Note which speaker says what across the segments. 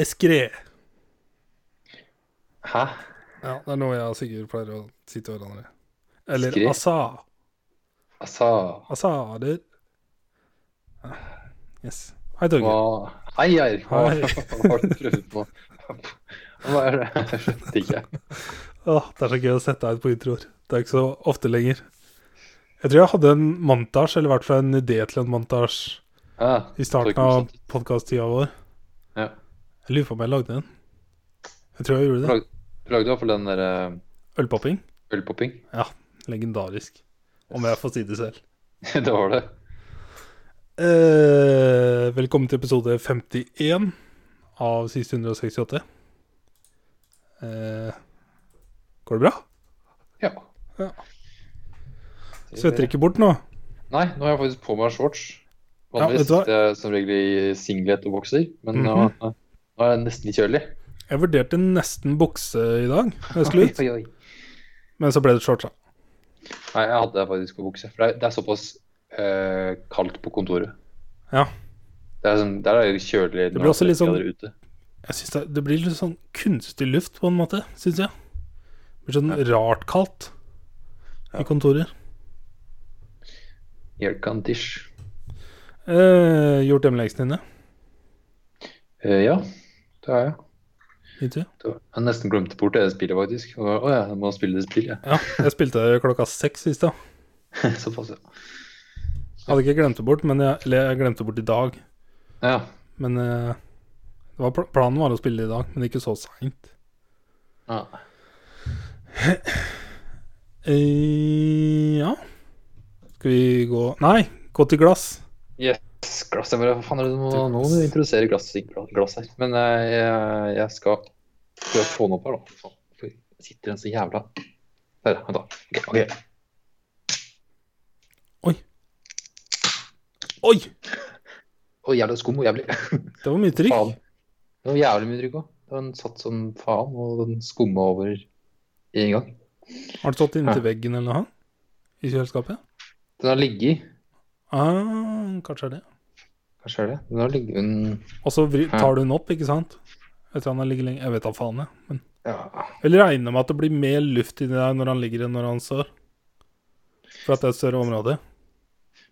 Speaker 1: Eskré.
Speaker 2: Hæ?
Speaker 1: Ja, det er noe jeg og Sigurd pleier å si til hverandre. Eller
Speaker 2: Eskré?
Speaker 1: asa.
Speaker 2: Altså
Speaker 1: Asader. Ja. Yes. Hei, Torgeir.
Speaker 2: hva... Hei, Eir. Hva
Speaker 1: Hei.
Speaker 2: hva har du prøvd på? Hva er det? Jeg skjønte ikke.
Speaker 1: Åh, det er så gøy å sette deg ut på introer. Det er ikke så ofte lenger. Jeg tror jeg hadde en montasj, eller i hvert fall en idé til en montasj,
Speaker 2: Ja,
Speaker 1: i starten av podkast-tida vår.
Speaker 2: Ja.
Speaker 1: Jeg lurer på om jeg lagde en. Jeg tror jeg gjorde det.
Speaker 2: Lag- Du lagde i hvert fall den der eh,
Speaker 1: Ølpopping.
Speaker 2: ølpopping.
Speaker 1: Legendarisk. Om jeg får si det selv.
Speaker 2: Det var det.
Speaker 1: Eh, velkommen til episode 51 av siste 168. Eh, går det bra?
Speaker 2: Ja.
Speaker 1: Ja. Svetter ikke bort nå?
Speaker 2: Nei, nå har jeg faktisk på meg shorts.
Speaker 1: Ja, vet
Speaker 2: Vanligvis
Speaker 1: du hva?
Speaker 2: sitter jeg som regel i singlet og bokser, men nå,
Speaker 1: Mhm.
Speaker 2: nå er jeg nesten litt kjølig.
Speaker 1: Jeg vurderte nesten bukse i dag, når jeg skulle ut,
Speaker 2: Oi, oi, oi.
Speaker 1: men så ble det shorts. da.
Speaker 2: Nei, jeg hadde faktisk på bukse. For det er, det er såpass eh, kaldt på kontoret.
Speaker 1: Ja.
Speaker 2: Det er sånn, der er det kjølig
Speaker 1: blir også litt sånn-
Speaker 2: grader ute.
Speaker 1: Jeg synes det, det blir litt sånn kunstig luft, på en måte, syns jeg. Det blir sånn rart kaldt i kontorer.
Speaker 2: Aircondish.
Speaker 1: Eh, gjort hjemmeleksene dine?
Speaker 2: Eh, ja, det har jeg.
Speaker 1: Ikke?
Speaker 2: Det var- Jeg nesten glemte bort det spillet, faktisk. Og, å ja, jeg må spille det spillet.
Speaker 1: Ja, jeg spilte klokka seks sist, da.
Speaker 2: Såpass, ja.
Speaker 1: Hadde ikke glemt det bort, men jeg, eller jeg glemte det bort i dag.
Speaker 2: Ja,
Speaker 1: Men eh, det var pl planen var å spille i dag, men ikke så seint.
Speaker 2: ja.
Speaker 1: Eh, ja Skal vi gå Nei, gå til glass.
Speaker 2: Yes, glass. Jeg bare, hva faen er det du må,
Speaker 1: Til
Speaker 2: nå
Speaker 1: glass.
Speaker 2: må du introdusere glass, i gla- glass her. Men eh, jeg, jeg skal prøve å få den opp her, da. Faen, Hvorfor sitter den så jævla Der, vent, da. Ok, ok.
Speaker 1: Oi!
Speaker 2: Å, jævla skum og jævlig.
Speaker 1: Det var mye trykk.
Speaker 2: Faen. Det var jævlig mye trykk òg. Den satt som faen, og den skumma over i en gang.
Speaker 1: Har den stått inntil veggen eller noe? I kjøleskapet?
Speaker 2: Den har ligget i.
Speaker 1: Ah, kanskje er det.
Speaker 2: Kanskje er det. Den har ligget den,
Speaker 1: Og så vri- tar du den opp, ikke sant? Etter han har ligget lenge Jeg vet da faen, jeg. Men
Speaker 2: ja.
Speaker 1: jeg vil regne med at det blir mer luft inni der når han ligger enn når han står. For at det er et større område.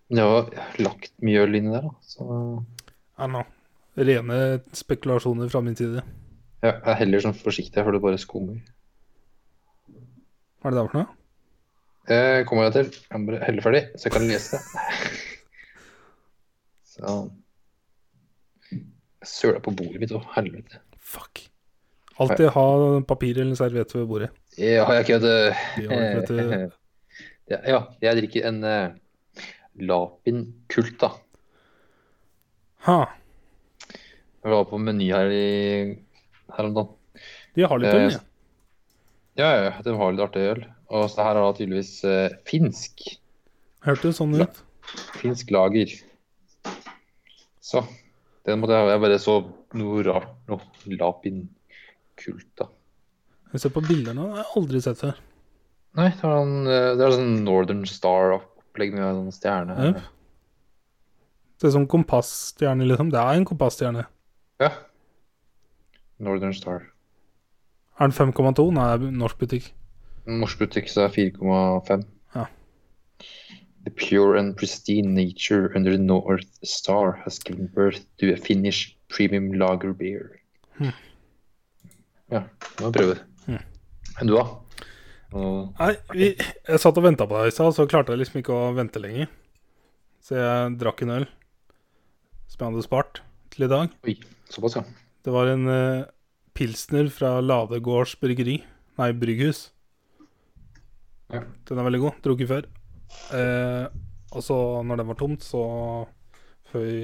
Speaker 2: Det var lagt mye øl inni der, da. Så
Speaker 1: I don't know. Rene spekulasjoner fra min side.
Speaker 2: ja, jeg er heller sånn forsiktig, for det bare skummer.
Speaker 1: Hva er det der for noe?
Speaker 2: Det Eh, kommer jeg til. Jeg må bare helle ferdig, så jeg kan lese det. Så Jeg søla på bordet mitt, å helvete.
Speaker 1: Fuck. Alltid ha papir eller serviett ved bordet.
Speaker 2: Ja, har jeg ikke hatt
Speaker 1: Det har vi ikke, vet du.
Speaker 2: det? Ja, jeg drikker en eh, Lapin Kult, da.
Speaker 1: Ha,
Speaker 2: Jeg var på Meny her, i, her om dagen.
Speaker 1: de har litt øl, ja.
Speaker 2: Ja, ja, ja, de har litt artig øl. Og så her har de tydeligvis eh, finsk.
Speaker 1: Hørte det sånn ut?
Speaker 2: Finsk lager. Så. Den måtte jeg Jeg bare så noe rart. Noe Lapin Kult, da.
Speaker 1: Jeg ser på bilder nå, det har jeg aldri sett før.
Speaker 2: Nei, det er, en, eh, det er sånn Northern Star-opplegg med en stjerne.
Speaker 1: Yep. Det er som kompassstjerne, liksom. Det er en kompassstjerne.
Speaker 2: Ja. Northern Star.
Speaker 1: Er den 5,2? Nei, det er norsk butikk.
Speaker 2: Mm. Norsk butikk så er 4,5.
Speaker 1: Ja.
Speaker 2: The pure and pristine nature under the North Star has given birth to a Finnish premium lager beer.
Speaker 1: Hmm.
Speaker 2: Ja, nå prøver vi.
Speaker 1: Hmm.
Speaker 2: Enn du, da? Og-
Speaker 1: Nei, vi, jeg satt og venta på deg i stad, så klarte jeg liksom ikke å vente lenger. Så jeg drakk en øl som jeg hadde spart til i dag.
Speaker 2: Oi, såpass, ja.
Speaker 1: Det var en eh, pilsner fra Ladegårds bryggeri. Nei, brygghus.
Speaker 2: Ja.
Speaker 1: Den er veldig god. Drukket før. Eh, og så, når den var tomt, så Før vi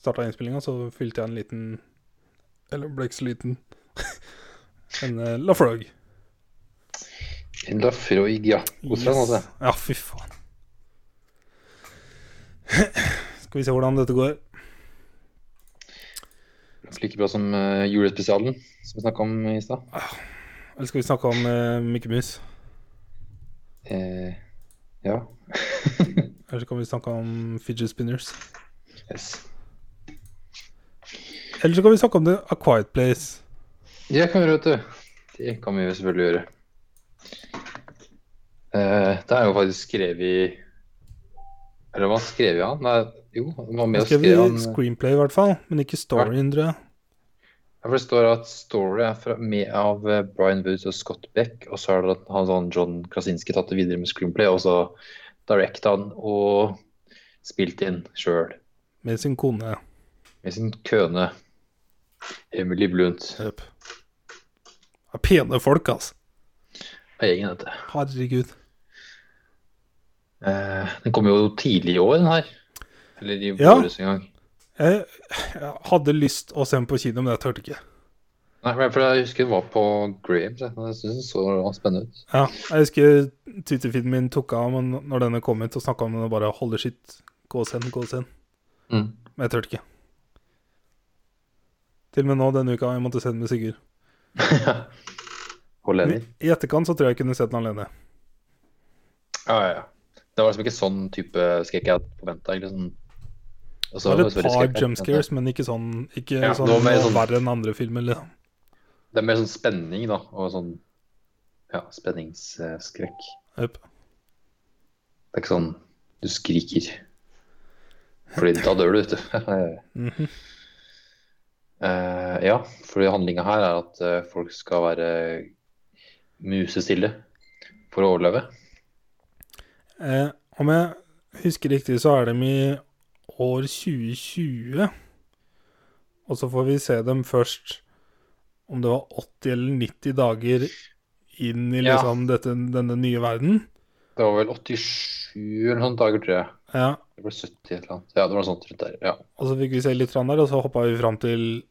Speaker 1: starta innspillinga, så fylte jeg en liten Eller ble ikke så liten. en eh, Lafroig.
Speaker 2: En Lafroig, ja. God fra, altså.
Speaker 1: Ja, fy faen. Skal vi se hvordan dette går.
Speaker 2: Like bra som eh, julespesialen som vi snakka om i stad.
Speaker 1: Eller skal vi snakke om uh, Mikke Mus?
Speaker 2: Eh, ja.
Speaker 1: Eller så kan vi snakke om fidget spinners.
Speaker 2: Yes.
Speaker 1: Eller så kan vi snakke om det A Quiet Place.
Speaker 2: Det kan vi gjøre, vet du. Det kan vi jo selvfølgelig gjøre. Eh, det er jo faktisk skrevet i Eller hva skrev jeg han? Nei, jo, han var med
Speaker 1: Jeg
Speaker 2: og skrev
Speaker 1: skrev
Speaker 2: han
Speaker 1: i screenplay, i hvert fall. Men ikke storyen, tror jeg.
Speaker 2: Jeg forstår at Story er fra, med av eh, Brian Woods og Scott Beck, og så er det at han sånn John Krasinski tatt det videre med screenplay, og så directa han og spilt inn sjøl
Speaker 1: Med sin kone.
Speaker 2: med sin køne Emily Blunt.
Speaker 1: Yep. Pene folk, altså.
Speaker 2: av gjengen, dette.
Speaker 1: Herregud.
Speaker 2: Eh, den kom jo tidlig i år, den her. Eller i
Speaker 1: Ja.
Speaker 2: våres en gang.
Speaker 1: Jeg, jeg hadde lyst å se den på kino, men jeg turte ikke.
Speaker 2: Nei, men for Jeg husker den var på Graham. så Jeg synes den så spennende ut.
Speaker 1: Ja, jeg husker Twitter-feeden min tok av men når denne kom ut og snakka om den og bare holder shit, gå og se den, gå og se den.
Speaker 2: Mm.
Speaker 1: Men jeg turte ikke. Til og med nå denne uka jeg måtte se den med Sigurd.
Speaker 2: Og Lenny.
Speaker 1: I etterkant så tror jeg jeg kunne sett den alene.
Speaker 2: Ja, ja, ja. Det var liksom ikke sånn type skrekk jeg hadde forventa. Sånn. Og så-
Speaker 1: Det var et
Speaker 2: så veldig skrekk
Speaker 1: par
Speaker 2: jeg
Speaker 1: jump
Speaker 2: forventet.
Speaker 1: scares, men ikke sånn Ikke
Speaker 2: Ja,
Speaker 1: sånn,
Speaker 2: det var mer
Speaker 1: noe
Speaker 2: sånn-
Speaker 1: verre enn andre filmer. Liksom.
Speaker 2: Det er mer sånn spenning, da. Og sånn ja, spenningsskrekk.
Speaker 1: Jep.
Speaker 2: Det er ikke sånn du skriker. Fordi da dør du, vet du.
Speaker 1: Mhm.
Speaker 2: Eh, ja, for handlinga her er at eh, folk skal være musestille for å overleve.
Speaker 1: eh, om jeg husker riktig, så er dem i år 2020. Og så får vi se dem først om det var 80 eller 90 dager inn i
Speaker 2: Ja.
Speaker 1: liksom dette, denne nye verden.
Speaker 2: Det var vel 87 eller noen dager, tror jeg.
Speaker 1: Ja,
Speaker 2: Det ble 70 et eller annet. Ja, det var noe sånt rundt der. Ja.
Speaker 1: og så fikk vi se litt grann der, og så hoppa vi fram til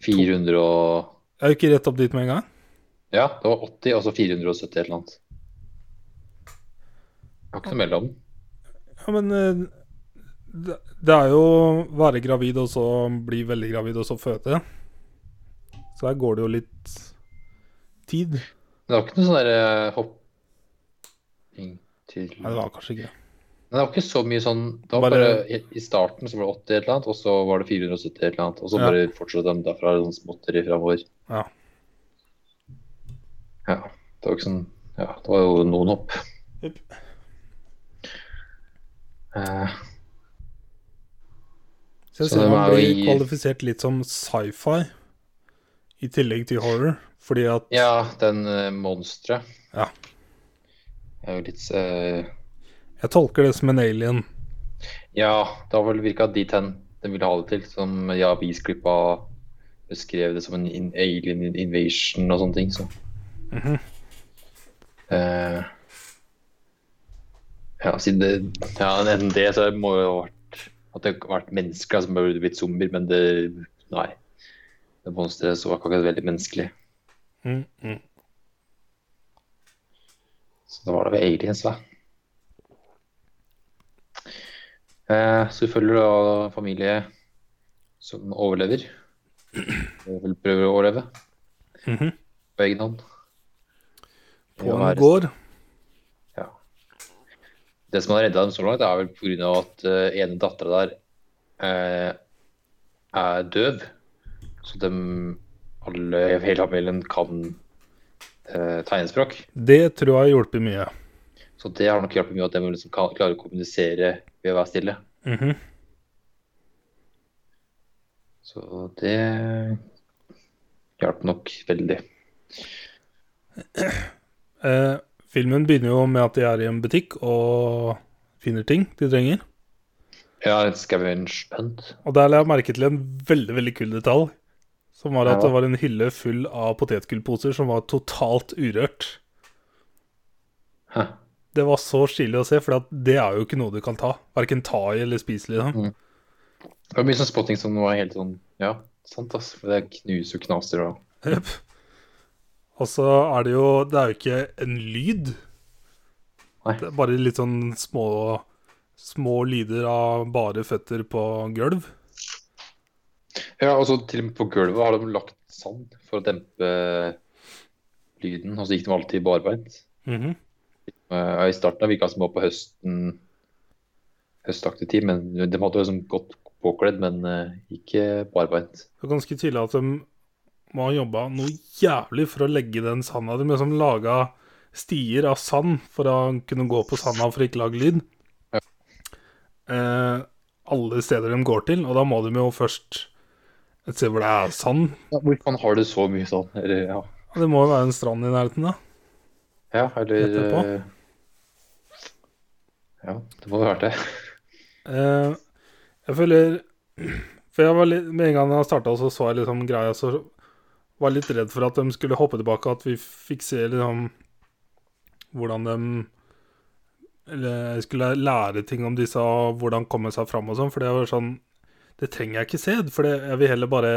Speaker 2: 400 og
Speaker 1: Jeg gikk rett opp dit med en gang.
Speaker 2: Ja, det var 80 og så 470 et eller annet. Jeg har ikke noe mellom.
Speaker 1: Ja, men eh, det, det er jo være gravid og så bli veldig gravid og så føde. Så der går det jo litt tid. Nei,
Speaker 2: Men det var ikke noe sånn derre hopping til
Speaker 1: det
Speaker 2: Nei,
Speaker 1: var kanskje ikke det.
Speaker 2: det var ikke så mye sånn Det var
Speaker 1: Bare-
Speaker 2: bare, i, I starten så var det 80 et eller annet, og så var det 470 et eller annet, og så
Speaker 1: Ja.
Speaker 2: bare fortsatte de derfra sånn småtteri framover.
Speaker 1: Ja.
Speaker 2: Ja. Det var ikke sånn Ja, det var jo noen hopp.
Speaker 1: Jupp.
Speaker 2: Eh,
Speaker 1: Så jeg
Speaker 2: Så
Speaker 1: ser
Speaker 2: det
Speaker 1: man
Speaker 2: var jo
Speaker 1: blir
Speaker 2: i-
Speaker 1: kvalifisert litt som sci-fi i tillegg til horror, fordi at
Speaker 2: ja, den uh, monsteret
Speaker 1: Ja.
Speaker 2: er jo litt eh,
Speaker 1: jeg tolker det som en alien.
Speaker 2: Ja, det har vel virka dit hen den ville ha det til. Som ja, avisklippa beskrev det som en in alien in- invasion og sånne ting. Så.
Speaker 1: Mhm.
Speaker 2: Eh, ja, siden det Ja, enten det, så må det ha vært at det har vært mennesker som har blitt zombier, men det Nei. Det monsteret så var ikke veldig menneskelig.
Speaker 1: Mm, mm.
Speaker 2: Så da var det vel aliens, da. Eh, så vi følger da en familie som overlever. Eller Vel prøver å overleve
Speaker 1: Mhm.
Speaker 2: på egen hånd.
Speaker 1: På
Speaker 2: Ja,
Speaker 1: en
Speaker 2: det-
Speaker 1: gård.
Speaker 2: Det som har redda dem så langt, er vel pga. at eh, ene dattera der eh, er døv. Så de alle, hele familien kan eh, tegnspråk.
Speaker 1: Det tror jeg har hjulpet mye.
Speaker 2: Så det har nok hjulpet mye at de liksom kan, klarer å kommunisere ved å være stille.
Speaker 1: Mhm.
Speaker 2: Så det hjalp nok veldig.
Speaker 1: eh, filmen begynner jo med at de er i en butikk og finner ting de trenger.
Speaker 2: Ja, et scavenge hunt.
Speaker 1: Og der la jeg merke til en veldig, veldig kul detalj. Som var at
Speaker 2: Ja.
Speaker 1: det var en hylle full av potetgullposer som var totalt urørt.
Speaker 2: Hæ.
Speaker 1: Det var så stilig å se, for det er jo ikke noe du kan ta. Verken ta i eller spise,
Speaker 2: Mm.
Speaker 1: liksom.
Speaker 2: Det var mye sånn spotting som var helt sånn Ja, sant, ass. For det knuser og knaser og
Speaker 1: Jep. Og så er det jo Det er jo ikke en lyd.
Speaker 2: Nei.
Speaker 1: Det er bare litt sånn små Små lyder av bare føtter på gulv.
Speaker 2: Ja, og så til og med på gulvet har de lagt sand for å dempe lyden, og så gikk de alltid barbeint.
Speaker 1: Mhm.
Speaker 2: Eh, I starten virka det som det var på høsten, høstaktig tid, men de hadde jo liksom gått påkledd, men eh, ikke barbeint.
Speaker 1: Det er ganske tydelig at de må ha jobba noe jævlig for å legge den sanda. De liksom laga stier av sand for å kunne gå på sanda for å ikke lage lyd. Eh, alle steder de går til, og da må de jo først et sted hvor det er sand.
Speaker 2: Ja, Hvorfor har du så mye sånn? Eller, ja.
Speaker 1: Og Det må jo være en strand i nærheten, da.
Speaker 2: ja, eller
Speaker 1: Etterpå?
Speaker 2: eh, Ja, det må ha vært det.
Speaker 1: Eh, jeg føler For jeg var litt, med en gang jeg starta, så så jeg liksom greia, så var jeg litt redd for at de skulle hoppe tilbake, at vi fikk se liksom hvordan de eller, skulle lære ting om disse, og hvordan komme seg fram og sånn. For det var sånn Det trenger jeg ikke se, for det, jeg vil heller bare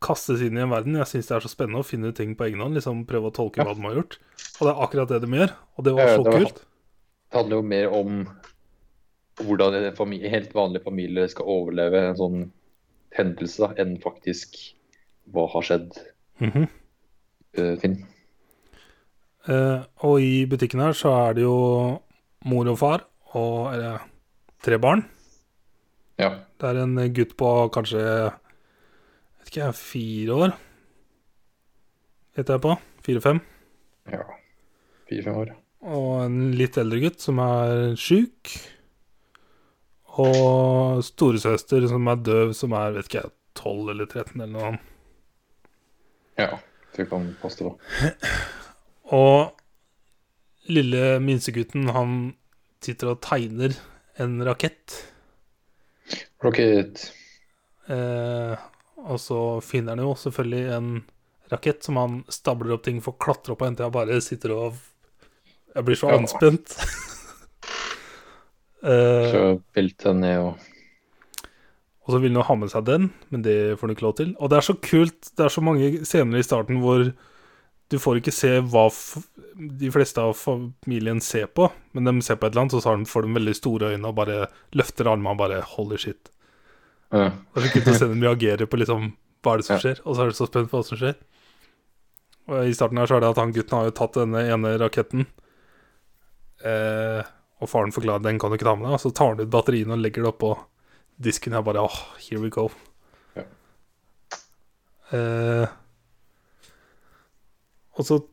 Speaker 1: kastes inn i en verden. Jeg syns det er så spennende å finne ut ting på egen hånd, liksom prøve å tolke
Speaker 2: Ja.
Speaker 1: hva de har gjort. Og det er akkurat det de gjør, og det var
Speaker 2: Ja, ja,
Speaker 1: så
Speaker 2: det var-
Speaker 1: kult.
Speaker 2: Det handler jo mer om hvordan en fami- helt vanlig familie skal overleve en sånn hendelse, da, enn faktisk hva har skjedd,
Speaker 1: Mhm.
Speaker 2: eh, Finn.
Speaker 1: Eh, og i butikken her så er det jo mor og far og eller, tre barn.
Speaker 2: Ja.
Speaker 1: Det er en gutt på kanskje vet ikke, jeg, fire år, heter jeg på. Fire-fem.
Speaker 2: ja. Fire-fem år.
Speaker 1: Og en litt eldre gutt som er sjuk. Og storesøster som er døv, som er vet ikke jeg, 12 eller 13 eller noe annet.
Speaker 2: Ja. Det kan passe, da.
Speaker 1: Og lille minstegutten, han sitter og tegner en rakett.
Speaker 2: Rocket.
Speaker 1: Eh, og så finner han jo selvfølgelig en rakett som han stabler opp ting for å klatre opp på, inntil han bare sitter og Jeg blir så
Speaker 2: Ja.
Speaker 1: anspent. eh,
Speaker 2: Så velte den ned og
Speaker 1: og så vil han jo ha med seg den, men det får han ikke lov til. Og det er så kult. Det er så mange scener i starten hvor du får ikke se hva f de fleste av familien ser på, men de ser på et eller annet, og så har de- får de veldig store øyne og bare løfter armene og bare 'holy shit'.
Speaker 2: ja.
Speaker 1: Det er så kult å se dem reagere på liksom hva er det som
Speaker 2: Ja.
Speaker 1: skjer, og så er du så spent på hva som skjer. Og I starten her så er det at han gutten har jo tatt denne ene raketten, eh, og faren forklarer den kan du ikke ta med deg, og så tar han ut batteriene og legger det oppå disken. Jeg bare åh, here we go.
Speaker 2: Ja.
Speaker 1: Eh, og så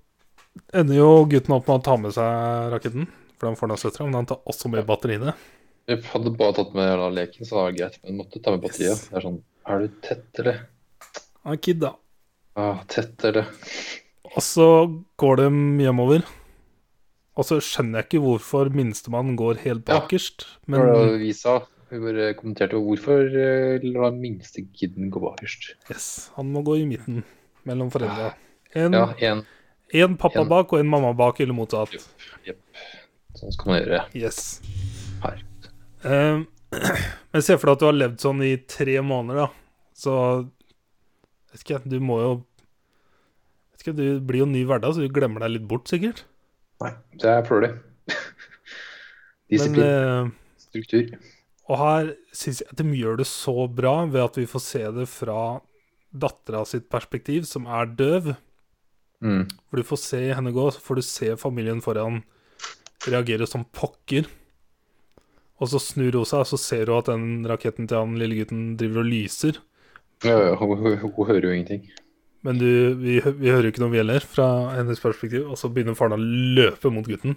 Speaker 1: ender jo gutten opp med å ta med seg raketten, for han får den av søstera, men han tar også med batteriene.
Speaker 2: Jeg hadde bare tatt med hele leken, så var det greit. Men måtte ta med batteriet.
Speaker 1: Yes.
Speaker 2: Det er sånn Er du tett, eller?
Speaker 1: Han er kid, da.
Speaker 2: Ja, tett, eller?
Speaker 1: Og så går de hjemover. Og så skjønner jeg ikke hvorfor minstemann går helt
Speaker 2: Ja.
Speaker 1: bakerst.
Speaker 2: Men...
Speaker 1: Men
Speaker 2: Vi sa Vi bare kommenterte jo hvorfor eh, lar den minste kiden gå bakerst.
Speaker 1: yes, han må gå i midten mellom foreldra. En,
Speaker 2: Ja, én.
Speaker 1: en pappa
Speaker 2: en-
Speaker 1: bak og en mamma bak, eller motsatt.
Speaker 2: Jepp. Sånn skal man gjøre
Speaker 1: Yes.
Speaker 2: her.
Speaker 1: Eh, men se for deg at du har levd sånn i tre måneder, da. Så vet ikke, jeg, du må jo Vet ikke, Du blir jo ny hverdag, så du glemmer deg litt bort, sikkert.
Speaker 2: Nei, det er flølig.
Speaker 1: Men
Speaker 2: Disiplin.
Speaker 1: eh,
Speaker 2: Struktur.
Speaker 1: Og her syns jeg at de gjør det så bra ved at vi får se det fra dattera sitt perspektiv, som er døv.
Speaker 2: Mm.
Speaker 1: For du får se henne gå, så får du se familien foran reagere som pokker. Og så snur hun seg, og så ser hun at den raketten til han lille gutten driver og lyser.
Speaker 2: Ja, ja, hun, hun, hun hører jo ingenting.
Speaker 1: Men du, vi, hø- vi hører jo ikke noe vi heller, fra hennes perspektiv. Og så begynner faren å løpe mot gutten.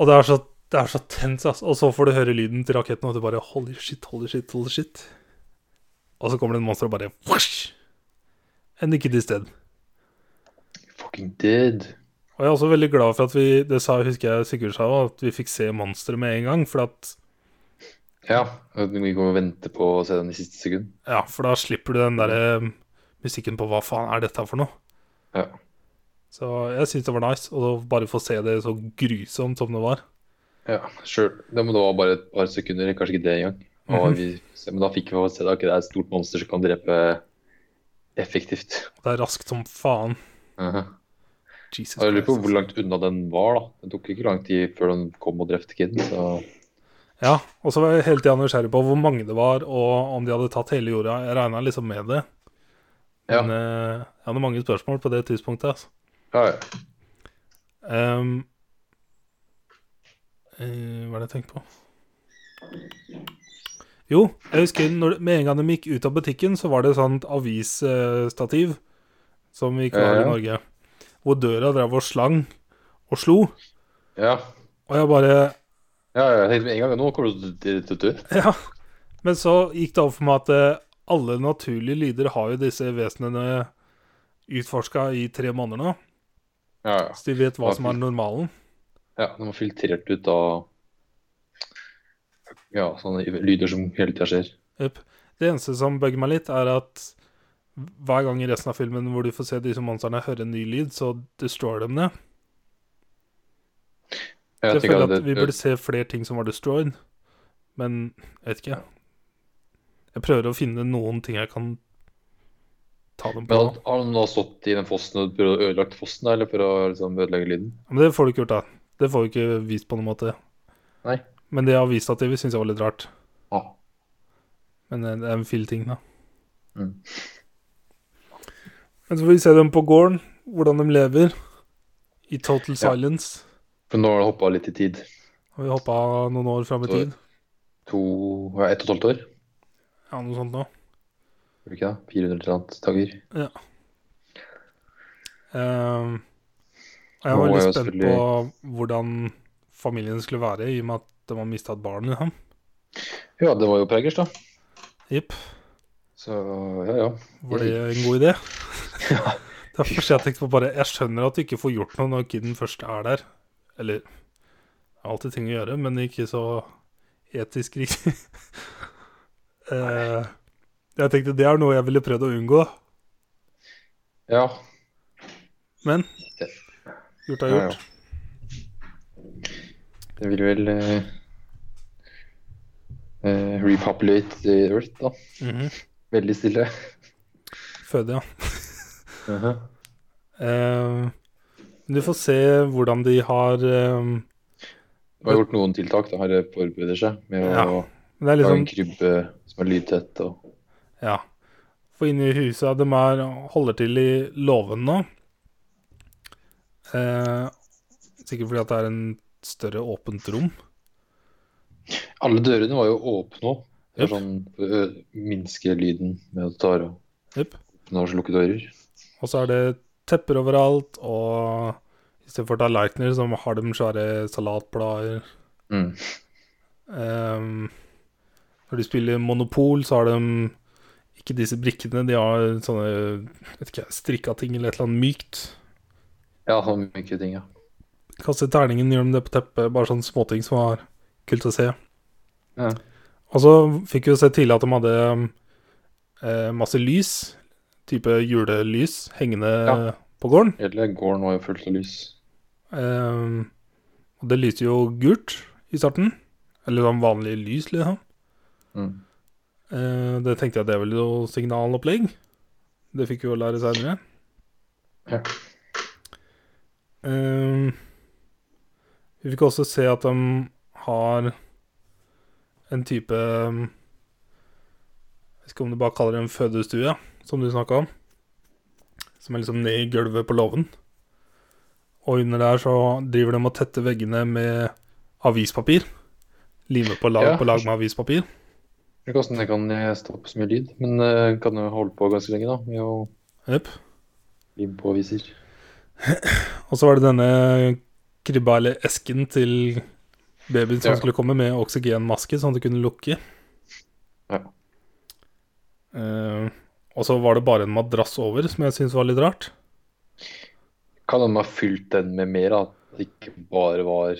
Speaker 1: Og det er så, det er så tenst, ass. Og så får du høre lyden til raketten, og du bare Holy shit, holy shit, holy shit. Og så kommer det en monster og bare whoosh! En ikke til sted.
Speaker 2: Fucking dead.
Speaker 1: Og jeg er også veldig glad for at vi Det sa, husker jeg Sigurd sa også, at vi fikk se monsteret med en gang. For at
Speaker 2: Ja. Vi kommer og venter på å se den i siste sekund.
Speaker 1: Ja, for da slipper du den der eh, musikken på hva faen er dette for noe.
Speaker 2: Mm. Ja.
Speaker 1: Så jeg syns det var nice å bare få se det så grusomt som det var.
Speaker 2: Ja, sure. Det må da være bare et par sekunder, kanskje ikke det engang. Og vi, se- men da fikk vi bare se det, ok, det er et stort monster som kan drepe effektivt.
Speaker 1: Det er raskt som faen.
Speaker 2: Uh
Speaker 1: Jesus
Speaker 2: Jeg lurer på hvor
Speaker 1: Christ. altså.
Speaker 2: langt unna den var, da. Det tok ikke lang tid før den kom og drepte kiden, så
Speaker 1: Ja, og så var jeg hele tida nysgjerrig på hvor mange det var, og om de hadde tatt hele jorda. Jeg regna liksom med det.
Speaker 2: Ja.
Speaker 1: Men eh, jeg hadde mange spørsmål på det tidspunktet. Altså.
Speaker 2: ja, ja.
Speaker 1: Ehm, eh, hva er det jeg tenkte på? Jo, jeg husker når, med en gang de gikk ut av butikken, så var det sånt avisstativ som vi ikke har
Speaker 2: Ja,
Speaker 1: i
Speaker 2: ja.
Speaker 1: Norge, hvor døra drev og slang og slo.
Speaker 2: Ja.
Speaker 1: Og jeg bare
Speaker 2: ja, ja, jeg tenkte med en gang nå kommer du til til- til- til.
Speaker 1: Ja. Men så gikk det opp for meg at eh, alle naturlige lyder har jo disse vesenene utforska i tre måneder nå,
Speaker 2: Ja, ja.
Speaker 1: så de vet hva som er normalen.
Speaker 2: ja. De har filtrert ut av ja, sånne lyder som hele tida skjer.
Speaker 1: Jep. Det eneste som bugger meg litt, er at hver gang i resten av filmen hvor du får se disse monstrene høre en ny lyd, så destroyer de det.
Speaker 2: Jeg
Speaker 1: Jeg føler
Speaker 2: tenker
Speaker 1: at vi burde se flere ting som var destroyed, men jeg vet ikke. Jeg prøver å finne noen ting jeg kan ta dem
Speaker 2: Men
Speaker 1: på.
Speaker 2: har- har han da stått i den fossen og prøvd å ødelagt fossen, da, eller for å liksom ødelegge lyden?
Speaker 1: Men det får du ikke gjort, da. Det får du ikke vist på noen måte.
Speaker 2: Nei.
Speaker 1: Men det avisstativet syns jeg var litt rart.
Speaker 2: Ja.
Speaker 1: Men det er en fin ting, da.
Speaker 2: Mm.
Speaker 1: Men så får vi se dem på gården, hvordan de lever. I total silence.
Speaker 2: For nå har det hoppa litt i tid.
Speaker 1: Og vi hoppa noen år fram i
Speaker 2: Så-
Speaker 1: tid.
Speaker 2: To, ja, Ett og et halvt år?
Speaker 1: Ja, noe sånt nå.
Speaker 2: Gjør det ikke det? 400 eller annet dager.
Speaker 1: Eh, og jeg
Speaker 2: Nå
Speaker 1: var
Speaker 2: er
Speaker 1: veldig
Speaker 2: jo
Speaker 1: spent på
Speaker 2: selvfølgelig-
Speaker 1: hvordan familien skulle være, i og med at de har mista et barn. Liksom.
Speaker 2: Ja, det var jo preggers, da.
Speaker 1: Jepp.
Speaker 2: Så ja, ja.
Speaker 1: Var det en god idé? Det er første jeg tenkte på bare Jeg skjønner at du ikke får gjort noe når kiden først er der. Eller jeg har alltid ting å gjøre, men ikke så etisk riktig. Eh, jeg tenkte det er noe jeg ville prøvd å unngå.
Speaker 2: Ja,
Speaker 1: Men
Speaker 2: Det-
Speaker 1: gjort er
Speaker 2: Ja, ja.
Speaker 1: gjort.
Speaker 2: det vil vel eh, eh, repopulate the earth, da.
Speaker 1: Mhm.
Speaker 2: Veldig stille.
Speaker 1: Føde, ja. Eh, du får se hvordan de har eh,
Speaker 2: De har gjort noen tiltak, da. Har de forbereder seg med å
Speaker 1: Ja, men Det er
Speaker 2: lage en
Speaker 1: liksom
Speaker 2: krybbe som er lydtett og
Speaker 1: Ja. For inne i huset de er, holder til i låven nå. Eh, sikkert fordi at det er en større åpent rom.
Speaker 2: Alle dørene var jo åpne òg. Det
Speaker 1: Jep.
Speaker 2: var sånn for å ø- minske lyden med å ta og
Speaker 1: Jep.
Speaker 2: åpne og slukke dører.
Speaker 1: Og så er det tepper overalt, og istedenfor tallerkener så har de svære salatblader.
Speaker 2: Mm.
Speaker 1: Ehm, når de spiller Monopol, så har de ikke disse brikkene. De har sånne vet ikke, strikka ting eller et eller annet mykt.
Speaker 2: Ja, sånn mye ting, ja.
Speaker 1: Kaste terningen, gjør de det på teppet. Bare sånne småting som var kult å se.
Speaker 2: Ja.
Speaker 1: Og så fikk vi jo se tidlig at de hadde eh, masse lys, type julelys, hengende
Speaker 2: Ja.
Speaker 1: på gården.
Speaker 2: Hele gården var jo fullt av lys.
Speaker 1: Ehm, og det lyste jo gult i starten. Eller sånn vanlig lys, liksom.
Speaker 2: Mm.
Speaker 1: Eh, det tenkte jeg det er vel noe signalopplegg. Det fikk vi jo lære seinere.
Speaker 2: Ja.
Speaker 1: Eh, vi fikk også se at de har en type um, Jeg vet ikke om du bare kaller det en fødestue, som du snakka om. Som er liksom ned i gulvet på låven. Og under der så driver de og tetter veggene med avispapir. Limer på lag
Speaker 2: Ja.
Speaker 1: på lag med avispapir.
Speaker 2: Jeg vet ikke hvordan det kan eh, stoppe så mye lyd, men eh, kan jo holde på ganske lenge, da. Med å
Speaker 1: Jepp.
Speaker 2: lime på aviser.
Speaker 1: Og så var det denne krybba eller esken til babyen som
Speaker 2: Ja.
Speaker 1: skulle komme med oksygenmaske, sånn at det kunne lukke.
Speaker 2: Ja.
Speaker 1: Eh, og så var det bare en madrass over, som jeg syntes var litt rart.
Speaker 2: Kan de ha fylt den med mer, da? At det ikke bare var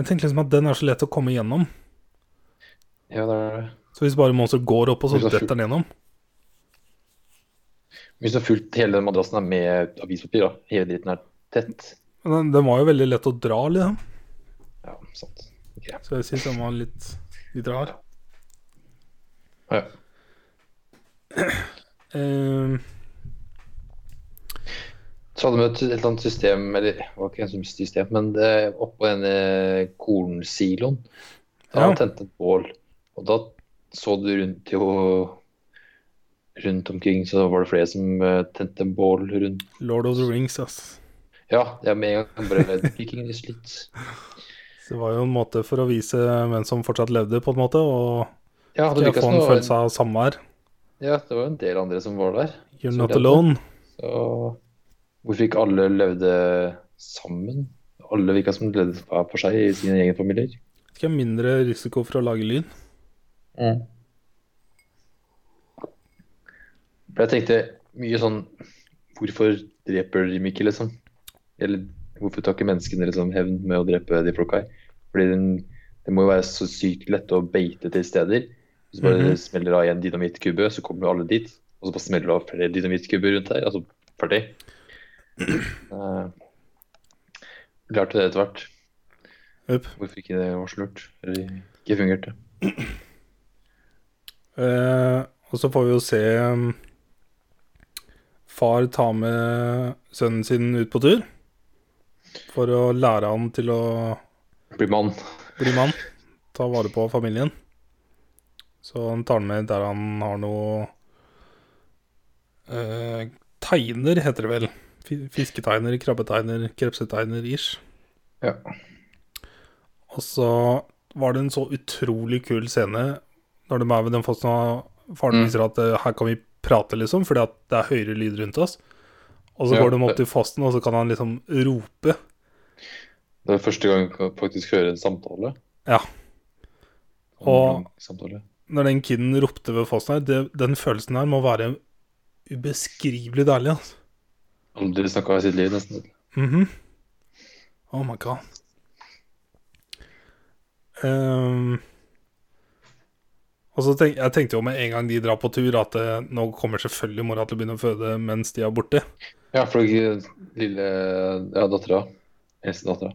Speaker 1: Jeg tenkte liksom at den er så lett å komme gjennom.
Speaker 2: Ja, det er det.
Speaker 1: Så hvis bare monster går opp, og så
Speaker 2: Hvis det er
Speaker 1: detter den gjennom
Speaker 2: Hvis du har fylt hele den madrassen her med avispapir, da. Hele dritten er tett.
Speaker 1: Men den, den var jo veldig lett å dra, liksom.
Speaker 2: Ja, sant.
Speaker 1: Så jeg syns den var litt, litt rar.
Speaker 2: Ja.
Speaker 1: Eh,
Speaker 2: Så hadde vi et, et eller annet system, eller det var ikke et system, men det, oppå denne kornsiloen Da
Speaker 1: Ja.
Speaker 2: tente et bål, og da så du rundt jo Rundt omkring så var det flere som eh, tente bål rundt
Speaker 1: Lord of the Rings, ass.
Speaker 2: Ja, jeg med en gang bare Viking litt.
Speaker 1: Så det var jo en måte for å vise hvem som fortsatt levde, på en måte, og
Speaker 2: Ja, det
Speaker 1: ikke
Speaker 2: virket
Speaker 1: få
Speaker 2: som
Speaker 1: en
Speaker 2: det var
Speaker 1: følelse
Speaker 2: en,
Speaker 1: av samvær.
Speaker 2: ja, det var en del andre som var der.
Speaker 1: You're
Speaker 2: Så
Speaker 1: not
Speaker 2: det-
Speaker 1: alone.
Speaker 2: Så hvorfor ikke alle levde sammen? Alle virka som de levde hver for seg i sine egne familier.
Speaker 1: Ikke mindre risiko for å lage lyd.
Speaker 2: For jeg tenkte mye sånn Hvorfor dreper de ikke, liksom? Eller hvorfor tar ikke menneskene liksom hevn med å drepe de folka her? Fordi den, det må jo være så sykt lett å beite til steder. Hvis du bare
Speaker 1: Mhm.
Speaker 2: smeller av en dynamittkubbe, så kommer jo alle dit. Og så bare smeller du av flere dynamittkubber rundt her. Altså ferdig. Eh, Lærte det etter hvert.
Speaker 1: Jupp.
Speaker 2: Hvorfor ikke det var så lurt? Eller ikke fungerte.
Speaker 1: Eh, og så får vi jo se um, far ta med sønnen sin ut på tur. For å lære han til å
Speaker 2: Blir mann.
Speaker 1: bli mann. Ta vare på familien. Så han tar den med der han har noe eh, Tegner, heter det vel. Fi- Fisketegner, krabbetegner, krepsetegner, ish.
Speaker 2: Ja.
Speaker 1: Og så var det en så utrolig kul scene når de er ved den fossen og faren
Speaker 2: Mm.
Speaker 1: viser at eh, her kan vi prate, liksom, fordi at det er høyere lyd rundt oss. Og så
Speaker 2: Ja,
Speaker 1: går de opp
Speaker 2: det-
Speaker 1: til fossen, og så kan han liksom rope.
Speaker 2: Det er første gang jeg faktisk hører en samtale.
Speaker 1: Ja.
Speaker 2: En
Speaker 1: Og-
Speaker 2: lang samtale.
Speaker 1: når den kiden ropte ved fossen her, det, den følelsen her må være ubeskrivelig deilig, altså.
Speaker 2: Aldri snakka i sitt liv, nesten.
Speaker 1: Mhm. Oh my god. Ehm, og så tenk, jeg tenkte jo med en gang de drar på tur, at eh, nå kommer selvfølgelig mora til å begynne å føde mens de er borte.
Speaker 2: Ja, for den lille ja, dattera, eldste dattera,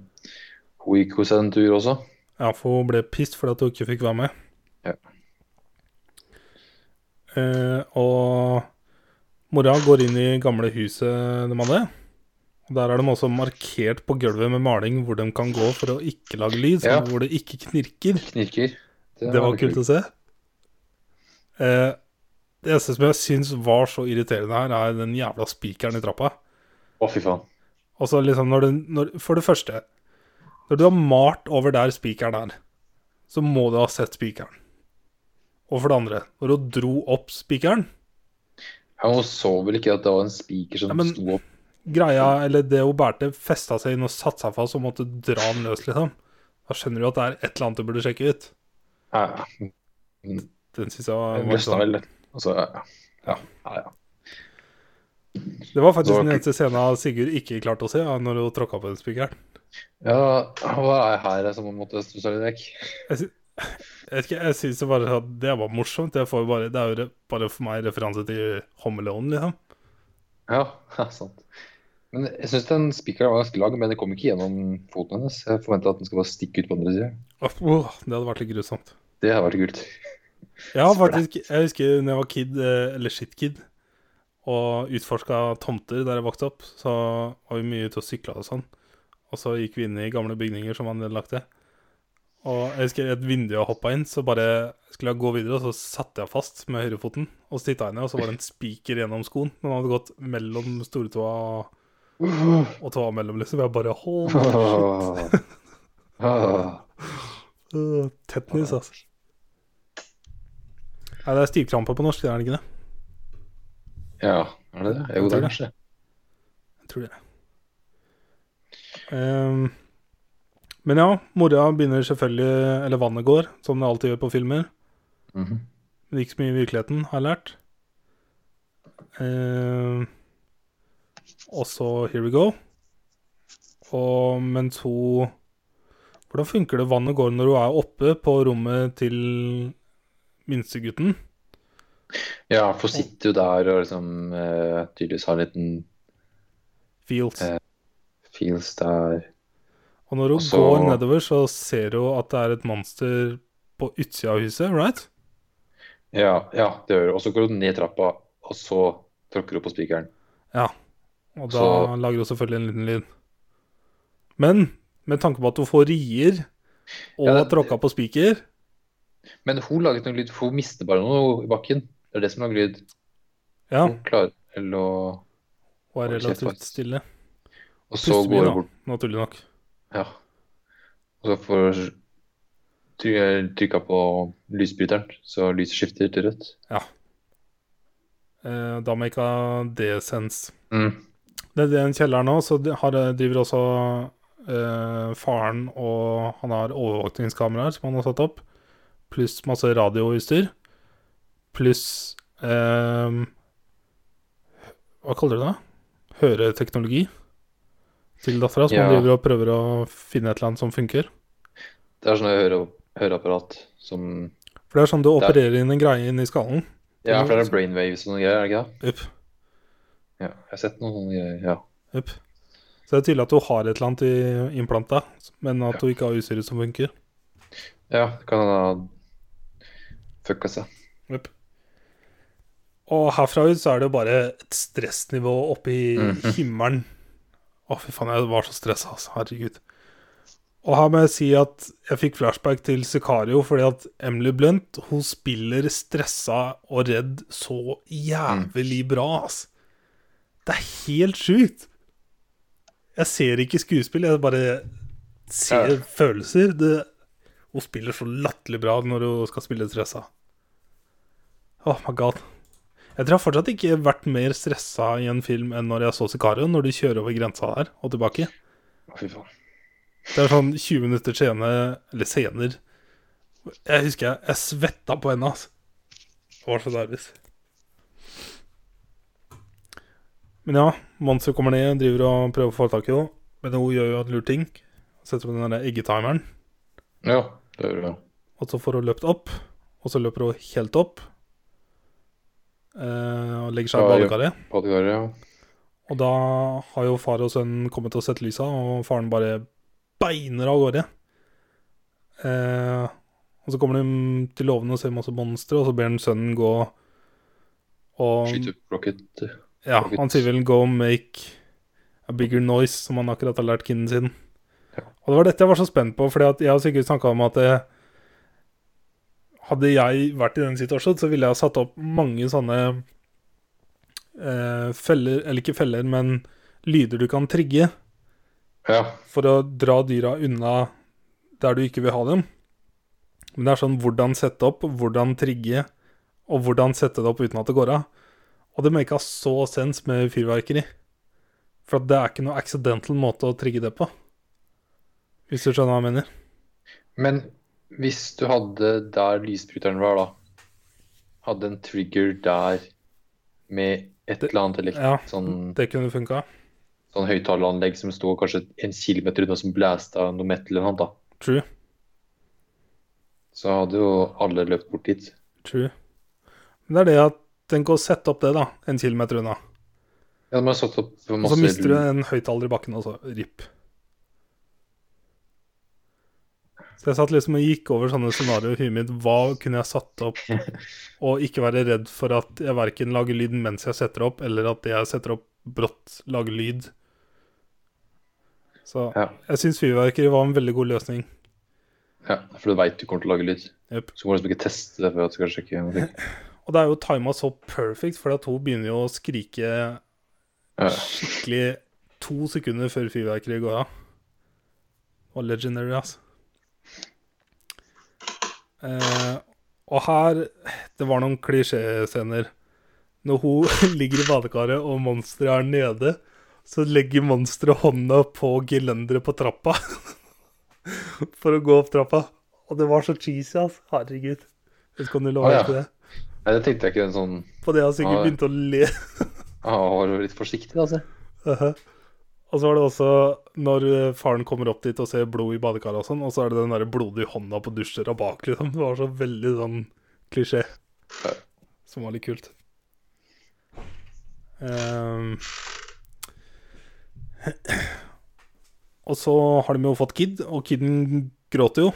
Speaker 2: hun gikk hos en tur også.
Speaker 1: Ja, for hun ble pissed fordi at hun ikke fikk være med.
Speaker 2: Ja.
Speaker 1: Eh, og mora går inn i gamle huset de hadde. Og Der er de også markert på gulvet med maling hvor de kan gå for å ikke lage lyd, så
Speaker 2: Ja.
Speaker 1: hvor det ikke knirker.
Speaker 2: Knirker.
Speaker 1: Det var kult å se. Eh, det eneste som jeg syns var så irriterende her, er den jævla spikeren i trappa.
Speaker 2: Å, fy faen.
Speaker 1: Og så liksom når du, når, For det første Når du har malt over der spikeren er Så må du ha sett spikeren Og for det andre Når du dro opp spikeren
Speaker 2: Ja, hun så vel ikke at det var en spiker som
Speaker 1: Ja, men-
Speaker 2: sto opp.
Speaker 1: Greia, eller det hun bærte Festa seg inn og satt seg fast Og måtte dra den løs liksom Da skjønner du at det er et eller annet du burde sjekke ut
Speaker 2: Ja,
Speaker 1: Den synes jeg var,
Speaker 2: hun
Speaker 1: var
Speaker 2: løsna
Speaker 1: sånn.
Speaker 2: vel. Altså, ja. Ja, ja, ja.
Speaker 1: Det var faktisk
Speaker 2: Det var
Speaker 1: den eneste scenen Sigurd ikke klarte å se ja, Når hun tråkket på den spikeren
Speaker 2: ja hva er her som hun måtte stusse litt vekk?
Speaker 1: jeg, vet ikke, jeg synes det bare at det var morsomt Jeg får jo bare, Det er jo re- bare for meg referanse til Home Alone liksom
Speaker 2: Ja, ja, sant. Men jeg syns den spikeren var ganske lang, men det kom ikke gjennom foten hennes. Jeg forventa at den skal bare stikke ut på andre sida.
Speaker 1: Åh, Det hadde vært litt grusomt
Speaker 2: Det hadde vært kult.
Speaker 1: Ja,
Speaker 2: Splæ.
Speaker 1: faktisk. Jeg husker når jeg var kid, eh, eller shitkid, og utforska tomter der jeg vokste opp, så var vi mye ute og sykla og sånn. Og så gikk vi inn i gamle bygninger som var nedlagte. Og jeg husker et vindu jeg hoppa inn, så bare skulle jeg gå videre, og så satte jeg fast med høyrefoten og titta inn i, og så var det en spiker gjennom skoen. Den hadde gått mellom stortåa og tåa mellom, liksom. Jeg bare hold
Speaker 2: Åh.
Speaker 1: øh, Tetnis, altså. Nei, det er stivkrampe på norsk, det er det ikke det?
Speaker 2: Ja, er det det? Jo, det er kanskje det.
Speaker 1: Jeg tror det. Ehm, men ja, mora begynner selvfølgelig Eller vannet går, som det alltid gjør på filmer.
Speaker 2: Mhm.
Speaker 1: Men ikke så mye i virkeligheten, har jeg lært. Ehm, og så Here we go. Og mens hun Hvordan funker det vannet går når hun er oppe på rommet til minstegutten?
Speaker 2: Ja, for hun sitter jo der og liksom eh, tydeligvis har en liten
Speaker 1: Fields.
Speaker 2: Eh. feels der.
Speaker 1: Og når hun
Speaker 2: Og så-
Speaker 1: går nedover, så ser hun at det er et monster på utsida av huset, right?
Speaker 2: Ja, ja det gjør det. Og så går hun ned trappa, og så tråkker hun på spikeren.
Speaker 1: Og da
Speaker 2: Så-
Speaker 1: lager hun selvfølgelig en liten lyd. Men med tanke på at hun får rier og
Speaker 2: Ja, det-
Speaker 1: tråkka på spiker
Speaker 2: Men hun laget noe lyd, for hun mister bare noe i bakken. Det er det som lager lyd.
Speaker 1: Ja,
Speaker 2: Hun klarer eller å
Speaker 1: hun er
Speaker 2: Mm. Hold kjeft,
Speaker 1: relativt
Speaker 2: faktisk.
Speaker 1: stille.
Speaker 2: Og så
Speaker 1: Puster mye,
Speaker 2: går
Speaker 1: da.
Speaker 2: hun bort
Speaker 1: Naturlig nok.
Speaker 2: Ja. Og Og så får try- trykka på lysbryteren, så lyset skifter til rødt.
Speaker 1: Eh, da må jeg ikke ha desens.
Speaker 2: Mm.
Speaker 1: Det er den kjelleren nå, så de- har, driver også eh, faren og han har overvåkningskameraer som han har satt opp, pluss masse radioutstyr, pluss eh, Hva kaller du det? da? Høreteknologi til dattera, som
Speaker 2: Ja.
Speaker 1: driver og prøver å finne et eller annet som funker.
Speaker 2: Det er sånn høre, høreapparat som
Speaker 1: For det er sånn du
Speaker 2: Det er-
Speaker 1: opererer inn en greie inn i skallen.
Speaker 2: Ja, for det er brainwaves og sånne greier, er det ikke det?
Speaker 1: Upp,
Speaker 2: Ja, jeg har sett noen sånne greier, ja.
Speaker 1: upp. Så det er tydelig at du har et eller annet i implanta, men at du ikke har utstyret som funker.
Speaker 2: Ja, det kan ha fucka seg.
Speaker 1: Jepp. Og herfra ut så er det jo bare et stressnivå oppe i
Speaker 2: Mhm.
Speaker 1: himmelen. Å, fy faen, jeg var så stressa, altså. Herregud. Og her må jeg si at jeg fikk flashback til Sicario, fordi at Emily Blunt hun spiller stressa og redd så jævlig bra, altså. Det er helt sjukt. Jeg ser ikke skuespill, jeg bare ser
Speaker 2: Ja.
Speaker 1: følelser. Det, hun spiller så latterlig bra når hun skal spille stressa. Oh my god. Jeg tror jeg har fortsatt ikke vært mer stressa i en film enn når jeg så Sicario, når de kjører over grensa der og tilbake.
Speaker 2: Å, fy faen.
Speaker 1: Det er sånn 20 minutter senere, eller senere Jeg husker jeg, jeg svetta på henne, altså. Det var så deilig. Men ja, Monster kommer ned, driver og prøver å få tak i henne. Men hun gjør jo en lur ting. Setter på den der eggetimeren.
Speaker 2: Ja, det gjør det.
Speaker 1: Og så får hun løpt opp, og så løper hun helt opp. Eh, og legger seg i
Speaker 2: Ja, ja.
Speaker 1: badekaret.
Speaker 2: Badekaret, ja.
Speaker 1: Og da har jo far og sønnen kommet og sett lysa, og faren bare beiner av gårde. Eh, og så kommer de til låven og ser masse monstre, og så ber han sønnen gå og
Speaker 2: Skyter opp rocket.
Speaker 1: Ja, han sier vel 'go make a bigger noise', som han akkurat har lært kiden sin.
Speaker 2: Ja.
Speaker 1: Og det var dette jeg var så spent på, fordi at jeg har sikkert snakka om at det, Hadde jeg vært i den situasjonen, så ville jeg ha satt opp mange sånne eh, feller Eller ikke feller, men lyder du kan trigge
Speaker 2: Ja,
Speaker 1: for å dra dyra unna der du ikke vil ha dem. Men det er sånn hvordan sette opp, hvordan trigge, og hvordan sette det opp uten at det går av. Og det merka så sens med fyrverkeri. For at det er ikke noe accidental måte å trigge det på. Hvis du skjønner hva jeg mener.
Speaker 2: men hvis du hadde der lysbryteren var da, hadde en trigger der med et
Speaker 1: Det-
Speaker 2: eller annet elekt,
Speaker 1: Ja,
Speaker 2: sånn,
Speaker 1: det kunne funka.
Speaker 2: sånn høyttaleranlegg som stod kanskje en kilometer unna som blæsta noe metal eller noe da,
Speaker 1: True.
Speaker 2: så hadde jo alle løpt bort dit.
Speaker 1: True. Men det er det at Tenk å sette opp det, da, en kilometer unna.
Speaker 2: Ja, de har satt opp
Speaker 1: Og
Speaker 2: masse
Speaker 1: så mister du en høyttaler i bakken, og så RIP. Så jeg satt liksom og gikk over sånne scenarioer i huet mitt. Hva kunne jeg satt opp? Og ikke være redd for at jeg verken lager lyd mens jeg setter opp, eller at det jeg setter opp, brått lager lyd. Så
Speaker 2: Ja.
Speaker 1: jeg syns fyrverkeri var en veldig god løsning.
Speaker 2: Ja, for du veit du kommer til å lage lyd.
Speaker 1: Jep.
Speaker 2: Så må du liksom ikke teste det før at du skal sjekke noe.
Speaker 1: Og det er jo tima så perfect, fordi at hun begynner jo å skrike
Speaker 2: Ja.
Speaker 1: skikkelig to sekunder før fyrverkeriet går av. Og legendary, altså. Eh, og her Det var noen klisjéscener. Når hun ligger i badekaret og monsteret er nede, så legger monsteret hånda på gelenderet på trappa for å gå opp trappa. Og det var så cheesy, altså. Herregud. Jeg skal du la
Speaker 2: Å,
Speaker 1: være
Speaker 2: ja.
Speaker 1: til det.
Speaker 2: Nei, det tenkte jeg ikke. En sånn
Speaker 1: På det har jeg sikkert
Speaker 2: Ja.
Speaker 1: begynt å le.
Speaker 2: ah, var du litt forsiktig, altså.
Speaker 1: og så var det også når eh, faren kommer opp dit og ser blod i badekaret og sånn, og så er det den derre blodige hånda på dusjdøra bak, liksom. Det var så veldig sånn klisjé.
Speaker 2: Ja.
Speaker 1: Som var litt kult. Ehm. og så har de jo fått Kid, og Kiden gråter jo.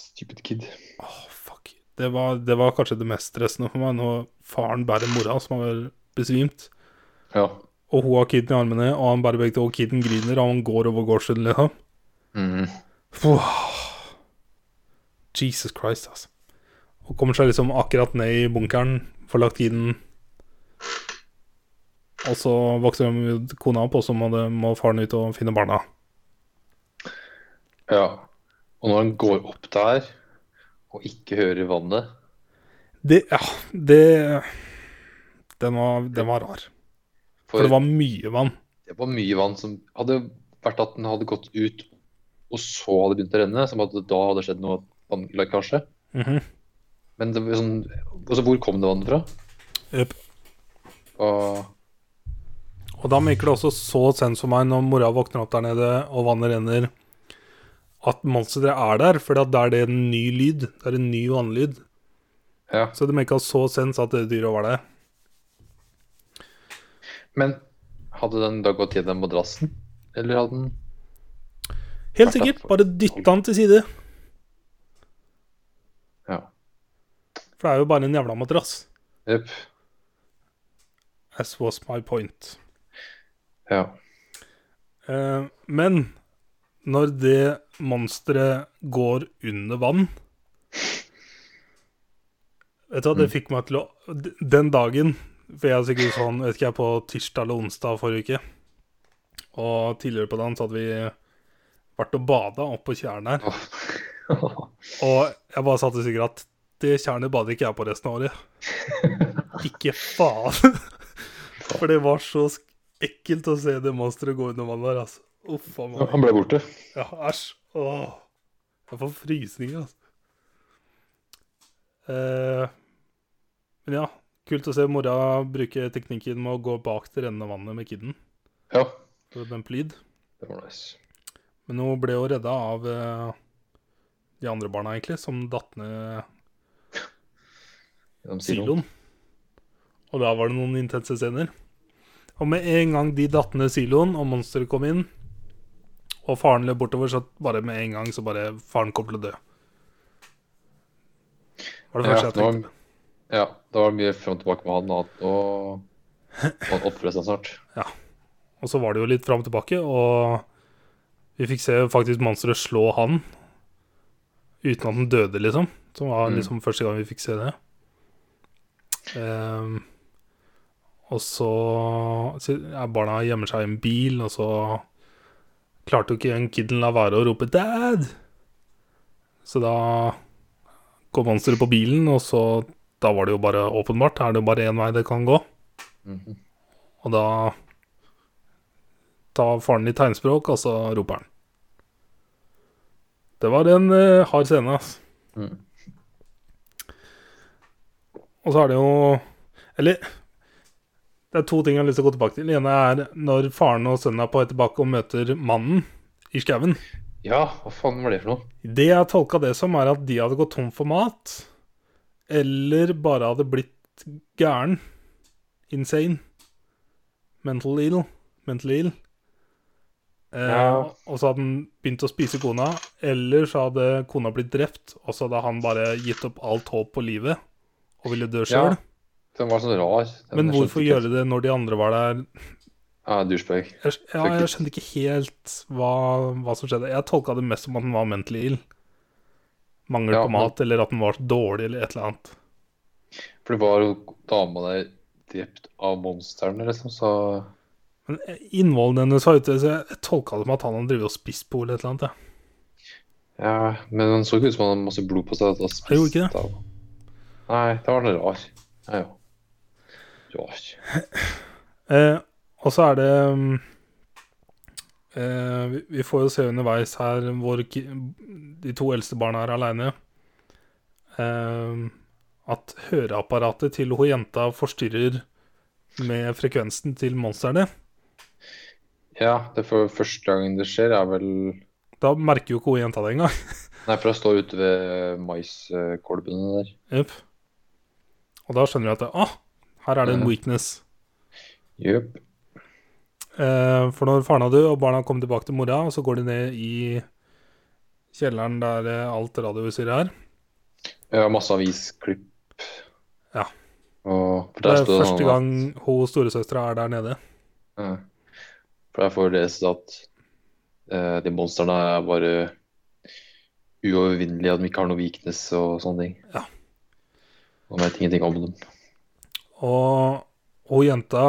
Speaker 2: Stupid kid.
Speaker 1: Åh, fuck. Det var, det var kanskje det mest stressende for meg, når faren bærer mora, som har besvimt.
Speaker 2: Ja.
Speaker 1: Og hun har kiden i armene, og han bærer begge to, og kiden griner, og han går over gårdsiden, liksom.
Speaker 2: Mhm.
Speaker 1: Fuh. Jesus Christ, altså. Og kommer seg liksom akkurat ned i bunkeren, får lagt kiden Og så vokser de- kona opp, og så må, det, må faren ut og finne barna.
Speaker 2: Ja. Og når han går opp der og ikke hører vannet
Speaker 1: Det Ja, det Den var, den var rar. For
Speaker 2: For
Speaker 1: det var mye vann.
Speaker 2: det var mye vann som hadde vært at den hadde gått ut, og så hadde det begynt å renne, som at da hadde skjedd noe vannlekkasje.
Speaker 1: Mhm.
Speaker 2: Men det var sånn, altså, hvor kom det vannet fra?
Speaker 1: Jep.
Speaker 2: Og,
Speaker 1: Og da merker det også så sense for meg når mora våkner opp der nede og vannet renner, at monsteret er der, for da er det en ny lyd. Det er en ny vannlyd.
Speaker 2: ja.
Speaker 1: Så det merka så sense at det dyret var der.
Speaker 2: Men hadde den da gått gjennom madrassen? Eller hadde den
Speaker 1: Helt sikkert. Bare dytta han til side.
Speaker 2: Ja.
Speaker 1: For det er jo bare en jævla madrass.
Speaker 2: Jepp.
Speaker 1: As was my point.
Speaker 2: Ja.
Speaker 1: Eh, men når det monsteret går under vann Vet du hva, det fikk meg til å d- Den dagen For jeg er sikkert sånn, vet ikke jeg, på tirsdag eller onsdag forrige uke. Og tidligere på dagen så hadde vi vært og bada oppå tjernet her. Og jeg bare satte sikkert at det tjernet bader ikke jeg på resten av året. Ikke faen! For det var så sk- ekkelt å se det monsteret gå under vannet der, altså. Uff a meg.
Speaker 2: Han ble borte.
Speaker 1: Ja, æsj. Åh. Jeg får frysninger, altså. Eh, men ja, kult å se mora bruke teknikken med å gå bak det rennende vannet med kidden
Speaker 2: Ja.
Speaker 1: for å dempe lyd.
Speaker 2: Det var nice.
Speaker 1: Men hun ble jo redda av eh, de andre barna, egentlig, som datt ned
Speaker 2: Gjennom
Speaker 1: siloen.
Speaker 2: siloen.
Speaker 1: Og da var det noen intense scener. Og med en gang de datt ned siloen, og monsteret kom inn, og faren løp bortover, så bare med en gang så bare Faren kom til å dø. Var det
Speaker 2: Ja,
Speaker 1: første jeg
Speaker 2: det var,
Speaker 1: tenkte.
Speaker 2: ja, det var mye frem og tilbake med han, at nå må han oppføre seg snart.
Speaker 1: Og så var det jo litt fram og tilbake, og vi fikk se faktisk monsteret slå han uten at han døde, liksom. Som var
Speaker 2: Mm.
Speaker 1: liksom første gang vi fikk se det. Ehm, og så så ja, barna gjemmer seg i en bil, og så klarte jo ikke en kidden la være å rope 'dad'. Så da kom monsteret på bilen, og så da var det jo bare åpenbart. Er det jo bare én vei det kan gå?
Speaker 2: Mhm.
Speaker 1: Og da tar faren i tegnspråk, og så roper han. Det var en eh, hard scene, ass.
Speaker 2: Mm.
Speaker 1: Og så er det jo Eller det er to ting jeg har lyst til å gå tilbake til. Det ene er når faren og sønnen er på vei tilbake og møter mannen i skauen.
Speaker 2: Ja, hva faen var det for noe?
Speaker 1: Det jeg tolka det som, er at de hadde gått tom for mat, eller bare hadde blitt gæren. Insane. Mental ill. Mental ill. Eh,
Speaker 2: Ja.
Speaker 1: Og så hadde han begynt å spise kona, eller så hadde kona blitt drept, og så hadde han bare gitt opp alt håp på livet og ville dø sjøl.
Speaker 2: Ja, Den var sånn rar. Den-
Speaker 1: Men
Speaker 2: jeg skjønte
Speaker 1: hvorfor
Speaker 2: ikke helt-
Speaker 1: gjøre det når de andre var der?
Speaker 2: Ja, douchebag.
Speaker 1: Jeg, skj- ja, jeg skjønte ikke helt hva, hva som skjedde. Jeg tolka det mest som at den var mentally ill. Mangel
Speaker 2: Ja,
Speaker 1: på mat, eller at den var så dårlig, eller et eller annet.
Speaker 2: For det var jo dama der drept av monstrene, liksom, så
Speaker 1: Men eh, innholdet hennes var ute, så jeg, jeg tolka det som at han hadde drevet og spist på eller et eller annet. Ja.
Speaker 2: Ja, men han så ikke ut som han hadde masse blod på seg. at
Speaker 1: Han
Speaker 2: han
Speaker 1: gjorde
Speaker 2: spiste
Speaker 1: ikke
Speaker 2: av- Nei, det var noe rar. Ja, ja. Rar.
Speaker 1: Eh, og så er det mm, eh, vi, vi får jo se underveis her hvor ki- de to eldste barna er aleine. Eh, at høreapparatet til hun jenta forstyrrer med frekvensen til monstrene.
Speaker 2: Ja, det er for første gangen det skjer, er vel
Speaker 1: Da merker jo ikke hun jenta det engang.
Speaker 2: Nei, for jeg står ute ved maiskolbene der.
Speaker 1: Jep. Og da skjønner vi at ah, her er det en
Speaker 2: Mhm.
Speaker 1: weakness.
Speaker 2: Jøp.
Speaker 1: Eh, for når faren er død og barna kommer tilbake til mora, så går de ned i kjelleren der eh, alt radioutstyret er.
Speaker 2: Ja, masse avisklipp.
Speaker 1: Ja.
Speaker 2: Og, for
Speaker 1: Det
Speaker 2: der
Speaker 1: er
Speaker 2: står det
Speaker 1: første
Speaker 2: sånn at-
Speaker 1: gang hun storesøstera er der nede.
Speaker 2: Ja. Mm. For der får vi lese at eh, de monstrene er bare uovervinnelige, at de ikke har noe weakness og sånne ting.
Speaker 1: Ja.
Speaker 2: Man vet ingenting om dem.
Speaker 1: Og hun jenta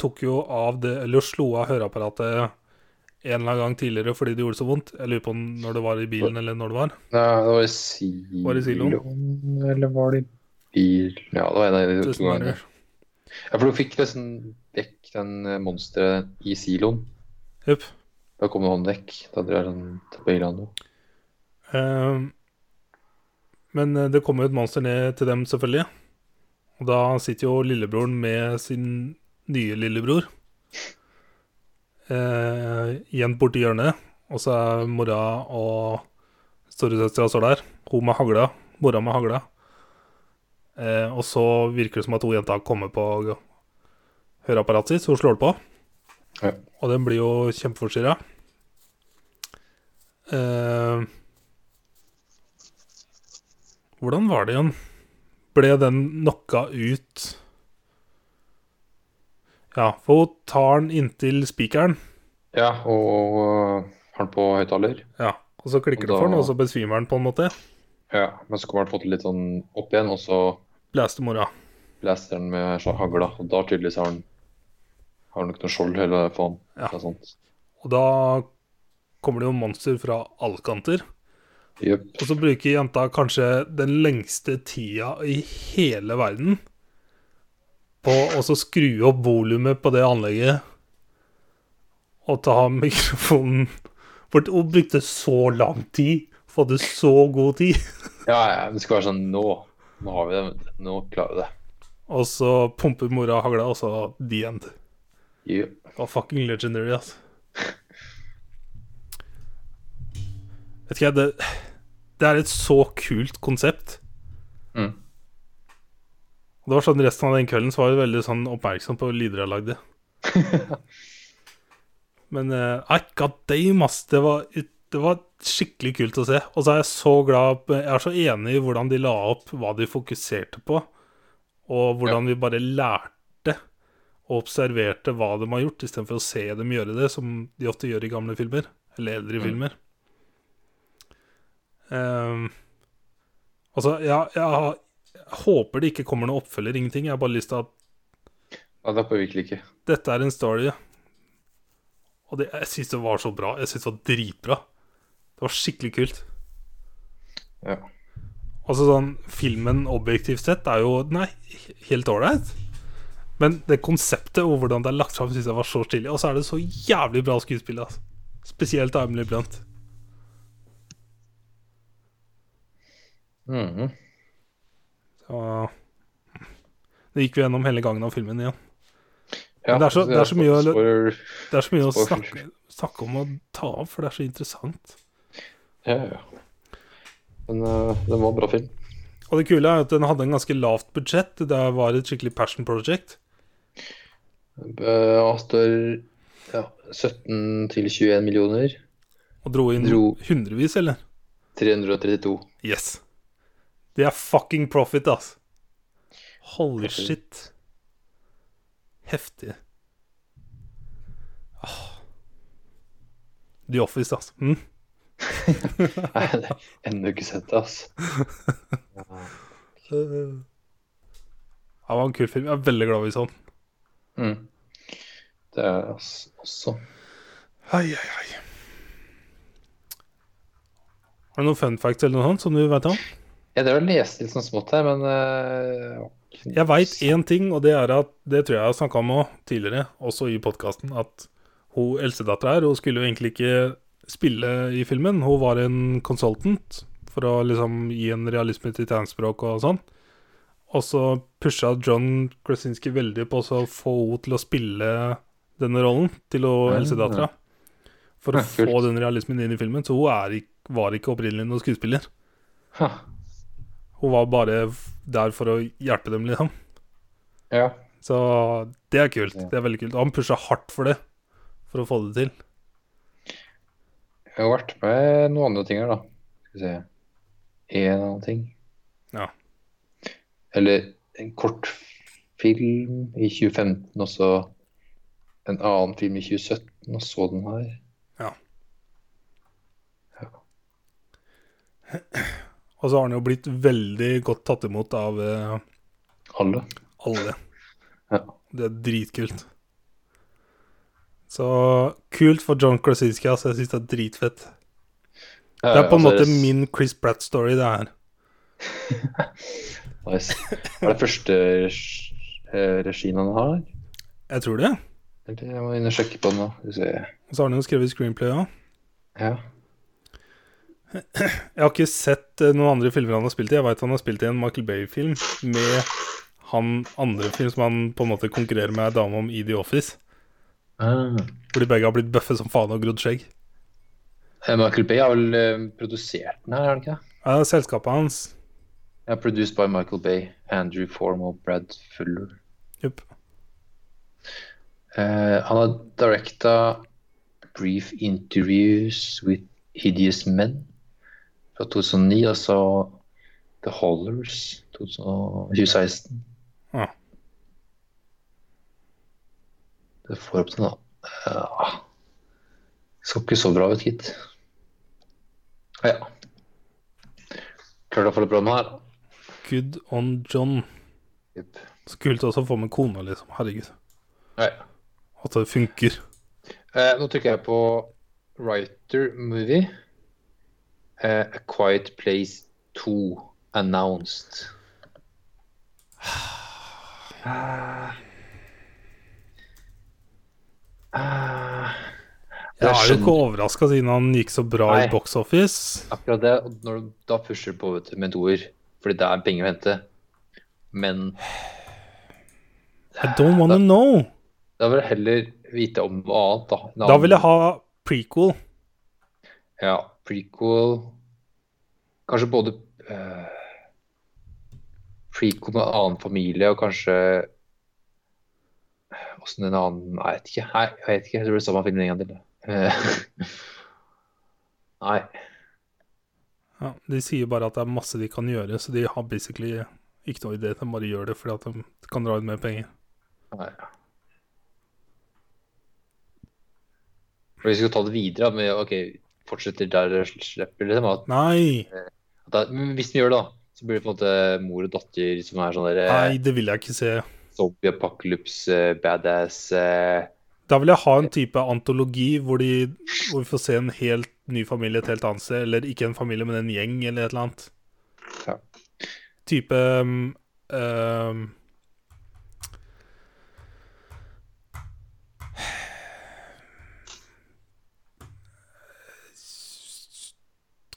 Speaker 1: tok jo av det, eller slo av høreapparatet en eller annen gang tidligere fordi det gjorde så vondt. Jeg lurer på når det var i bilen, eller når det var.
Speaker 2: Nei, det var i Silon.
Speaker 1: Var det Silon?
Speaker 2: Eller var det i bil... Ja, det var en av de to
Speaker 1: Tusen
Speaker 2: gangene.
Speaker 1: ganger.
Speaker 2: Ja, for du fikk liksom vekk den eh, monsteret i Silon.
Speaker 1: Jepp.
Speaker 2: Da kom han vekk. Da drar han til Beilano.
Speaker 1: Ehm, men eh, det kommer jo et monster ned til dem, selvfølgelig. Og da sitter jo lillebroren med sin nye lillebror eh, igjen borti hjørnet. Og så er mora og storesøstera står der. Hun med hagla. Mora med hagla. Eh, og så virker det som at hun jenta kommer på høreapparatet sitt, så hun slår det på.
Speaker 2: Ja.
Speaker 1: Og den blir jo kjempeforstyrra. Eh, hvordan var det igjen? Ble den knocka ut Ja, for hun tar den inntil spikeren.
Speaker 2: Ja, og eh, har han på høyttaler.
Speaker 1: Ja, og så klikker det
Speaker 2: Og da-
Speaker 1: for den, og så besvimer den på en måte.
Speaker 2: Ja, men så kommer han fått det litt sånn opp igjen, og så
Speaker 1: Blæste mora.
Speaker 2: blaster han med sla- hagla. Og da tydeligvis har han har han ikke noe skjold heller på han.
Speaker 1: Ja.
Speaker 2: Eller sånt.
Speaker 1: Og da kommer det jo monster fra alle kanter.
Speaker 2: Jøp.
Speaker 1: Og så bruker jenta kanskje den lengste tida i hele verden på å så skru opp volumet på det anlegget og ta mikrofonen For hun brukte så lang tid, for hun hadde så god tid.
Speaker 2: Ja, ja, det skal være sånn nå. Nå har vi det. Nå klarer vi det.
Speaker 1: Og så pumper mora hagla, og så the end.
Speaker 2: Jøp.
Speaker 1: Det var fucking legendary, altså. Vet ikke jeg, det, det er et så kult konsept.
Speaker 2: Mm.
Speaker 1: Og det var sånn Resten av den kvelden så var jeg veldig sånn oppmerksom på lyder jeg lagde. Men eh, I got damn, ass! Det var, ut- det var skikkelig kult å se. Og så er jeg så glad på- Jeg er så enig i hvordan de la opp hva de fokuserte på, og hvordan vi bare lærte og observerte hva de har gjort, istedenfor å se dem gjøre det, som de ofte gjør i gamle filmer, eller eldre
Speaker 2: Mm.
Speaker 1: filmer. Ehm, altså, jeg, jeg, har- jeg håper det ikke kommer noen oppfølger, ingenting. Jeg har bare lyst til at
Speaker 2: Nei, det er virkelig ikke.
Speaker 1: dette er en story. Og det, jeg syns det var så bra. Jeg syns det var dritbra. Det var skikkelig kult.
Speaker 2: Ja.
Speaker 1: Altså sånn, Filmen objektivt sett er jo Nei, helt ålreit. Men det konseptet og hvordan det er lagt fram, syns jeg var så stilig. Og så er det så jævlig bra skuespill. Altså. Spesielt av Emily Blunt.
Speaker 2: Mhm.
Speaker 1: Så, mm. det gikk vi gjennom hele gangen av filmen igjen.
Speaker 2: Ja,
Speaker 1: Men det er så- det er så mye å-
Speaker 2: spoiler-
Speaker 1: Det er så mye å
Speaker 2: Spoiler.
Speaker 1: snakke, snakke om å ta opp, for det er så interessant.
Speaker 2: Ja, ja. Men eh, den var en bra film.
Speaker 1: Og det kule er at den hadde en ganske lavt budsjett. Det var et skikkelig passion project.
Speaker 2: Uh, Astor ja, 17 til 21 millioner.
Speaker 1: Og dro inn
Speaker 2: Dro.
Speaker 1: hundrevis, eller?
Speaker 2: 332.
Speaker 1: Yes. Det er fucking profit, ass. Holy
Speaker 2: Profit.
Speaker 1: shit. Heftig. Åh. The Office, ass. Mm?
Speaker 2: Nei, det har jeg ennå ikke sett det, altså.
Speaker 1: Det var en kul film. Jeg er veldig glad sånn. vi så den.
Speaker 2: Mm. Det er altså også
Speaker 1: Ai, ai, ai. Har du noen fun facts eller noe sånt som du vet om?
Speaker 2: Jeg drev og leste litt sånn smått her, men eh,
Speaker 1: Jeg veit én ting, og det er at Det tror jeg jeg har snakka om også tidligere, også i podkasten, at hun eldstedattera her, hun skulle jo egentlig ikke spille i filmen. Hun var en consultant for å liksom gi en realisme til tegnspråk og sånn. Og så pusha John Krasinski veldig på å få henne til å spille denne rollen, til hun
Speaker 2: Ah.
Speaker 1: eldstedattera. For
Speaker 2: Ja,
Speaker 1: å
Speaker 2: kult.
Speaker 1: få den realismen inn i filmen. Så hun er, ikk- var ikke opprinnelig noen skuespiller.
Speaker 2: ha,
Speaker 1: Hun var bare f- der for å hjelpe dem, liksom.
Speaker 2: Ja.
Speaker 1: Så det er kult.
Speaker 2: Ja.
Speaker 1: Det er veldig kult. Og han pusha hardt for det, for å få det til.
Speaker 2: Jeg har vært med noen andre ting her, da. Skal vi se En annen ting.
Speaker 1: Ja.
Speaker 2: Eller en kortfilm i 2015, og så en annen film i 2017, og så den her.
Speaker 1: Og så har han jo blitt veldig godt tatt imot av eh,
Speaker 2: Alle.
Speaker 1: alle.
Speaker 2: Ja.
Speaker 1: Det er dritkult. Så kult for John Krasinski, altså. Jeg syns det er dritfett. Det er på en
Speaker 2: altså,
Speaker 1: måte min Chris Pratt-story, det her.
Speaker 2: Nice. Er det første regi- eh, regien han har?
Speaker 1: Jeg tror det.
Speaker 2: Eller jeg må inn og sjekke på den nå. Skal vi se.
Speaker 1: Og så har han jo skrevet screenplay òg.
Speaker 2: Ja.
Speaker 1: Jeg har ikke sett eh, noen andre filmer han har spilt i. Jeg veit han har spilt i en Michael Bay-film med han andre film som han på en måte konkurrerer med ei dame om i The Office.
Speaker 2: Ah.
Speaker 1: Hvor de begge har blitt bøffe som faen og grodd skjegg.
Speaker 2: Eh, Michael Bay har vel eh, produsert den her, er det ikke? det?
Speaker 1: Ja, selskapet hans
Speaker 2: Ja, produced by Michael Bay, Andrew Form og Brad Fuller.
Speaker 1: Jupp.
Speaker 2: Eh, han har directa Brief Interviews with Hideous Men fra 2009, og så The Hollers 2016.
Speaker 1: Ja.
Speaker 2: Det får opp den, da. Ja. Så ikke så bra ut, gitt. Ah, Ja. Klarte å få litt bra med her.
Speaker 1: Good on John.
Speaker 2: Yep.
Speaker 1: Så kult også å få med kona, liksom. Herregud.
Speaker 2: Ja.
Speaker 1: At det funker.
Speaker 2: Eh, nå trykker jeg på Writer Movie. Eh, A Quiet Place 2 Announced. Ah. Ah.
Speaker 1: Jeg er jo
Speaker 2: skjønner
Speaker 1: ikke overraska siden han gikk så bra i
Speaker 2: Nei.
Speaker 1: box office.
Speaker 2: akkurat det. og Når du da pusher på vet du, med en toer, fordi det er penger å hente. Men
Speaker 1: I don't wanna know.
Speaker 2: da vil jeg heller vite om noe annet, da. En
Speaker 1: Da
Speaker 2: annen-
Speaker 1: vil jeg ha prequel.
Speaker 2: Ja, prequel Kanskje både eh, prequel med en annen familie og kanskje Åssen en annen Nei, jeg vet ikke. Nei, jeg vet ikke. Jeg tror det er samme filmen en gang til. Eh, Nei.
Speaker 1: Ja, de sier bare at det er masse de kan gjøre, så de har basically ikke noe idé. De bare gjør det fordi at de kan dra ut mer penger.
Speaker 2: nei. For Hvis vi skal ta det videre da, med OK, fortsetter der dere slipper, liksom. At,
Speaker 1: Nei,
Speaker 2: at det, men hvis vi gjør det, da, så blir det på en måte mor og datter som er sånn der eh,
Speaker 1: nei, det vil jeg ikke se.
Speaker 2: Zombie apocalypse, eh, badass eh,
Speaker 1: Da vil jeg ha en type antologi hvor, de, hvor vi får se en helt ny familie et helt annet sted, eller ikke en familie, men en gjeng eller et eller annet.
Speaker 2: Ja.
Speaker 1: Type um, um,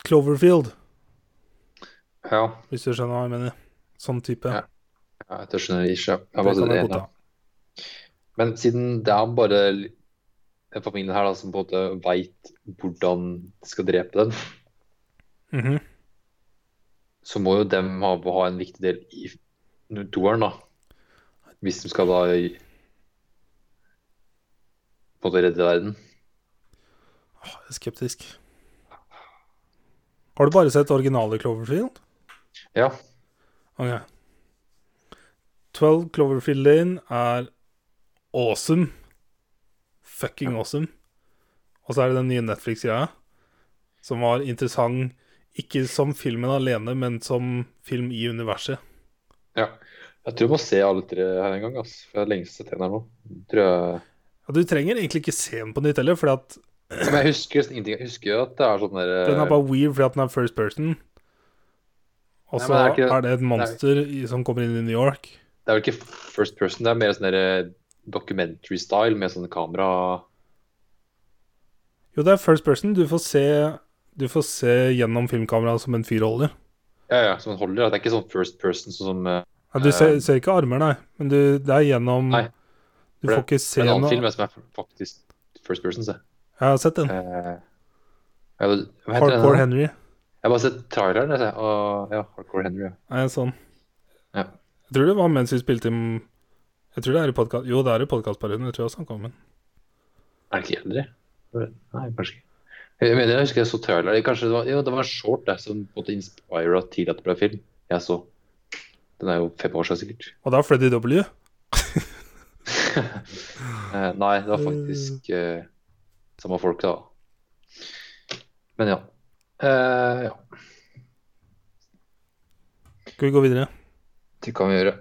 Speaker 1: Cloverfield,
Speaker 2: Ja,
Speaker 1: hvis du skjønner hva jeg mener. Sånn type.
Speaker 2: Ja, ja jeg skjønner det ikke. Jeg
Speaker 1: det
Speaker 2: bare
Speaker 1: kan
Speaker 2: det
Speaker 1: jeg
Speaker 2: ene.
Speaker 1: godt ta.
Speaker 2: Men siden det er bare l- den familien her da, som på en måte veit hvordan de skal drepe den,
Speaker 1: Mhm.
Speaker 2: så må jo dem ha, ha en viktig del i f- toeren, da. Hvis de skal da i- på en måte redde verden.
Speaker 1: Åh, Ah, jeg er skeptisk. Har du bare sett originale Cloverfield?
Speaker 2: Ja.
Speaker 1: Ok. 12 Cloverfield Lane er awesome. Fucking awesome. Og så er det den nye Netflix-greia, som var interessant ikke som filmen alene, men som film i universet.
Speaker 2: ja. Jeg tror jeg må se alle tre her en gang, ass. For jeg har lenge sett en her nå. Tror jeg...
Speaker 1: Ja, du trenger egentlig ikke se den på nytt heller, for den
Speaker 2: Men jeg husker nesten ingenting. Jeg husker jo at det er sånn der
Speaker 1: er bare weird fordi at den er first person. Og
Speaker 2: Nei,
Speaker 1: så
Speaker 2: men
Speaker 1: er,
Speaker 2: det er ikke-
Speaker 1: det et monster i, som kommer inn i New York.
Speaker 2: Det er vel ikke first person, det er mer sånn der documentary style med sånne sånn kamera
Speaker 1: Jo, det er first person. Du får se, du får se gjennom filmkameraet som en fyr holder.
Speaker 2: Ja, ja, som man holder. Det er ikke sånn first person sånn som eh,
Speaker 1: Ja, du ser,
Speaker 2: Eh,
Speaker 1: ser ikke armer, nei, men du, det er gjennom
Speaker 2: Nei.
Speaker 1: Du
Speaker 2: For
Speaker 1: får
Speaker 2: det-
Speaker 1: ikke se
Speaker 2: en annen
Speaker 1: noe
Speaker 2: film
Speaker 1: Jeg
Speaker 2: er som er faktisk first person, se.
Speaker 1: har sett den.
Speaker 2: Eh, ja, hva heter den?
Speaker 1: Hardcore
Speaker 2: da?
Speaker 1: Henry.
Speaker 2: Jeg har bare sett traileren. jeg, Og, ja, Hardcore Henry. Ja.
Speaker 1: Nei, sånn.
Speaker 2: Ja.
Speaker 1: Jeg tror det var mens vi spilte inn Jeg tror det er i podcast... Jo, det er i podkastperioden. Jeg tror jeg snakka om den.
Speaker 2: Er den ikke eldre? Nei, kanskje ikke. Jeg mener, jeg husker jeg så traileren. Kanskje det var, jo, det var en short der som på en måte inspira til at det ble film. Jeg så. Den er jo fem år siden sikkert.
Speaker 1: Og da er Freddy W.
Speaker 2: Eh, nei, det var faktisk eh, samme folk, da. Men ja. Eh, ja,
Speaker 1: Skal vi gå videre?
Speaker 2: det kan vi gjøre.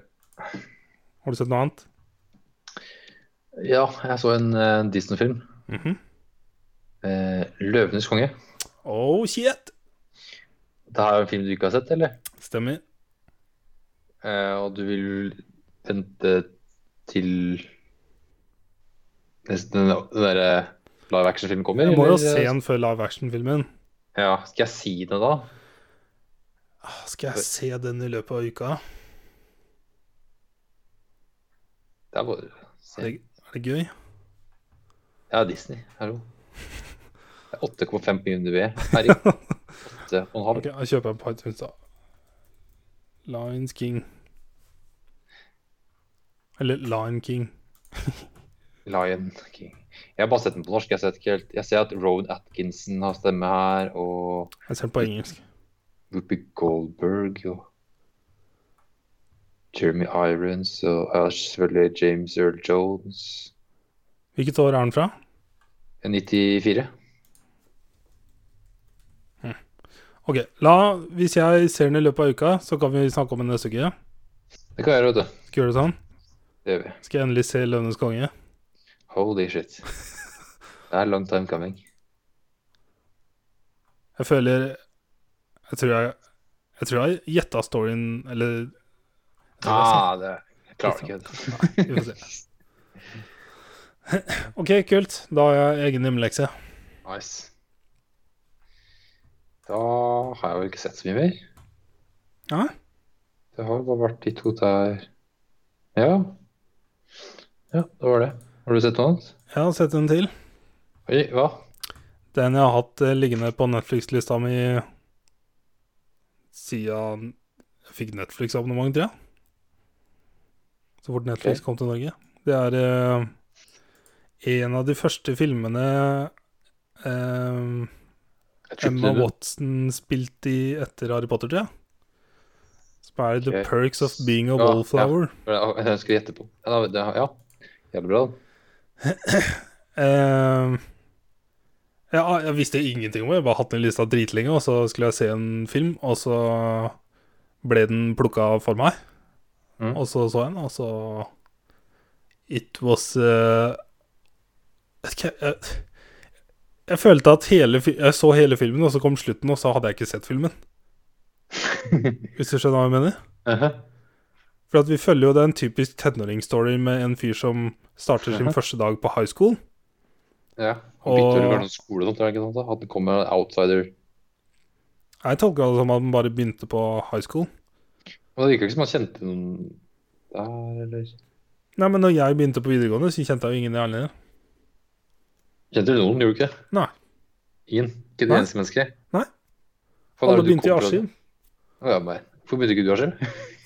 Speaker 1: Har du sett noe annet?
Speaker 2: Ja, jeg så en eh, Disney-film.
Speaker 1: Mhm.
Speaker 2: Eh, 'Løvenes konge'.
Speaker 1: Oh shit!
Speaker 2: Det er en film du ikke har sett, eller?
Speaker 1: Stemmer.
Speaker 2: Eh, og du vil vente til nesten den den der eh, live action-filmen kommer?
Speaker 1: Jeg må jo
Speaker 2: eller?
Speaker 1: se den før live action-filmen.
Speaker 2: Ja, skal jeg si det da?
Speaker 1: Ah, Skal jeg se den i løpet av uka?
Speaker 2: Det er bare å
Speaker 1: Er
Speaker 2: se.
Speaker 1: det, er det gøy?
Speaker 2: Ja, Disney. Hallo. Det er 8,5 på UNDB. Herregud. 8,5.
Speaker 1: Ok, jeg kjøper en på iTunes, da. Lions King. Eller Lion King.
Speaker 2: Lion King. Jeg har bare sett den på norsk. Jeg, ser ikke helt. jeg ser at Rowan Atkinson har stemme her, og
Speaker 1: Jeg ser den på engelsk.
Speaker 2: Whoopi Goldberg og Jeremy Irons og ja, selvfølgelig James Earl Jones.
Speaker 1: Hvilket år er den fra?
Speaker 2: 94.
Speaker 1: Ok, la, Hvis jeg ser den i løpet av uka, så kan vi snakke om den neste uke.
Speaker 2: Det kan jeg gjøre, vet du.
Speaker 1: Skal vi gjøre det sånn?
Speaker 2: Det gjør vi.
Speaker 1: Skal jeg endelig se 'Løvenes konge'?
Speaker 2: Holy shit. Det er long time coming.
Speaker 1: Jeg føler Jeg tror jeg Jeg tror jeg gjetta storyen, eller jeg tror jeg har
Speaker 2: Ah, det jeg klarer det ikke.
Speaker 1: sett- Vi får se. OK, kult. Da har jeg egen hjemmelekse.
Speaker 2: Nice. Da har jeg jo ikke sett så mye mer.
Speaker 1: Ja?
Speaker 2: Det har bare vært de to der Ja. Ja, det var det. Har du sett noe annet?
Speaker 1: Jeg har sett en til.
Speaker 2: Oi, hva?
Speaker 1: Den jeg har hatt eh, liggende på Netflix-lista mi siden jeg fikk Netflix-abonnement, tror jeg. Så fort Netflix
Speaker 2: Ok.
Speaker 1: kom til Norge. Det er eh, en av de første filmene eh,
Speaker 2: Jeg
Speaker 1: Emma
Speaker 2: trodde du-
Speaker 1: Watson spilte i etter Harry Potter, tror jeg. Som er The
Speaker 2: Ok.
Speaker 1: Perks of Being a
Speaker 2: Ja, ja.
Speaker 1: Wallflower.
Speaker 2: Jeg skulle gjette på. Ja, det, ja. jævlig bra.
Speaker 1: Eh, ja, jeg visste ingenting om det. Jeg bare hatt den lista dritlenge, og så skulle jeg se en film, og så ble den plukka for meg.
Speaker 2: Mm.
Speaker 1: Og så så jeg den, og så It was eh, vet ikke, jeg, jeg følte at hele fi- Jeg så hele filmen, og så kom slutten, og så hadde jeg ikke sett filmen. Hvis du skjønner hva jeg mener?
Speaker 2: Mhm.
Speaker 1: For at vi følger jo den typisk tenåringsstory med en fyr som starter sin
Speaker 2: Mhm.
Speaker 1: første dag på high school.
Speaker 2: Ja.
Speaker 1: Og-
Speaker 2: Og Victor var noen skole, sånt, er det ikke sant? da? At det kommer en outsider.
Speaker 1: Jeg tolka det som at han bare begynte på high school.
Speaker 2: Men det virka ikke som han kjente noen der, eller
Speaker 1: Nei, men når jeg begynte på videregående, så kjente jeg jo ingen i Erlend.
Speaker 2: Kjente du noen, gjorde du ikke?
Speaker 1: Nei.
Speaker 2: Ingen? Ikke det
Speaker 1: Nei.
Speaker 2: eneste mennesket?
Speaker 1: Nei.
Speaker 2: Faen, er
Speaker 1: Alle
Speaker 2: det du
Speaker 1: begynte i
Speaker 2: kommer fra-
Speaker 1: Askim,
Speaker 2: Å, ja, nei. Hvorfor begynte ikke du i Askim?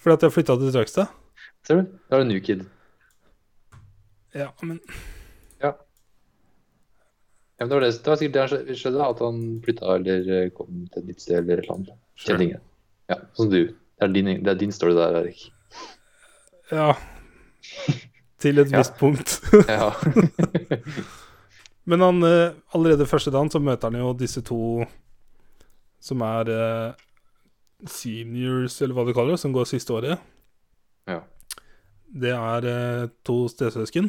Speaker 1: fordi at jeg flytta til Trøgstad.
Speaker 2: Ser du? Da er du new kid.
Speaker 1: Ja, men
Speaker 2: Ja, men det, var det, det var sikkert det han skjø- skjedde, da, at han flytta eller eh, kom til et nytt sted eller et eller annet.
Speaker 1: Sure.
Speaker 2: Kjente ingen. Ja, sånn som du. Det er din, det er din story der, Erik.
Speaker 1: Ja. Til et
Speaker 2: Ja.
Speaker 1: visst punkt.
Speaker 2: Ja.
Speaker 1: Men han, eh, allerede første dagen så møter han jo disse to som er eh, seniors, eller hva du kaller det, som går siste året.
Speaker 2: Ja.
Speaker 1: Det er eh, to stesøsken.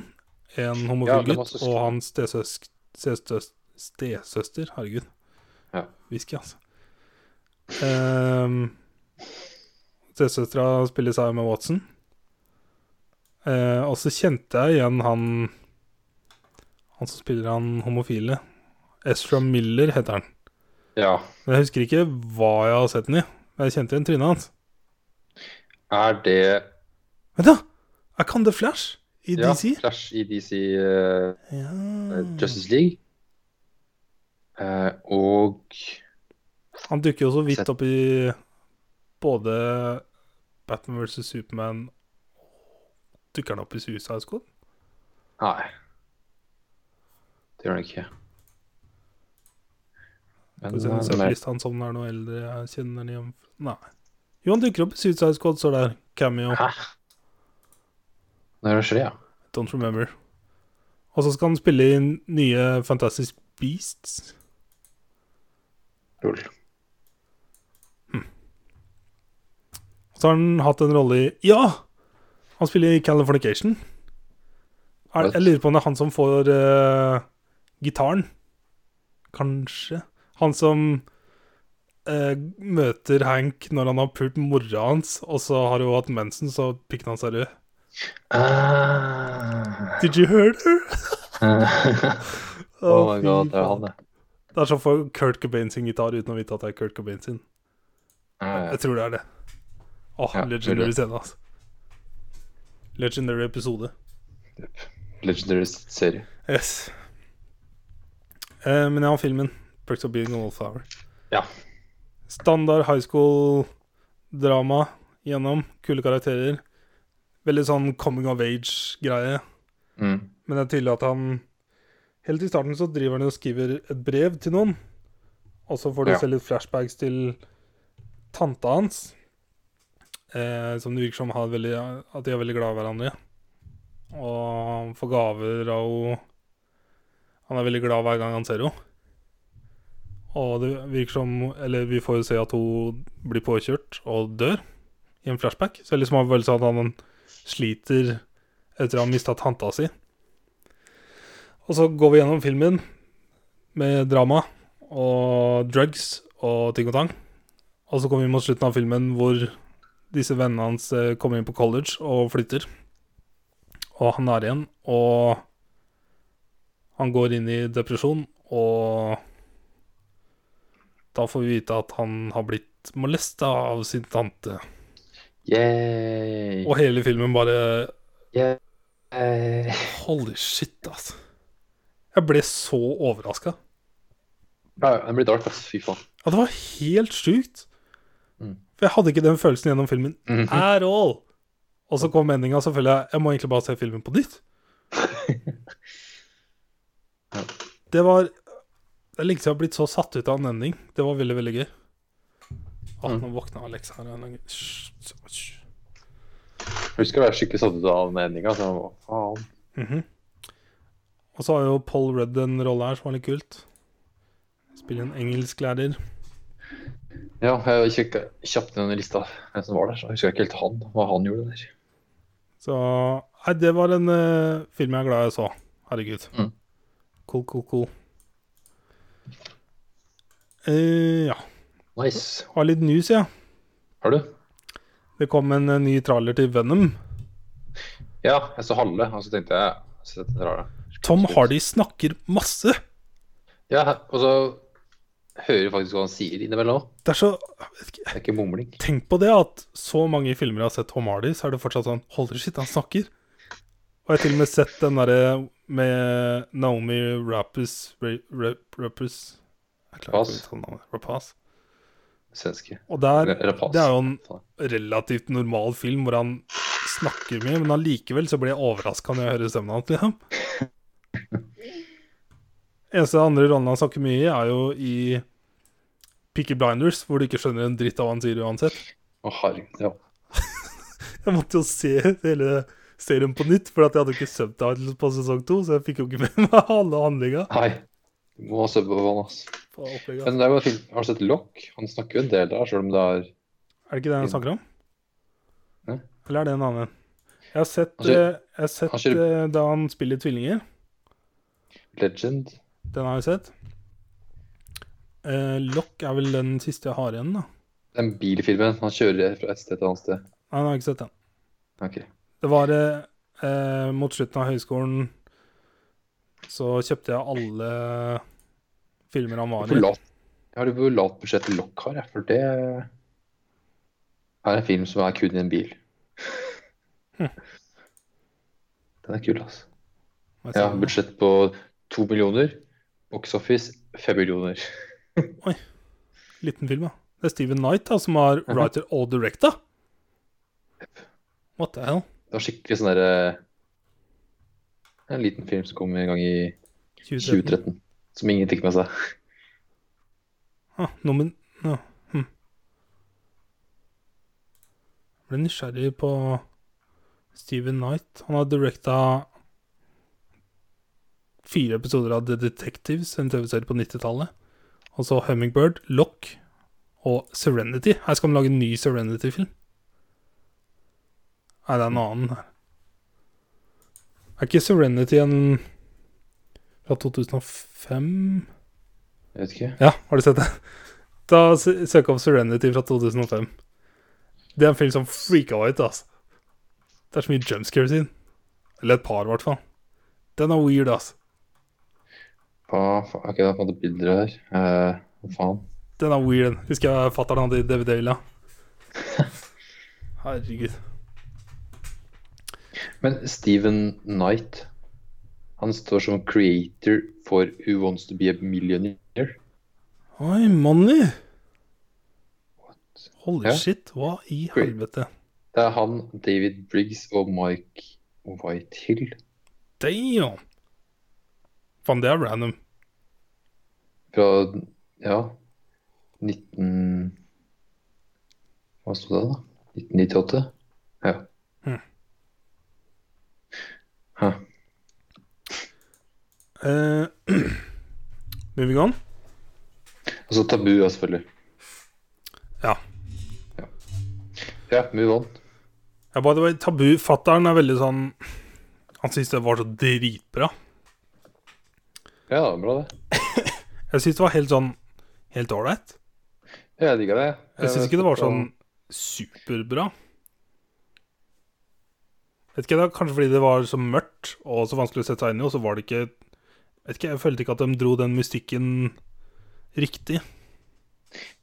Speaker 1: En
Speaker 2: Ja,
Speaker 1: homofil
Speaker 2: de har
Speaker 1: gutt
Speaker 2: søsken.
Speaker 1: og hans stesøsk, stesøs, stesøster. Herregud.
Speaker 2: Ja.
Speaker 1: Whisky, altså. Um, Stesøstera spiller seg med Watson. Eh, og så kjente jeg igjen han Han som spiller han homofile. Ezra Miller heter han.
Speaker 2: ja.
Speaker 1: Men jeg husker ikke hva jeg har sett den i. Men jeg kjente igjen trynet hans.
Speaker 2: Er det
Speaker 1: Vent, da! Er ikke han The Flash i
Speaker 2: ja,
Speaker 1: DC?
Speaker 2: Flash i DC eh,
Speaker 1: Ja.
Speaker 2: Justice League? Eh, og
Speaker 1: Han dukker jo så vidt
Speaker 2: Sett.
Speaker 1: opp i både Batman vs. Superman Dukker han opp i Suicide Squad?
Speaker 2: Nei. Det gjør den ikke. Men,
Speaker 1: Skal vi se om jeg
Speaker 2: eh,
Speaker 1: ser på
Speaker 2: nei.
Speaker 1: lista hans om den er noe eldre jeg kjenner den igjen Nei. Jo, han dukker opp i Suicide Squad, står der. Cameo.
Speaker 2: Hæ? Når det skjer, ja.
Speaker 1: Don't remember. Og så skal han spille i nye Fantastic Beasts.
Speaker 2: Lol.
Speaker 1: Og så har han hatt en rolle i Ja! Han spiller i Californication. Er, jeg lurer på om det er han som får eh, gitaren. Kanskje. Han som eh, møter Hank når han har pult mora hans, og så har hun hatt mensen, så pikken hans er rød.
Speaker 2: Ah.
Speaker 1: Did you hear her?
Speaker 2: oh my god, det er han, det.
Speaker 1: Det er som å få Kurt Cobain sin gitar uten å vite at det er Kurt Cobain sin.
Speaker 2: Ah, ja.
Speaker 1: Jeg tror det er det. Åh,
Speaker 2: Ja, tror
Speaker 1: legendary
Speaker 2: det.
Speaker 1: scene, altså. Legendary episode.
Speaker 2: Legendary serie.
Speaker 1: Yes. Eh, men jeg har filmen. Perks of being a wallflower.
Speaker 2: Ja.
Speaker 1: Standard high school-drama gjennom. Kule karakterer. Veldig sånn coming of age-greie.
Speaker 2: Mm.
Speaker 1: Men det er tydelig at han Helt i starten så driver han og skriver et brev til noen. Og så får du
Speaker 2: Ja.
Speaker 1: se litt flashbacks til tanta hans. Eh, som det virker som har veldig, at de er veldig glad i hverandre. Og han får gaver av henne. Han er veldig glad hver gang han ser henne. Og det virker som Eller vi får jo se at hun blir påkjørt og dør i en flashback. Så jeg liksom har følelsen av at han sliter etter å ha mista tanta si. Og så går vi gjennom filmen med drama og drugs og ting og tang. Og så kommer vi mot slutten av filmen hvor disse vennene hans eh, kommer inn på college og flytter. Og han er igjen, og han går inn i depresjon, og da får vi vite at han har blitt molesta av sin tante.
Speaker 2: Yay.
Speaker 1: Og hele filmen bare
Speaker 2: Yay. Ja,
Speaker 1: Holy shit, altså. Jeg ble så overraska.
Speaker 2: det blir dark, ass. Fy faen.
Speaker 1: Ja, det var helt sjukt.
Speaker 2: Mm.
Speaker 1: For jeg hadde ikke den følelsen gjennom filmen
Speaker 2: Mhm.
Speaker 1: at all. Og så kom meninga, selvfølgelig. Jeg må egentlig bare se filmen på nytt.
Speaker 2: Ja.
Speaker 1: Det var Det er lenge siden jeg har blitt så satt ut av en ending. Det var veldig, veldig gøy. Å,
Speaker 2: Mm.
Speaker 1: nå våkna Alex her. en gang. Hysj, hysj.
Speaker 2: Jeg husker å være skikkelig satt ut av den endinga. Så jeg var, faen.
Speaker 1: Mhm. Og så har jo Paul Rudd en rolle her som var litt kult. Spiller en engelsklærer.
Speaker 2: Ja, jeg kikket kjapt ned den lista hvem som var der, så husker jeg ikke helt han, hva han gjorde der.
Speaker 1: Så Nei, det var en eh, film jeg er glad jeg så. Herregud.
Speaker 2: Mm.
Speaker 1: Cool, cool, cool. Eh, ja.
Speaker 2: Nice.
Speaker 1: Har litt news, ja.
Speaker 2: Har du?
Speaker 1: Det kom en eh, ny trailer til Venom.
Speaker 2: Ja, jeg så halve, og så tenkte jeg så dette er rart.
Speaker 1: Tom Hardy snakker masse.
Speaker 2: Ja, og så hører jeg faktisk hva han sier innimellom òg.
Speaker 1: Det er så jeg vet ikke,
Speaker 2: Det er ikke mumling.
Speaker 1: Tenk på det at så mange filmer jeg har sett Tom Hardy, så er det fortsatt sånn Holy shit, han snakker. Og jeg har til og med sett den derre med Naomi Rappus Rappus
Speaker 2: Rapaz.
Speaker 1: Rapaz.
Speaker 2: Svenske.
Speaker 1: Og der
Speaker 2: Eller rapas.
Speaker 1: Det er jo en relativt normal film hvor han snakker mye, men allikevel så blir jeg overraska når jeg hører stemmen hans, liksom. Eneste andre rollen han snakker mye i, er jo i Peaky Blinders, hvor du ikke skjønner en dritt av hva han sier uansett.
Speaker 2: Å, herregud. Ja.
Speaker 1: Jeg måtte jo se hele serien på nytt, for at jeg hadde ikke subtitles på sesong to, så jeg fikk jo ikke med meg alle handlinga.
Speaker 2: Nei. Du må se på han, ass.
Speaker 1: på opplegget.
Speaker 2: Men det er jo fint. Har du sett Lock? Han snakker jo en del der, selv om det er
Speaker 1: Er det ikke det han snakker om?
Speaker 2: Hæ?
Speaker 1: Eller er det en annen? Jeg har sett,
Speaker 2: Han kjører-
Speaker 1: eh, jeg har sett
Speaker 2: han kjører-
Speaker 1: eh, da han spiller tvillinger.
Speaker 2: Legend.
Speaker 1: Den har jeg sett. Eh, Lock er vel den siste jeg har igjen, da.
Speaker 2: Den bilfilmen. Han kjører fra et sted til et annet sted.
Speaker 1: Nei, jeg har ikke sett den.
Speaker 2: Ok.
Speaker 1: Det var eh, eh, mot slutten av høyskolen så kjøpte jeg alle filmer han var
Speaker 2: Hvor
Speaker 1: i.
Speaker 2: lavt Jeg har jo hvor lavt budsjett Lock har, jeg, for det er en film som er kun i en bil. Hm. Den er kul, altså.
Speaker 1: Jeg
Speaker 2: Ja,
Speaker 1: sa-
Speaker 2: budsjett på to millioner. Box Office fem millioner.
Speaker 1: Liten film, ja. Det er Steven Knight da, som har writer og directa. What the hell?
Speaker 2: Det var skikkelig sånn derre En liten film som kom en gang i
Speaker 1: 2013.
Speaker 2: 2013. Som ingen fikk med seg.
Speaker 1: Ah, nummer... Ja. Hm. Jeg ble nysgjerrig på Steven Knight. Han har directa fire episoder av The Detectives, en TV-serie på 90-tallet. Og så Hummingbird, Lock og Serenity. Her skal de lage en ny Serenity-film. Nei, det er en annen her. Er ikke Serenity en fra 2005?
Speaker 2: Jeg vet ikke.
Speaker 1: Ja, har du sett det? Da sø- søk opp Serenity fra 2005. Det er en film som freaka meg ut, ass. Det er så mye jump scares i den. Eller et par, i hvert fall. Den er weird, ass.
Speaker 2: Hva faen? Ok, da fant jeg bilder her. Eh, Hva faen?
Speaker 1: Den er weird. Husker jeg fatter'n hadde i DVD-hylla. Herregud.
Speaker 2: Men Steven Knight, han står som creator for Who Wants To Be A Millionaire.
Speaker 1: Oi, money!
Speaker 2: What?
Speaker 1: Holy
Speaker 2: Ja.
Speaker 1: shit, hva i
Speaker 2: Great.
Speaker 1: helvete?
Speaker 2: Det er han, David Briggs og Mike Whitehill.
Speaker 1: Damn! Faen, det er random.
Speaker 2: Fra, ja, 19... Hva stod det da? 1998? Ja.
Speaker 1: Hmm.
Speaker 2: Hæ?
Speaker 1: Uh, moving on.
Speaker 2: Og så tabu, ja, selvfølgelig.
Speaker 1: Ja.
Speaker 2: Ja, ja move on.
Speaker 1: Ja, by the way, Tabu Fatteren er veldig sånn Han syns det var så dritbra.
Speaker 2: Ja, bra det.
Speaker 1: Jeg syns det var helt sånn Helt ålreit.
Speaker 2: Ja, Jeg digger det.
Speaker 1: Jeg syns ikke det var sånn superbra. Vet ikke, det er Kanskje fordi det var så mørkt og så vanskelig å sette seg inn i, og så var det ikke Vet ikke, Jeg følte ikke at de dro den mystikken riktig.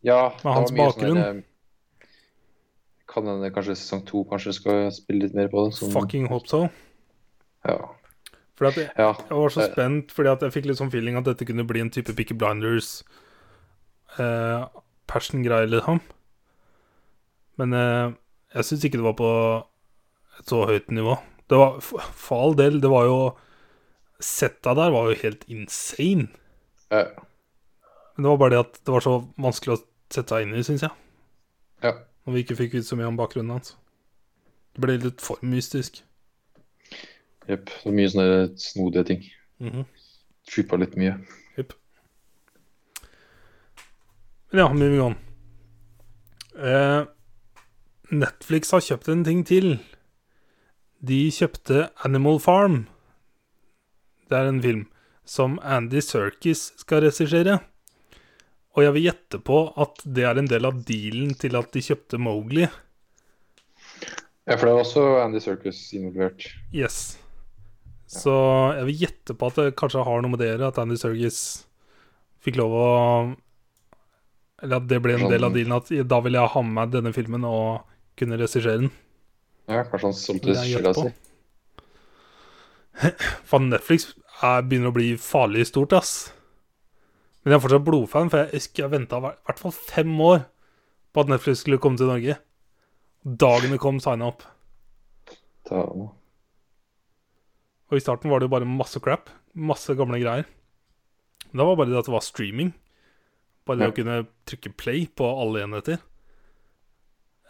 Speaker 2: Ja,
Speaker 1: Med
Speaker 2: det var
Speaker 1: hans
Speaker 2: mye
Speaker 1: bakgrunn.
Speaker 2: Sånn, der, eh, kan hende kanskje sesong to kanskje skal spille litt mer på det. Sånn,
Speaker 1: Fucking hope so.
Speaker 2: Ja.
Speaker 1: Fordi at jeg,
Speaker 2: ja.
Speaker 1: Jeg var så
Speaker 2: Eh.
Speaker 1: spent fordi at jeg fikk litt sånn feeling at dette kunne bli en type Picky Blinders eh, passion-greie, liksom. Men eh, jeg syns ikke det var på et så høyt nivå. Det var for, for all del, det var jo Setta der var jo helt insane.
Speaker 2: Ja.
Speaker 1: Men det var bare det at det var så vanskelig å sette seg inn i, syns jeg.
Speaker 2: ja.
Speaker 1: Når vi ikke fikk vite så mye om bakgrunnen hans. Det ble litt for mystisk.
Speaker 2: Jepp. Det var mye sånne snodige ting.
Speaker 1: Mhm.
Speaker 2: Trippa litt mye.
Speaker 1: Jepp. Men ja, moving on. Eh, Netflix har kjøpt en ting til. De kjøpte Animal Farm. Det er en film som Andy Serkis skal regissere. Og jeg vil gjette på at det er en del av dealen til at de kjøpte Mowgli.
Speaker 2: Ja, for det var også Andy Circus involvert.
Speaker 1: Yes. Så jeg vil gjette på at det kanskje har noe med dere, at Andy Sergis fikk lov å Eller at det ble en del av dealen at da vil jeg ha med meg denne filmen og kunne regissere den.
Speaker 2: Ja, kanskje han solgte
Speaker 1: Det er jeg
Speaker 2: skylda si.
Speaker 1: gjetter Faen, Netflix er, begynner å bli farlig stort, ass. Men jeg er fortsatt blodfan, for jeg husker jeg venta i hvert fall fem år på at Netflix skulle komme til Norge. Dagen det kom, signa opp.
Speaker 2: Ta nå.
Speaker 1: Og i starten var det jo bare masse crap. Masse gamle greier. Men da var bare det at det var streaming. Bare det
Speaker 2: Ja.
Speaker 1: å kunne trykke play på alle enheter.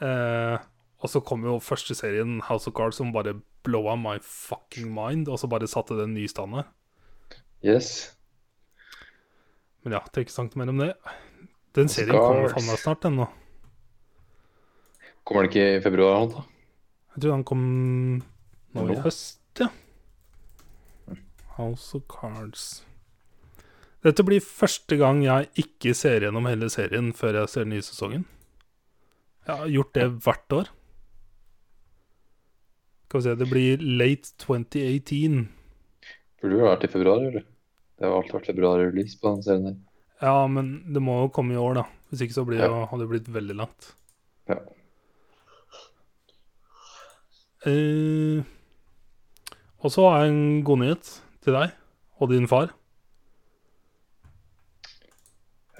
Speaker 1: Eh, og så kom jo første serien, House of Cards, som bare blowa my fucking mind, og så bare satte det en ny standard.
Speaker 2: Yes.
Speaker 1: Men ja, trenger ikke snakket mer om det. Den
Speaker 2: House of
Speaker 1: serien kommer
Speaker 2: Cards.
Speaker 1: faen meg snart, den nå.
Speaker 2: Kommer det ikke i februar eller noe? da?
Speaker 1: Jeg tror han kom nå i Mm.
Speaker 2: Nå?
Speaker 1: høst, ja. House of Cards. Dette blir første gang jeg ikke ser gjennom hele serien før jeg ser den nye sesongen. Jeg har gjort det hvert år. Skal vi se, det blir late 2018.
Speaker 2: Burde jo vært i februar, eller? Det har alltid vært februar-release på den serien der.
Speaker 1: Ja, men det må jo komme i år, da. Hvis ikke så blir det, jo- hadde det blitt veldig langt.
Speaker 2: Ja.
Speaker 1: Eh, og så har jeg en god nyhet til deg og din far.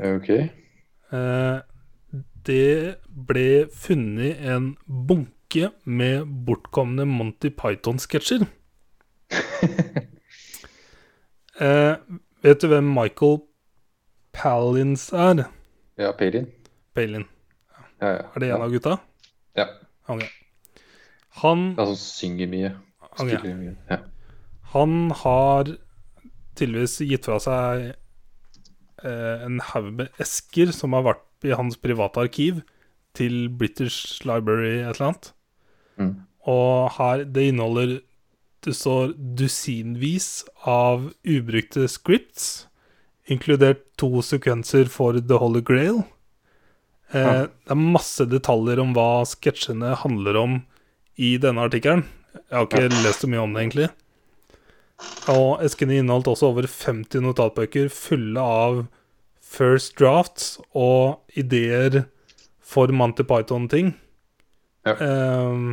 Speaker 2: OK.
Speaker 1: Eh, det ble funnet en bunke med bortkomne Monty Python-sketsjer. eh, vet du hvem Michael Palins er?
Speaker 2: Ja, Palin.
Speaker 1: Palin.
Speaker 2: Ja, ja.
Speaker 1: Er det en
Speaker 2: ja.
Speaker 1: av gutta?
Speaker 2: Ja.
Speaker 1: Ok. Han,
Speaker 2: Han som synger mye.
Speaker 1: ok.
Speaker 2: Spiller mye. Ja.
Speaker 1: han har tydeligvis gitt fra seg eh, en haug med esker som har vært i hans private arkiv, til British Library et eller annet.
Speaker 2: Mm.
Speaker 1: Og her, det inneholder Det står dusinvis av ubrukte scripts, inkludert to sekvenser for The Holy Grail. Eh,
Speaker 2: Ja.
Speaker 1: Det er masse detaljer om hva sketsjene handler om i denne artikkelen. Jeg har ikke lest så mye om det, egentlig. Og eskene inneholdt også over 50 notatbøker fulle av first drafts og ideer for Monty Python-ting.
Speaker 2: Ja.
Speaker 1: Ehm,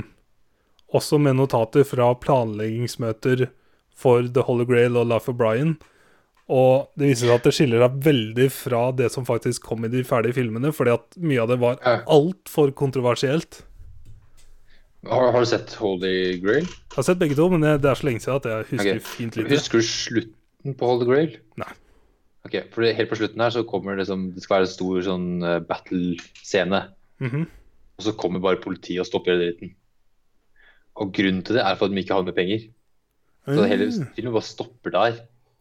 Speaker 1: også med notater fra planleggingsmøter for The Holy Grail og Life of Brian. Og det viser seg at det skiller seg veldig fra det som faktisk kom i de ferdige filmene, fordi at mye av det var
Speaker 2: Ja.
Speaker 1: altfor kontroversielt.
Speaker 2: Har, har du sett Holy Grail?
Speaker 1: Jeg har sett begge to, men det det er så lenge siden at jeg husker
Speaker 2: Ok.
Speaker 1: fint lite.
Speaker 2: Husker du slutten på Holy Grail?
Speaker 1: Nei.
Speaker 2: Ok, for det- Helt på slutten her så kommer det som Det skal være en stor sånn eh, battle-scene.
Speaker 1: Mhm.
Speaker 2: Og så kommer bare politiet og stopper hele dritten. Og grunnen til det er for at de ikke har med penger. Så hele
Speaker 1: Mm.
Speaker 2: filmen bare stopper der.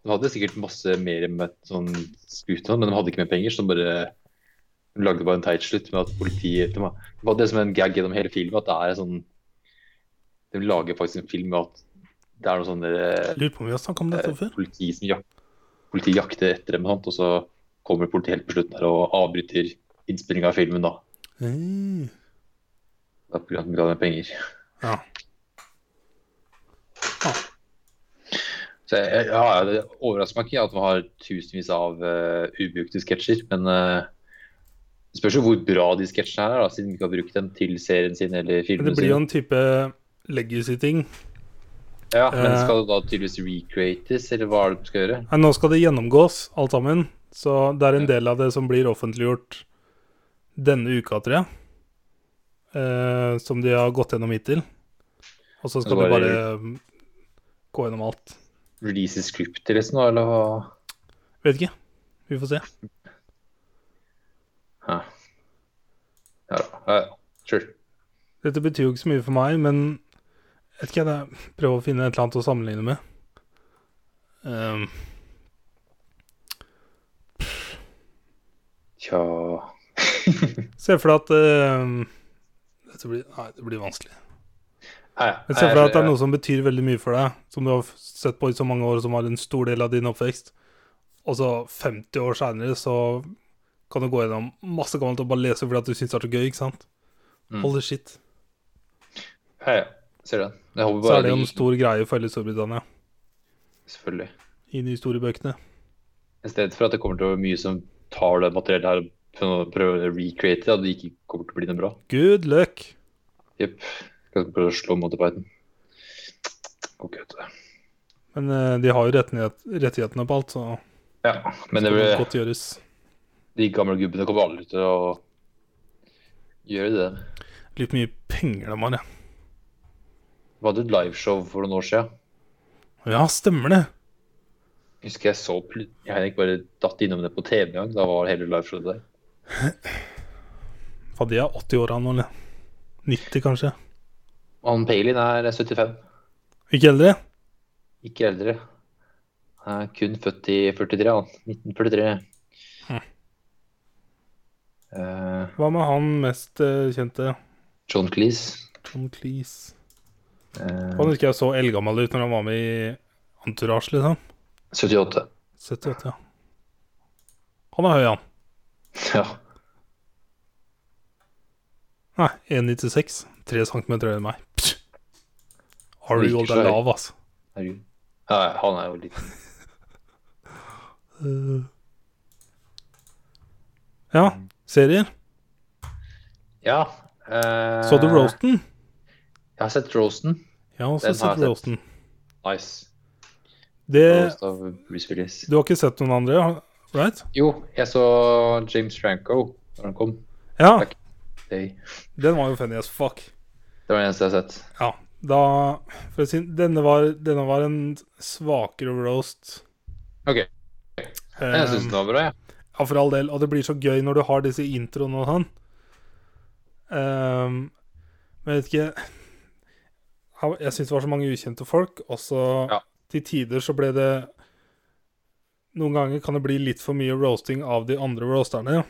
Speaker 2: De hadde sikkert masse mer med sånn skuter, men de hadde ikke mer penger, så de bare de lagde bare en teit slutt med at politiet de, Det var det som er en gag gjennom hele filmen, at det er sånn De lager faktisk en film med at det er noe sånn der,
Speaker 1: Lurer på om vi har snakket om dette
Speaker 2: eh,
Speaker 1: før?
Speaker 2: politi som jak politiet jakter etter dem, og sånt, og så kommer politiet helt på slutten her og avbryter innspillinga av filmen, da.
Speaker 1: Mm.
Speaker 2: Det er på grunn av at de ikke hadde penger.
Speaker 1: Ja.
Speaker 2: Så jeg, jeg- ja, det overrasker meg ikke at man har tusenvis av eh, ubrukte sketsjer, men eh, det spørs jo hvor bra de sketsjene her er, da, siden de ikke har brukt dem til serien sin eller
Speaker 1: Men
Speaker 2: filmene
Speaker 1: det blir jo
Speaker 2: sine.
Speaker 1: en type legacy-ting.
Speaker 2: Ja, men
Speaker 1: eh,
Speaker 2: skal det da tydeligvis recreates, eller hva er det de skal gjøre?
Speaker 1: Nei, nå skal det gjennomgås, alt sammen. Så det er en del av det som blir offentliggjort denne uka, tror jeg. Eh, som de har gått gjennom hittil. Og så skal
Speaker 2: Så
Speaker 1: de
Speaker 2: bare-
Speaker 1: bare mm, gå gjennom alt.
Speaker 2: Release script eller sånn, eller hva?
Speaker 1: Vet ikke. Vi får se.
Speaker 2: Hæ. Ja, ja, ja, sure.
Speaker 1: Dette betyr jo ikke så mye for meg, men jeg vet ikke, jeg prøver å finne et eller annet å sammenligne med. Ehm,
Speaker 2: Tja.
Speaker 1: se for deg at ehm, Dette blir Nei, det blir vanskelig.
Speaker 2: Nei,
Speaker 1: Men se for deg at det er
Speaker 2: jeg-
Speaker 1: noe som betyr veldig mye for deg, som du har sett på i så mange år, som var en stor del av din oppvekst. Og så 50 år seinere så kan du gå gjennom masse gammelt og bare lese fordi at du syns det er så gøy, ikke sant?
Speaker 2: Mm.
Speaker 1: Holy shit.
Speaker 2: Ja, ja, ser den. Jeg håper
Speaker 1: Så
Speaker 2: bare
Speaker 1: er det jo en
Speaker 2: de-
Speaker 1: stor greie for hele Storbritannia
Speaker 2: Selvfølgelig.
Speaker 1: i de store bøkene.
Speaker 2: I stedet for at det kommer til å være mye som tar det materiellet her og prøver å recreate det, at det ikke kommer til å bli noe bra.
Speaker 1: Good luck!
Speaker 2: Jepp. Skal prøve å slå Monty Python. Går ikke, vet du.
Speaker 1: Men eh, de har jo rettighet, rettighetene på alt, så
Speaker 2: Ja, men
Speaker 1: det
Speaker 2: det
Speaker 1: kan
Speaker 2: blir,
Speaker 1: godt gjøres.
Speaker 2: de gamle gubbene kommer aldri til å gjøre det.
Speaker 1: Litt mye penger de har, ja.
Speaker 2: Vi hadde et liveshow for noen år siden.
Speaker 1: Ja, stemmer det.
Speaker 2: Husker jeg så pl- Jeg hadde ikke bare datt innom det på TV en gang. Da var hele liveshowet der.
Speaker 1: Faen, de er 80 år nå, eller? 90, kanskje?
Speaker 2: Han Palin er 75,
Speaker 1: Ikke eldre?
Speaker 2: ikke eldre. Han er kun født i 43, han. 1943.
Speaker 1: Hm.
Speaker 2: Eh,
Speaker 1: Hva med han mest eh, kjente?
Speaker 2: John Cleese.
Speaker 1: Tom Cleese.
Speaker 2: Eh,
Speaker 1: Han husker jeg så eldgammel ut når han var med i Entourage, liksom.
Speaker 2: 78.
Speaker 1: 78, ja. Han er høy, han.
Speaker 2: Ja.
Speaker 1: Nei, 1,96. 3 cm høyere enn meg. Psh. Harry
Speaker 2: Virker
Speaker 1: Gold
Speaker 2: så
Speaker 1: er
Speaker 2: høy.
Speaker 1: lav, altså.
Speaker 2: Herregud. Ja, han er jo litt
Speaker 1: Eh. Ja, serier.
Speaker 2: Ja. eh,
Speaker 1: Så du Roasten?
Speaker 2: Jeg har sett Roasten.
Speaker 1: Jeg har også
Speaker 2: Den har
Speaker 1: sett
Speaker 2: jeg sett.
Speaker 1: Roasten.
Speaker 2: Nice.
Speaker 1: Det,
Speaker 2: Roast av Bruce Willis.
Speaker 1: Eh, du har ikke sett noen andre, har- right?
Speaker 2: Jo, jeg så James Franco da han kom.
Speaker 1: Ja,
Speaker 2: Takk. Hey.
Speaker 1: den var jo funny as fuck.
Speaker 2: Det var det eneste jeg har sett.
Speaker 1: Ja, da For å si Denne var, denne var en svakere roast.
Speaker 2: OK. Jeg syns
Speaker 1: Ehm,
Speaker 2: den var bra, jeg.
Speaker 1: Ja, for all del. Og det blir så gøy når du har disse introene og sånn. Ehm, men jeg vet ikke Jeg- Jeg syns det var så mange ukjente folk, og så
Speaker 2: Ja.
Speaker 1: til tider så ble det Noen ganger kan det bli litt for mye roasting av de andre roasterne.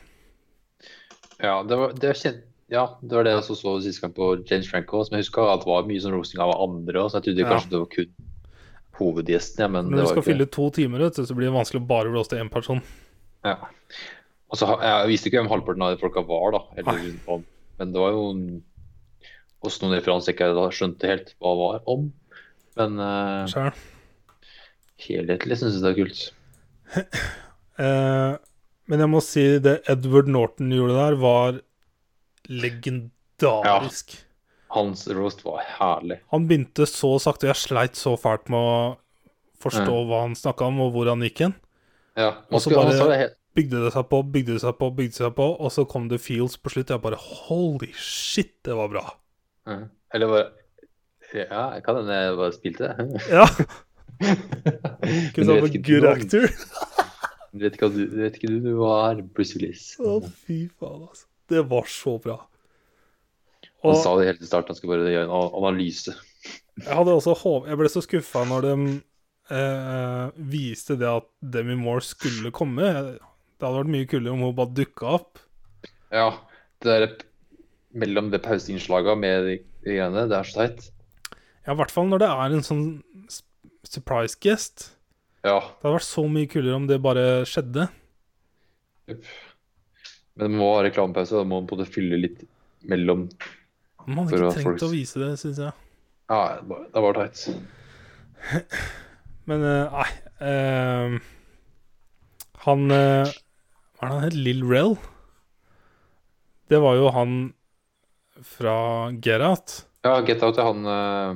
Speaker 2: Ja, det var det, var kjent, ja, det var det jeg også så sist gang på James Franco. Som jeg husker at det var mye sånn roasting av andre òg, så jeg trodde
Speaker 1: Ja.
Speaker 2: kanskje det var kun hovedgjesten, ja, men
Speaker 1: Når
Speaker 2: det
Speaker 1: du
Speaker 2: var
Speaker 1: skal
Speaker 2: ikke
Speaker 1: fylle to timer, vet du, så blir det vanskelig å bare blåse til én person.
Speaker 2: Ja. Og så ha- jeg visste ikke hvem halvparten av de folka var, da. Eller om. Men det var jo en- også noen referanser jeg ikke da skjønte helt hva var om. Men eh,
Speaker 1: Skjønner.
Speaker 2: helhetlig syns jeg liksom, det er kult.
Speaker 1: Eh, men jeg må si det Edward Norton gjorde der, var legendarisk.
Speaker 2: Hans roast var herlig.
Speaker 1: Han begynte så sakte, og jeg sleit så fælt med å forstå
Speaker 2: Mm.
Speaker 1: hva han snakka om, og hvor han gikk hen.
Speaker 2: Ja,
Speaker 1: Og
Speaker 2: man
Speaker 1: så
Speaker 2: skulle, han
Speaker 1: bare-
Speaker 2: sa det helt,
Speaker 1: Bygde det seg på, bygde det seg på, bygde det seg på, og så kom det feels på slutt. Jeg bare holy shit, det var bra.
Speaker 2: ja. Eller bare Ja, jeg kan hende jeg bare spilte det.
Speaker 1: Ja,
Speaker 2: Men
Speaker 1: ikke sant,
Speaker 2: ikke
Speaker 1: men good
Speaker 2: du om-
Speaker 1: actor.
Speaker 2: du vet ikke, hva du- du vet ikke du, du var Bruce Willis.
Speaker 1: Å, fy faen, altså. Det var så bra.
Speaker 2: Han
Speaker 1: Og
Speaker 2: sa det helt i starten, han skulle bare gjøre en an- analyse.
Speaker 1: jeg hadde også håp... Jeg ble så skuffa når de eh, viste det at Demi Moore skulle komme. Det hadde vært mye kulere om hun bare dukka opp.
Speaker 2: Ja, det der mellom det pauseinnslaget med de de greiene, det er så teit.
Speaker 1: Ja, i hvert fall når det er en sånn s- surprise guest.
Speaker 2: Ja.
Speaker 1: Det hadde vært så mye kulere om det bare skjedde.
Speaker 2: Men det må ha reklamepause, og da må man på en måte fylle litt mellom
Speaker 1: Man hadde
Speaker 2: For
Speaker 1: ikke
Speaker 2: at folk-
Speaker 1: trengt å vise det, syns jeg.
Speaker 2: Ja, det var- det var teit.
Speaker 1: Men eh, nei eh, Han eh, Hva er det han het? Lill Rel? Det var jo han fra Get Out.
Speaker 2: Ja, Get Out er han eh,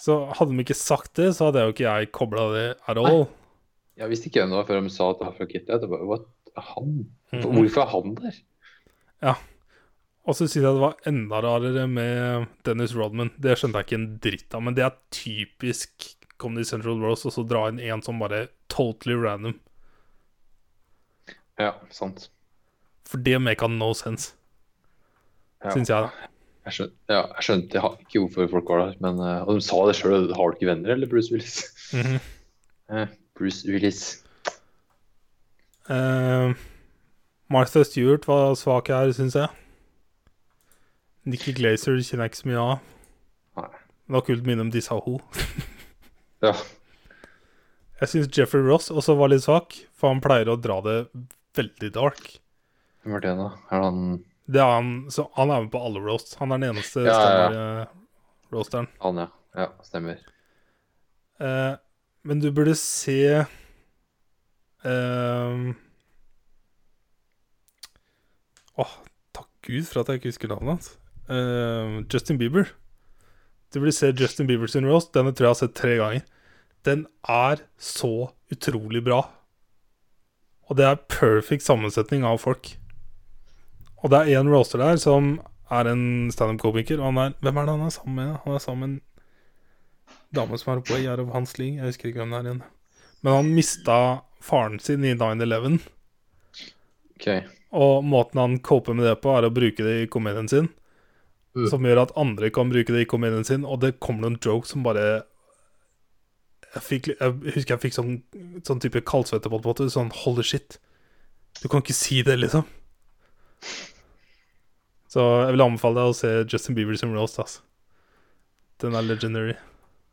Speaker 1: Så hadde de ikke sagt det, så hadde jo ikke jeg kobla det at all.
Speaker 2: Jeg visste ikke hvem det var før de sa at det var fra Get Out. Jeg bare, What? Han?
Speaker 1: Mhm.
Speaker 2: Hvorfor er han der?
Speaker 1: Og så syns jeg det var enda rarere med Dennis Rodman. Det skjønte jeg ikke en dritt av, men det er typisk Comedy Central Rose og så dra inn en som bare totally random.
Speaker 2: Ja, sant.
Speaker 1: For det make no sense,
Speaker 2: Ja.
Speaker 1: syns jeg.
Speaker 2: Jeg skjønte, ja, jeg skjønte ha- ikke hvorfor folk var der, men eh, Og de sa det sjøl. Har du ikke venner, eller Bruce Willis?
Speaker 1: Mhm.
Speaker 2: Eh, Bruce Willis.
Speaker 1: Eh, Martha Stewart var svak her, syns jeg. Nikki Glazer kjenner jeg ikke så mye av.
Speaker 2: Nei.
Speaker 1: Men det var kult å minne om disse ho.
Speaker 2: Ja.
Speaker 1: Jeg syns Jeffrey Ross også var litt svak, for han pleier å dra det veldig dark.
Speaker 2: Hvem er det, da? Er det han
Speaker 1: Det er han, så han er med på alle roasts. Han er den eneste eh,
Speaker 2: Ja, ja, ja.
Speaker 1: standard-roasteren.
Speaker 2: Han, ja. Ja, stemmer.
Speaker 1: Eh, men du burde se ehm, Åh, takk Gud for at jeg ikke husker navnet hans. Ehm, Justin Bieber. Du burde se Justin Bieber sin roast. Denne tror jeg jeg har sett tre ganger. Den er så utrolig bra. Og det er perfect sammensetning av folk. Og det er én roaster der som er en standup-komiker. Og han er Hvem er det han er sammen med? Han er sammen med en dame som er oppe i Jerv Hansling. Jeg husker ikke hvem det er igjen. Men han mista faren sin i 9-11,
Speaker 2: OK.
Speaker 1: og måten han coper med det på, er å bruke det i komedien sin.
Speaker 2: Mm.
Speaker 1: Som gjør at andre kan bruke det i komedien sin, og det kommer noen jokes som bare Jeg, fikk, jeg husker jeg fikk sånn, sånn type kaldsvette på en måte. Sånn holy shit. Du kan ikke si det, liksom. Så jeg vil anbefale deg å se Justin Bieber som roast, altså. Den er legendary.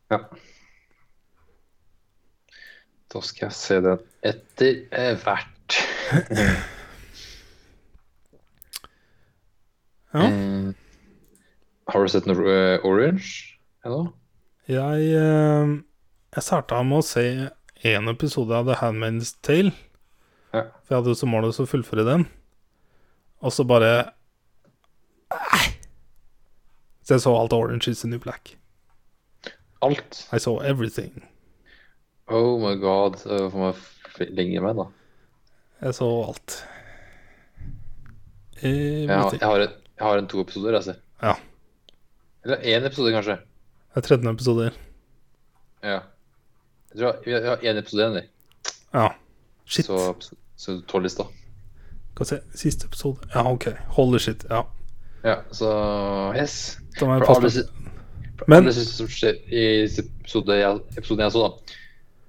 Speaker 2: Da skal jeg se den etter eh, hvert.
Speaker 1: Ja.
Speaker 2: Mm. Har du sett noe eh, Orange ennå?
Speaker 1: Jeg, eh, jeg starta med å se én episode av The Handmaid's Tale.
Speaker 2: Ja.
Speaker 1: For jeg hadde jo som mål å fullføre den. Og så bare Nei! Så jeg så alt av Orange is the New Black.
Speaker 2: Alt?
Speaker 1: I saw everything.
Speaker 2: Oh my god. eh, Får man f- lenger meg, da?
Speaker 1: Jeg så alt.
Speaker 2: Jeg har,
Speaker 1: Everything.
Speaker 2: jeg har, en, jeg har en to episoder, altså.
Speaker 1: Ja.
Speaker 2: Eller én episode, kanskje.
Speaker 1: Det er 13 episoder.
Speaker 2: Ja. Jeg tror jeg, jeg har én episode igjen, jeg.
Speaker 1: Ja. Shit.
Speaker 2: så, så tolvlista.
Speaker 1: Skal vi se. Siste episode. Ja, OK. Holy shit. Ja.
Speaker 2: Ja, så yes.
Speaker 1: Da må jeg
Speaker 2: For alle,
Speaker 1: passe
Speaker 2: sy-
Speaker 1: på.
Speaker 2: for
Speaker 1: Men-
Speaker 2: alle siste som skjer i s- episode jeg, episoden jeg så, da.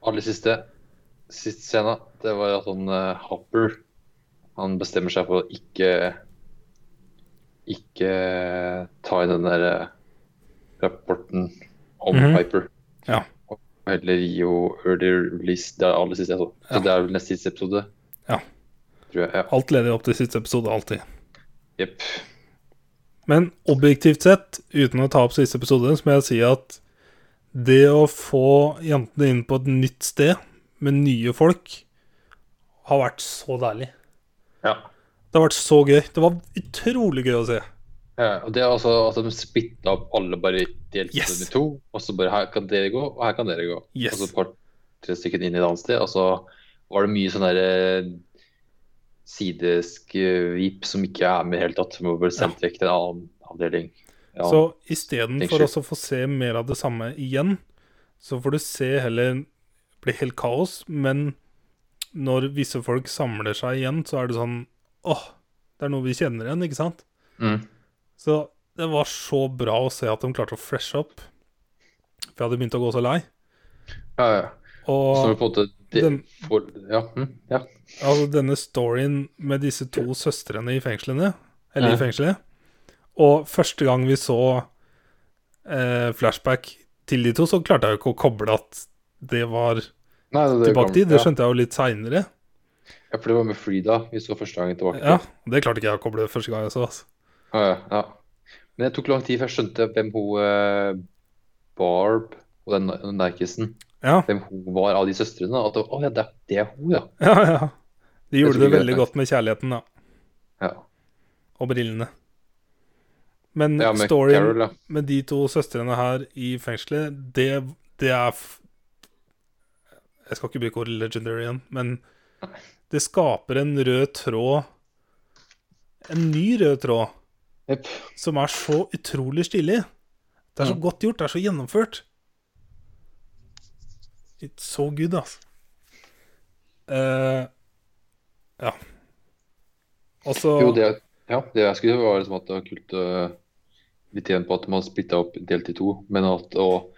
Speaker 2: Aller siste, siste scena, det var at han eh, Hopper han bestemmer seg for å ikke ikke ta i den der eh, rapporten om
Speaker 1: Mhm.
Speaker 2: Piper.
Speaker 1: Ja.
Speaker 2: Og heller Rio Early Release. Det er aller siste jeg så. Så
Speaker 1: Ja.
Speaker 2: det er vel neste siste episode.
Speaker 1: Ja.
Speaker 2: Tror jeg. Ja.
Speaker 1: Alt leder opp til siste episode, alltid.
Speaker 2: Jepp.
Speaker 1: Men objektivt sett, uten å ta opp siste episode, så må jeg si at det å få jentene inn på et nytt sted med nye folk, har vært så deilig.
Speaker 2: Ja.
Speaker 1: Det har vært så gøy. Det var utrolig gøy å se.
Speaker 2: ja. Og det er altså at de splitta opp alle bare delte
Speaker 1: Yes.
Speaker 2: dem i to. Og så bare her kan dere gå, og her kan dere gå.
Speaker 1: Yes.
Speaker 2: Og så et par-tre stykker inn i et annet sted. Og så var det mye sånn derre sideskvip eh, som ikke er med i det hele tatt. Som var bare sendt vekk til en annen avdeling. Ja.
Speaker 1: Så istedenfor
Speaker 2: Unnskyld.
Speaker 1: å få se mer av det samme igjen, så får du se heller bli helt kaos, men når visse folk samler seg igjen, så er det sånn åh, det er noe vi kjenner igjen, ikke sant?
Speaker 2: Mm.
Speaker 1: Så det var så bra å se at de klarte å freshe opp, for jeg hadde begynt å gå så lei.
Speaker 2: ja, ja. Så når
Speaker 1: Og
Speaker 2: du på en måte de,
Speaker 1: den,
Speaker 2: får, Ja. Mm, ja.
Speaker 1: altså denne storyen med disse to søstrene i fengslene, eller
Speaker 2: Ja.
Speaker 1: i fengselet, og første gang vi så eh, flashback til de to, så klarte jeg jo ikke å koble at det var
Speaker 2: Nei, det, det
Speaker 1: tilbake
Speaker 2: kommer-
Speaker 1: tid. Det
Speaker 2: ja.
Speaker 1: skjønte jeg jo litt seinere.
Speaker 2: Ja, for det var med Frida vi så første gangen tilbake.
Speaker 1: Ja, det klarte ikke jeg å koble første gang jeg så. Altså.
Speaker 2: Ja, Ah, ja, ja. Men det tok lang tid før jeg skjønte hvem hun eh, Barb og den den narkisen
Speaker 1: Ja,
Speaker 2: Hvem hun var av de søstrene. At det, var- å, ja, det, er- det er hun, ja.
Speaker 1: ja, ja. De
Speaker 2: Jeg
Speaker 1: gjorde
Speaker 2: tror
Speaker 1: det
Speaker 2: ikke
Speaker 1: veldig
Speaker 2: jeg-
Speaker 1: godt med kjærligheten, da.
Speaker 2: Ja,
Speaker 1: Og brillene. Men
Speaker 2: ja med
Speaker 1: storyen
Speaker 2: Carol, ja.
Speaker 1: med de to søstrene her i fengselet, det, det er f Jeg skal ikke bruke ordet legendary igjen, men det skaper en rød tråd En ny rød tråd
Speaker 2: Jepp.
Speaker 1: som er så utrolig stilig. Det er så
Speaker 2: Mm.
Speaker 1: godt gjort, det er så gjennomført. It's so good, altså. Eh, ja. Og så
Speaker 2: Jo, det, ja, det jeg skulle gjøre, var liksom at det var kult eh, litt igjen på at man splitta opp delt i to, men at og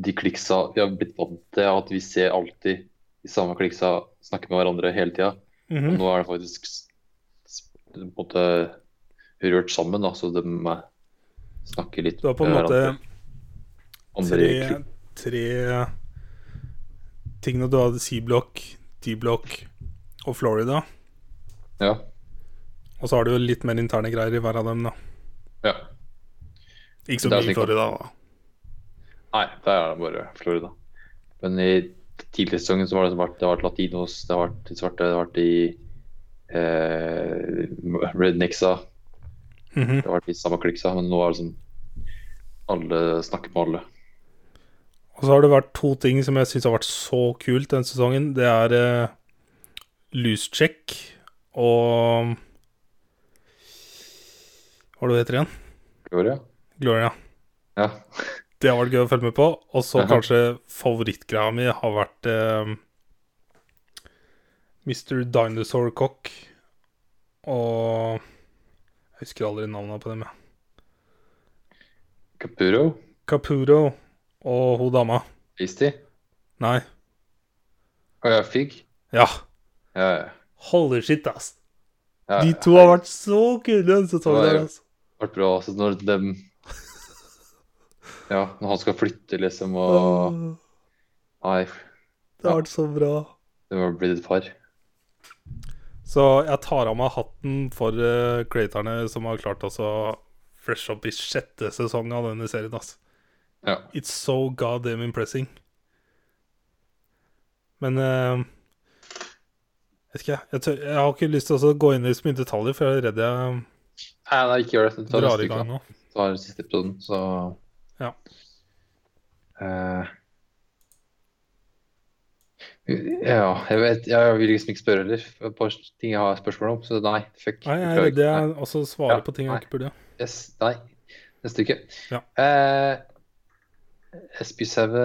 Speaker 2: de kliksa Vi har blitt vant til at vi ser alltid de samme kliksa snakke med hverandre hele tida. Og
Speaker 1: Mhm.
Speaker 2: Nå er det faktisk s- s- på en måte rørt sammen, da, så de eh, snakker litt
Speaker 1: Du har på en
Speaker 2: med
Speaker 1: måte
Speaker 2: hverandre. Andre
Speaker 1: tre,
Speaker 2: klik-
Speaker 1: tre ting når du hadde C-block, D-block og Florida.
Speaker 2: Ja.
Speaker 1: Og så har du jo litt mer interne greier i hver av dem, da.
Speaker 2: ja.
Speaker 1: Ikke så
Speaker 2: Det
Speaker 1: mye
Speaker 2: er
Speaker 1: i
Speaker 2: slik.
Speaker 1: Florida, da.
Speaker 2: Nei, der er det bare Florida. Men i tidligere sesongen så var det, som vært, det har vært latinos, det har vært svarte, det har vært i eh, rednecksa.
Speaker 1: Mhm.
Speaker 2: Det har vært i samme kliksa, men nå er det sånn alle snakker med alle.
Speaker 1: Og så har det vært to ting som jeg syns har vært så kult denne sesongen. Det er eh, loose check og Hva er det hun heter igjen?
Speaker 2: Gloria?
Speaker 1: Gloria.
Speaker 2: Ja.
Speaker 1: Det har vært gøy å følge med på. Og så
Speaker 2: Mhm.
Speaker 1: kanskje favorittgreia mi har vært eh, Mr. Dinosaur Cock og Jeg husker aldri navnet på dem, jeg.
Speaker 2: Capuro?
Speaker 1: Capuro og hun dama.
Speaker 2: Tasty?
Speaker 1: Nei.
Speaker 2: Å ja, Fig?
Speaker 1: Ja.
Speaker 2: Ja, ja.
Speaker 1: Holy shit, ass.
Speaker 2: ja, ja.
Speaker 1: De to har vært så kule denne sesongen.
Speaker 2: Ja,
Speaker 1: her,
Speaker 2: ja.
Speaker 1: ass.
Speaker 2: Det har vært bra. Altså, når dem Ja, når han skal flytte, liksom, og
Speaker 1: Åh,
Speaker 2: Nei,
Speaker 1: Det har vært så bra.
Speaker 2: det var blitt et par.
Speaker 1: Så jeg tar av meg hatten for eh, creatorene som har klart også å freshe opp i sjette sesong av denne serien. ass.
Speaker 2: Ja.
Speaker 1: It's so goddamn impressing. Men eh, vet ikke, jeg. Jeg, tør, jeg har ikke lyst til å gå inn i så mye detaljer, for jeg er redd jeg
Speaker 2: Nei, nei, ikke gjør det. Ta
Speaker 1: drar
Speaker 2: neste
Speaker 1: i gang
Speaker 2: uke,
Speaker 1: nå.
Speaker 2: da. Ta den siste episoden, så
Speaker 1: Ja.
Speaker 2: Eh. Ja, jeg vet Jeg vil liksom ikke spørre heller. Det er Et par ting jeg har spørsmål om, så nei. Fuck.
Speaker 1: Nei, jeg er
Speaker 2: beklager.
Speaker 1: redd jeg også svarer
Speaker 2: Ja,
Speaker 1: på ting jeg ikke burde.
Speaker 2: Yes, nei. Neste uke.
Speaker 1: Ja.
Speaker 2: Eh, SB7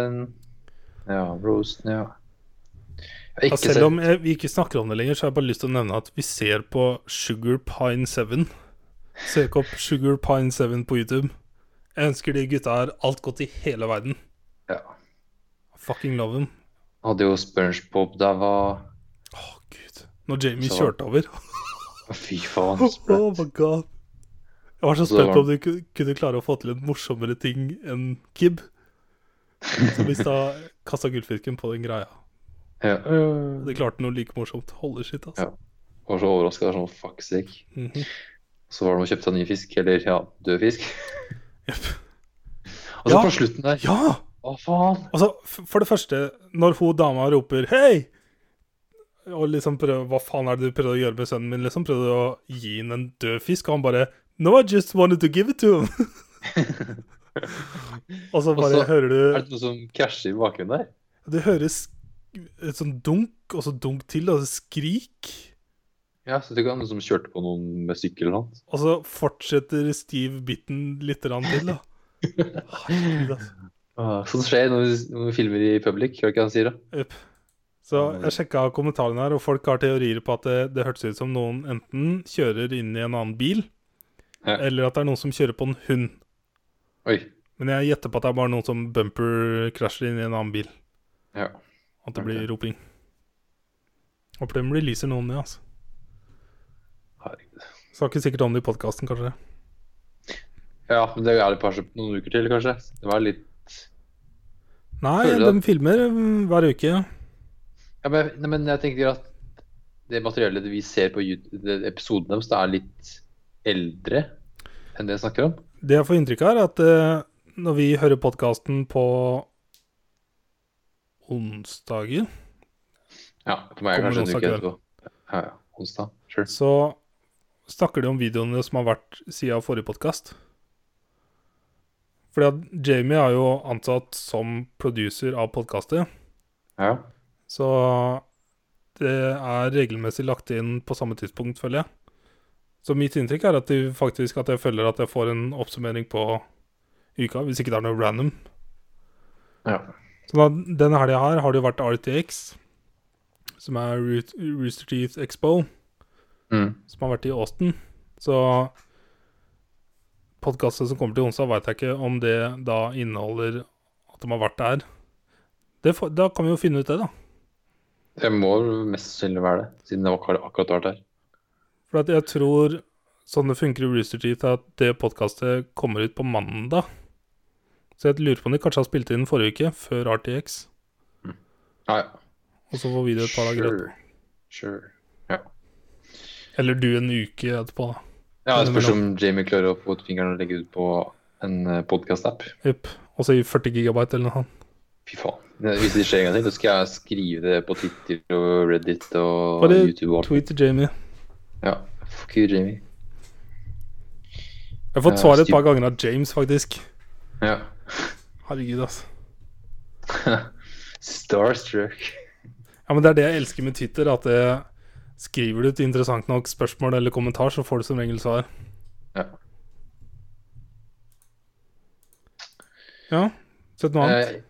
Speaker 2: Ja, Rosen, ja. Jeg har
Speaker 1: Ja,
Speaker 2: ikke sett
Speaker 1: Altså, selv om jeg, vi ikke snakker om det lenger, så har jeg bare lyst til å nevne at vi ser på Sugar Pine 7. Søk opp Sugar Pine 7 på YouTube. Jeg ønsker de gutta her alt godt i hele verden.
Speaker 2: ja.
Speaker 1: Fucking love them.
Speaker 2: hadde jo SpongeBob der var
Speaker 1: Å, gud. Når Jamie
Speaker 2: Så-
Speaker 1: kjørte over
Speaker 2: Fy faen.
Speaker 1: Oh my god. Jeg var så
Speaker 2: Så det
Speaker 1: spent på
Speaker 2: var-
Speaker 1: om du ku- kunne klare å få til en morsommere ting enn Kib. Som mista kasta gullfisken på den greia.
Speaker 2: Ja.
Speaker 1: Og de klarte noe like morsomt. Holy shit, altså.
Speaker 2: Ja. Var så overraska. Sånn, fuck sake.
Speaker 1: Mhm.
Speaker 2: Så var det med å kjøpe seg ny fisk, eller ja, død fisk.
Speaker 1: Jepp.
Speaker 2: Og så
Speaker 1: Ja.
Speaker 2: på slutten der
Speaker 1: Ja!
Speaker 2: Å, faen!
Speaker 1: Altså, f- for det første, når hun dama roper 'hei', og liksom prøver Hva faen er det du prøvde å gjøre med sønnen min? Liksom prøvde du å gi ham en død fisk, og han bare 'No, I just wanted to give it to him'. og så bare
Speaker 2: Og så
Speaker 1: hører du
Speaker 2: Er det noe som krasjer i bakgrunnen der?
Speaker 1: Det høres et sånn dunk, og så dunk til, og så skrik.
Speaker 2: Ja, så det kan være noen som kjørte på noen med sykkel eller noe.
Speaker 1: Og så fortsetter Steve Bitten litt grann til, da. Herregud, altså.
Speaker 2: Ah, Sånt skjer når vi, når vi filmer i public, hører du hva han sier da?
Speaker 1: Upp. Så jeg sjekka kommentarene her, og folk har teorier på at det, det hørtes ut som noen enten kjører inn i en annen bil,
Speaker 2: Ja.
Speaker 1: eller at det er noen som kjører på en hund.
Speaker 2: Oi.
Speaker 1: Men jeg gjetter på at det er bare noen som bumper-krasjer inn i en annen bil.
Speaker 2: Ja.
Speaker 1: At det blir roping. Håper de releaser noen ned, altså.
Speaker 2: Herregud.
Speaker 1: Skal ikke sikkert om det i podkasten, kanskje.
Speaker 2: Ja, men det er det kanskje noen uker til, kanskje. Det var litt
Speaker 1: Nei,
Speaker 2: Føler du
Speaker 1: de filmer mm, hver uke. ja.
Speaker 2: Ja, men, nei, men jeg tenker at det materiellet vi ser på YouTube, det- episoden deres, det er litt eldre enn det jeg snakker om.
Speaker 1: Det jeg får inntrykk av, er at eh, når vi hører podkasten på onsdager,
Speaker 2: Ja, for meg er det
Speaker 1: Kommer
Speaker 2: kanskje en
Speaker 1: onsdag
Speaker 2: uke etterpå. Ja, ja, onsdag. Sure.
Speaker 1: så snakker de om videoene som har vært siden forrige podkast. Fordi at Jamie er jo ansatt som producer av podkastet,
Speaker 2: Ja,
Speaker 1: så det er regelmessig lagt inn på samme tidspunkt, føler jeg. Så mitt inntrykk er at de faktisk at jeg føler at jeg får en oppsummering på uka, hvis ikke det er noe random.
Speaker 2: ja.
Speaker 1: Så da, denne helga her har det jo vært RTX, som er Root- Rooster Teeth Expo,
Speaker 2: Mm.
Speaker 1: som har vært i Austin. Så podkastet som kommer til onsdag, veit jeg ikke om det da inneholder at de har vært der. Det får, da kan vi jo finne ut det, da.
Speaker 2: Det må mest sannsynlig være det, siden det var akkurat- akkurat vært der.
Speaker 1: For at jeg tror sånn det funker i Rooster Teeth, er at det podkastet kommer ut på mandag. Så jeg lurer på om de kanskje har spilt inn forrige uke, før RTX.
Speaker 2: Ja, ja.
Speaker 1: Og så får vi det et par dager etterpå.
Speaker 2: Sure. Sure.
Speaker 1: Eller du en uke etterpå, da.
Speaker 2: Ja, det spørs om Jamie klarer å få ut fingeren og legge ut på en eh, podkast-app.
Speaker 1: Jepp. Og så i 40 gigabyte eller noe sånt.
Speaker 2: Fy faen. Hvis det skjer en gang til, så skal jeg skrive det på Twitter og Reddit og
Speaker 1: Bare
Speaker 2: YouTube. og alt.
Speaker 1: Tweet til Jamie.
Speaker 2: Ja. Fuck you, Jamie.
Speaker 1: Jeg har fått
Speaker 2: Eh,
Speaker 1: svar et
Speaker 2: styr-
Speaker 1: par ganger av James, faktisk.
Speaker 2: Ja.
Speaker 1: Herregud, altså.
Speaker 2: Starstruck.
Speaker 1: Ja, men det er det jeg elsker med Twitter, at det skriver du et interessant nok spørsmål eller kommentar, så får du som regel svar.
Speaker 2: Ja.
Speaker 1: Ja. Sett noe annet.
Speaker 2: Eh,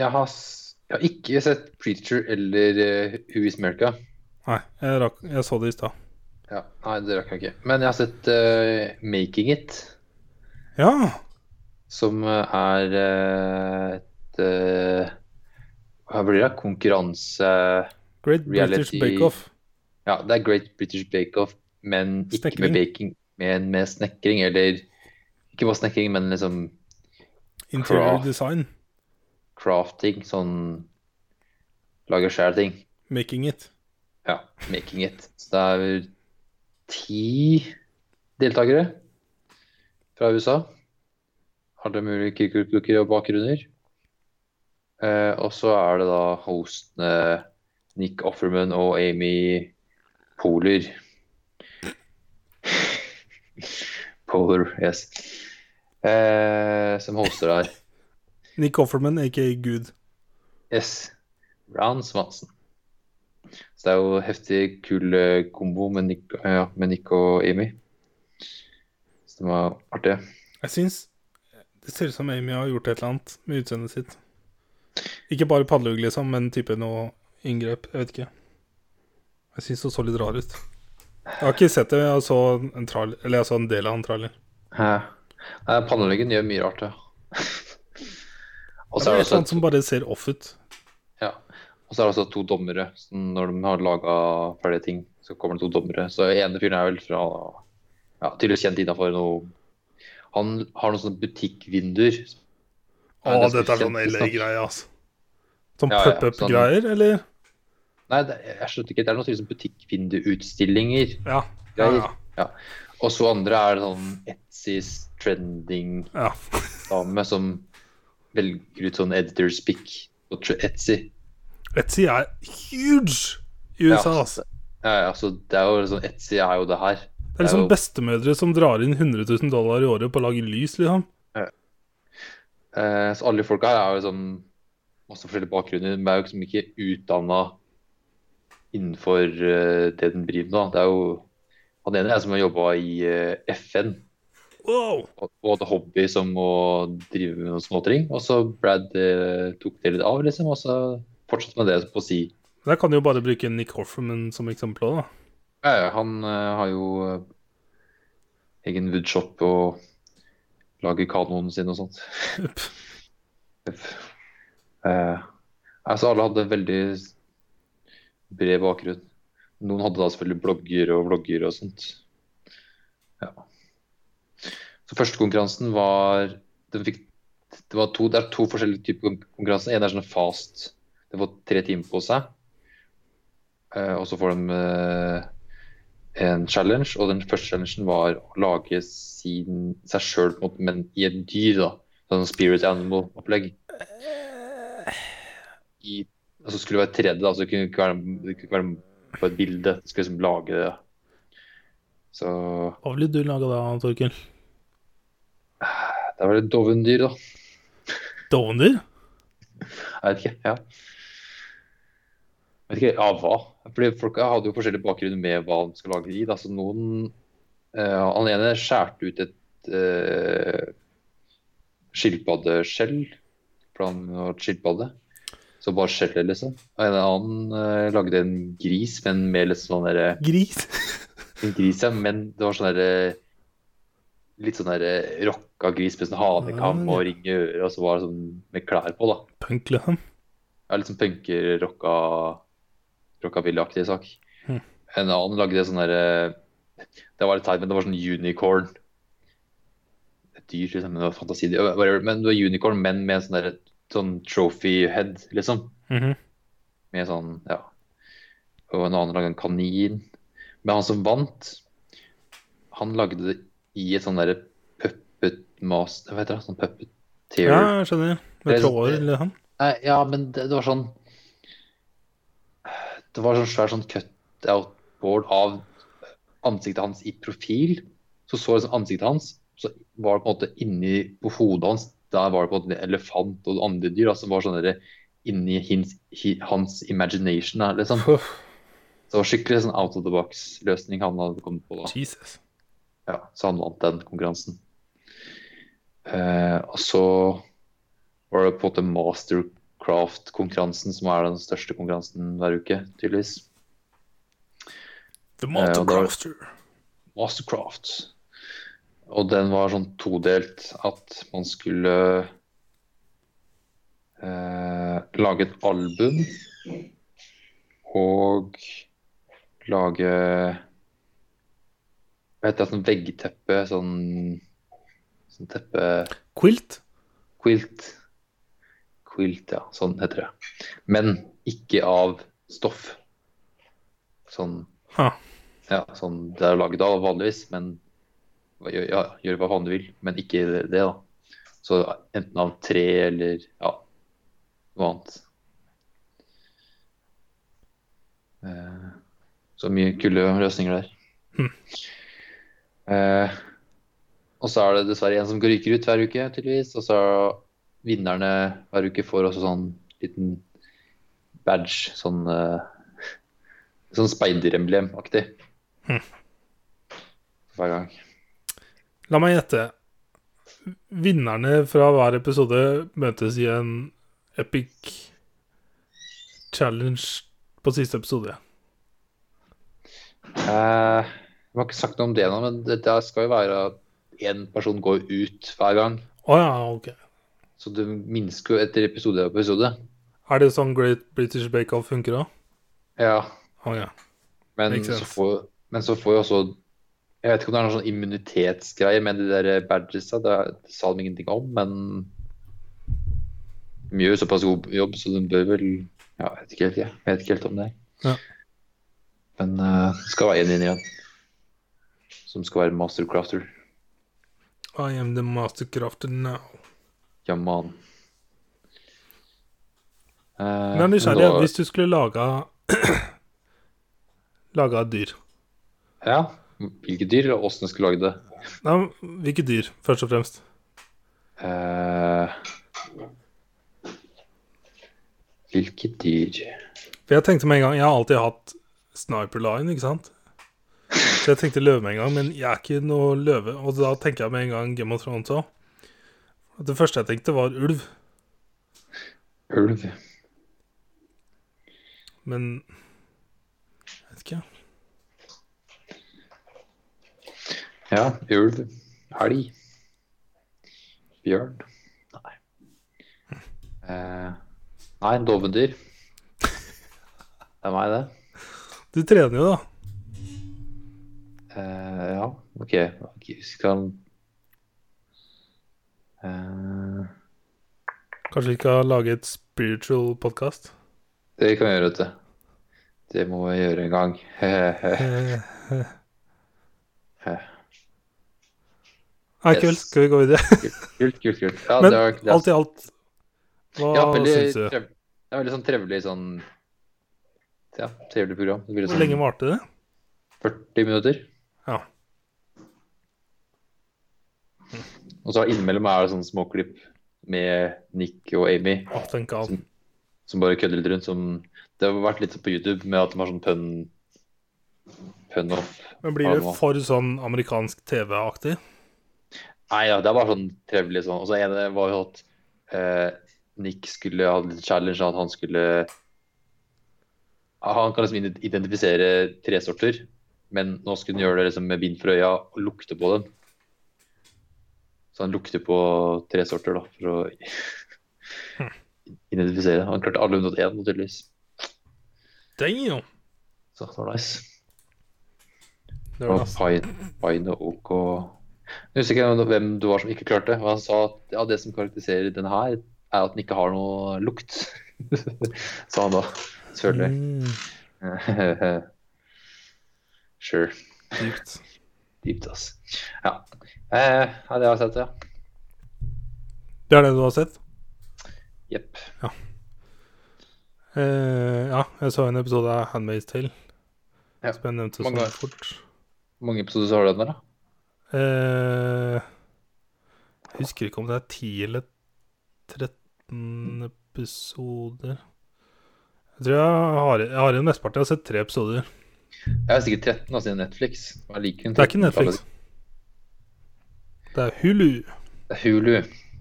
Speaker 2: jeg, har, s- jeg har ikke sett Preacher eller eh, Who is America.
Speaker 1: Nei, jeg, rakk, jeg så det i stad.
Speaker 2: Ja, nei, det rakk jeg ikke. Men jeg har sett eh, Making It,
Speaker 1: Ja.
Speaker 2: som eh, er eh, et eh, Hva blir det? Konkurranse
Speaker 1: Great British
Speaker 2: Reality-
Speaker 1: Bake Off.
Speaker 2: Ja, det er Great British Bake Off, men ikke
Speaker 1: Snekring.
Speaker 2: med baking, men med snekring. Eller ikke bare snekring, men liksom
Speaker 1: Interior
Speaker 2: Craft.
Speaker 1: design.
Speaker 2: crafting. Sånn lage sjæl-ting.
Speaker 1: Making it.
Speaker 2: Ja, Making It. Så det er vel ti deltakere fra USA. Alle mulige kirkelukker og bakgrunner. Eh, og så er det da hostene Nick Offerman og Amy Polar. Polar, yes. Eh, som hoster der.
Speaker 1: Nick Offerman, aka Gud.
Speaker 2: Yes. Ron Swanson. Så det er jo heftig kul eh, kombo med Nick, eh, ja, med Nick og Amy. Så det var artig.
Speaker 1: Jeg syns det ser ut som Amy har gjort et eller annet med utseendet sitt. Ikke bare padlehugg, liksom, men type noe inngrep. Jeg vet ikke. Jeg syns hun så litt rar ut. Jeg har ikke sett det, men jeg så en, trailer, eller jeg så en del av en trailer.
Speaker 2: Hæ? Nei, Panneluggen gjør mye rart, ja. og så
Speaker 1: det er et eller
Speaker 2: er det sånn-
Speaker 1: annet
Speaker 2: også,
Speaker 1: som bare ser off ut.
Speaker 2: ja. og så er det også to dommere. Så når de har laga ferdige ting, så kommer det to dommere. Så den ene fyren er vel fra ja, tydeligvis kjent innafor noe Han har noen sånne butikkvinduer.
Speaker 1: Å,
Speaker 2: Nei, det er
Speaker 1: dette er sånn
Speaker 2: kjent- liksom.
Speaker 1: LA-greie, altså. Sånn
Speaker 2: Ja, ja,
Speaker 1: pop-up-greier, eller?
Speaker 2: Nei, det, jeg skjønte ikke. Det er noe sånn butikkvinduutstillinger.
Speaker 1: Ja. Ja,
Speaker 2: Greier.
Speaker 1: ja.
Speaker 2: Og så andre er det sånn Etsys trending-dame
Speaker 1: ja.
Speaker 2: som velger ut sånn editor's pick på tr- Etsy.
Speaker 1: Etsy er huge i USA,
Speaker 2: Ja.
Speaker 1: ass.
Speaker 2: Ja, altså, det er jo sånn, Etsy er jo det her.
Speaker 1: Det er
Speaker 2: det er
Speaker 1: liksom
Speaker 2: jo-
Speaker 1: bestemødre som drar inn 100 000 dollar i året på å lage lys, liksom.
Speaker 2: Eh, så alle de folka her er jo liksom masse forskjellige bakgrunner. De er jo liksom ikke utdanna innenfor eh, det den driver med. da. Det er jo Han ene er som har jobba i eh, FN
Speaker 1: Wow!
Speaker 2: og og hadde hobby som å drive med noen småting. Og så Brad eh, tok det litt av, liksom, og så fortsatte med det på si.
Speaker 1: Der kan du jo bare bruke Nick Hofferman som eksempel òg, da.
Speaker 2: Ja, ja, han eh, har jo eh, egen woodshop og lager kanonen sin og sånt.
Speaker 1: Upp.
Speaker 2: Eh, altså alle hadde veldig bred bakgrunn. Noen hadde da selvfølgelig blogger og vlogger og sånt. Ja. Så første konkurransen var den fikk, det, var to, det er to forskjellige typer konkurranser. En er sånn fast. Det får tre timer på seg. Eh, og så får de eh, en challenge, og den første challengen var å lage sin, seg sjøl, men i et dyr. da, Sånn spirit animal-opplegg. I- Altså skulle det være 3D, da, så det kunne ikke være, det kunne ikke være på et bilde. Det skulle liksom lage det. Så
Speaker 1: Hva ville du laga da, Torkil?
Speaker 2: det var et dovendyr, da.
Speaker 1: Dovendyr?
Speaker 2: Jeg vet ikke. ja. Jeg vet ikke, Av hva? Fordi Folk hadde jo forskjellig bakgrunn med hva de skulle lage det i. Da. Så noen eh, Han ene skjærte ut et eh, skilpaddeskjell. Plan og skilpadde. Så bare skjellet, liksom. Og en annen eh, lagde en gris, men med litt sånn derre
Speaker 1: Gris?
Speaker 2: en gris, ja, men det var sånn derre Litt sånn derre rocka gris med sånn hanekam og ring i øret, og så var det sånn med klær på, da.
Speaker 1: Punk, liksom.
Speaker 2: Ja, litt sånn punker-rocka rockabilly-aktig sak.
Speaker 1: Mhm.
Speaker 2: En annen lagde sånn derre Det var litt teit, men det var sånn unicorn. Et dyr, liksom. Men det var fantasi. det var- whatever, Men det var unicorn, men med sånn derre sånn trophy head, liksom.
Speaker 1: Mhm.
Speaker 2: Med sånn, ja. Og en annen lagde en kanin. Men han som vant, han lagde det i et sånn derre puppet master Hva heter det? Sånn puppet
Speaker 1: Ja,
Speaker 2: theory.
Speaker 1: jeg skjønner.
Speaker 2: Det
Speaker 1: Med
Speaker 2: er- sånn-
Speaker 1: tråder, liksom.
Speaker 2: Nei, ja, men det, det var sånn Det var sånn svær sånn cutout-board av ansiktet hans i profil. Så så liksom ansiktet hans, så var det på en måte inni på hodet hans Der var det på en måte en elefant og andre dyr da, som var sånn derre inni hins, hi, hans imagination. da, Liksom.
Speaker 1: Uff,
Speaker 2: Så det var skikkelig sånn out of the box-løsning han hadde kommet på. da.
Speaker 1: Jesus.
Speaker 2: Ja, så han vant den konkurransen. Eh, og så var det på en måte Mastercraft-konkurransen som er den største konkurransen hver uke, tydeligvis.
Speaker 1: The
Speaker 2: og da-
Speaker 1: Motocrafter.
Speaker 2: Mastercraft. Og den var sånn todelt at man skulle eh, lage et album og lage Hva heter det, sånn veggteppe, sånn, sånn teppe
Speaker 1: Quilt?
Speaker 2: Quilt. Quilt, ja. Sånn heter det. Men ikke av stoff. Sånn
Speaker 1: Ha.
Speaker 2: Ja, sånn det er laget av vanligvis, men gjør, ja, gjør hva faen du vil, men ikke det, da. Så enten av tre eller ja, noe annet. Eh, Så mye kule løsninger der.
Speaker 1: Hm.
Speaker 2: Eh, og så er det dessverre en som ryker ut hver uke, tydeligvis. Og så er vinnerne hver uke får også sånn liten badge, sånn, eh, sånn speideremblem-aktig.
Speaker 1: Hm.
Speaker 2: Hver gang.
Speaker 1: La meg gjette. Vinnerne fra hver episode møtes i en epic challenge på siste episode.
Speaker 2: Eh, vi har ikke sagt noe om det nå, men det, det skal jo være at én person går ut hver gang.
Speaker 1: Å ja, ok.
Speaker 2: Så du minsker jo etter episode og episode.
Speaker 1: Er det sånn Great British Bake Off funker òg?
Speaker 2: Ja,
Speaker 1: Å ja.
Speaker 2: men
Speaker 1: Makes
Speaker 2: så,
Speaker 1: sense.
Speaker 2: får, men så får jo også Jeg vet ikke om det er noen sånn eh, immunitetsgreie med de der badgesa. Det, er- det sa de ingenting om, men De gjør såpass god jobb, så de bør vel Ja, jeg vet ikke helt, jeg. Jeg vet ikke helt om det.
Speaker 1: Ja.
Speaker 2: Men eh, det skal være en inn igjen. Som skal være mastercrafter.
Speaker 1: I am the mastercraft now.
Speaker 2: Ja, man. Eh,
Speaker 1: Men jeg er nysgjerrig.
Speaker 2: da-
Speaker 1: Hvis du skulle laga Laga et dyr
Speaker 2: Ja. Hvilke dyr, og åssen jeg skulle lage det.
Speaker 1: Nei, men hvilke dyr, først og fremst?
Speaker 2: Eh, hvilke dyr
Speaker 1: For jeg tenkte med en gang Jeg har alltid hatt sniper line, ikke sant? Så jeg tenkte løve med en gang, men jeg er ikke noe løve. Og da tenker jeg med en gang Game of Thrones òg. Det første jeg tenkte, var ulv.
Speaker 2: Ulv.
Speaker 1: Men jeg vet ikke.
Speaker 2: Ja, ulv. Elg. Bjørn. Nei. Eh, nei, dovendyr. Det er meg, det.
Speaker 1: Du trener jo, da.
Speaker 2: Eh, ja, OK. Ok, Skal eh,
Speaker 1: Kanskje vi skal lage et spiritual podcast?
Speaker 2: Det kan vi gjøre, vet du. Det må vi gjøre en gang. Eh,
Speaker 1: Eh, Nei, kult.
Speaker 2: Yes.
Speaker 1: Skal vi gå videre?
Speaker 2: kult, kult, kult. Ja,
Speaker 1: Men
Speaker 2: det var, det er-
Speaker 1: alt i alt, hva
Speaker 2: ja, veldig,
Speaker 1: syns du?
Speaker 2: trev, det er veldig sånn trevelig sånn Ja, trevelig program. Det blir
Speaker 1: Hvor lenge
Speaker 2: sånn
Speaker 1: varte det?
Speaker 2: 40 minutter.
Speaker 1: Ja.
Speaker 2: Og så innimellom er det sånne småklipp med Nick og Amy
Speaker 1: Å, tenk av.
Speaker 2: som bare kødder litt rundt. Som, det har vært litt på YouTube med at de har sånn pønn pønn off.
Speaker 1: Men blir det for sånn amerikansk TV-aktig?
Speaker 2: Nei ja, det er bare sånn trevelig sånn. Og så ene var jo at eh, Nick skulle ha litt challenge, at han skulle Han kan liksom ident- identifisere tresorter, men nå skulle han gjøre det liksom med bind for øya og lukte på dem. Så han lukter på tresorter, da, for å identifisere. Han klarte alle unntatt én, tydeligvis.
Speaker 1: Damn!
Speaker 2: Så det var nice.
Speaker 1: Det var
Speaker 2: Og
Speaker 1: nesten-
Speaker 2: Pine, Pine og Oak og Jeg husker ikke hvem du var som ikke klarte. Men han sa at ja, det som karakteriserer den her, er at den ikke har noe lukt. sa han da. Selvfølgelig.
Speaker 1: Mm,
Speaker 2: sure.
Speaker 1: Dypt.
Speaker 2: Dypt, ass. Ja. Eh, ja, det har jeg sett, ja.
Speaker 1: Det er det du har sett?
Speaker 2: Jepp.
Speaker 1: Eh, ja, jeg så en episode av Handmaid's Tale.
Speaker 2: Ja.
Speaker 1: Som jeg nevnte sånn
Speaker 2: Mange ganger.
Speaker 1: fort.
Speaker 2: Hvor mange episoder så har du av den der, da?
Speaker 1: Eh, jeg husker ikke om det er 10 eller 13 episoder. Jeg tror jeg har, jeg har i mesteparten. Jeg har sett tre episoder.
Speaker 2: Jeg er sikkert 13, altså, i Netflix. Jeg liker den
Speaker 1: Det er ikke
Speaker 2: 13,
Speaker 1: Netflix. Det er Hulu.
Speaker 2: Det er Hulu.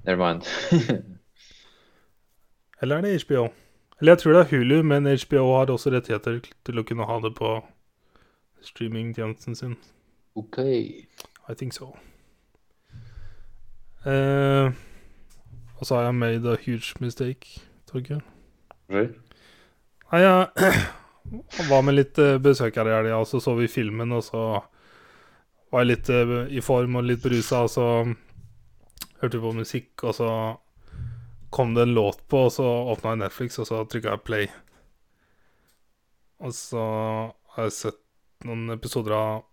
Speaker 2: Never mind.
Speaker 1: Eller er det HBO? Eller jeg tror det er Hulu, men HBO har også rettigheter til å kunne ha det på streamingtjenesten sin.
Speaker 2: OK.
Speaker 1: I think so. Eh, og så har jeg made a huge mistake, Torgeir.
Speaker 2: Sorry.
Speaker 1: Nei, jeg var med litt eh, besøkere i helga, og så så vi filmen, og så var jeg litt eh, i form og litt berusa, og så hørte vi på musikk, og så kom det en låt på, og så åpna jeg Netflix, og så trykka jeg play. Og så har jeg sett noen episoder av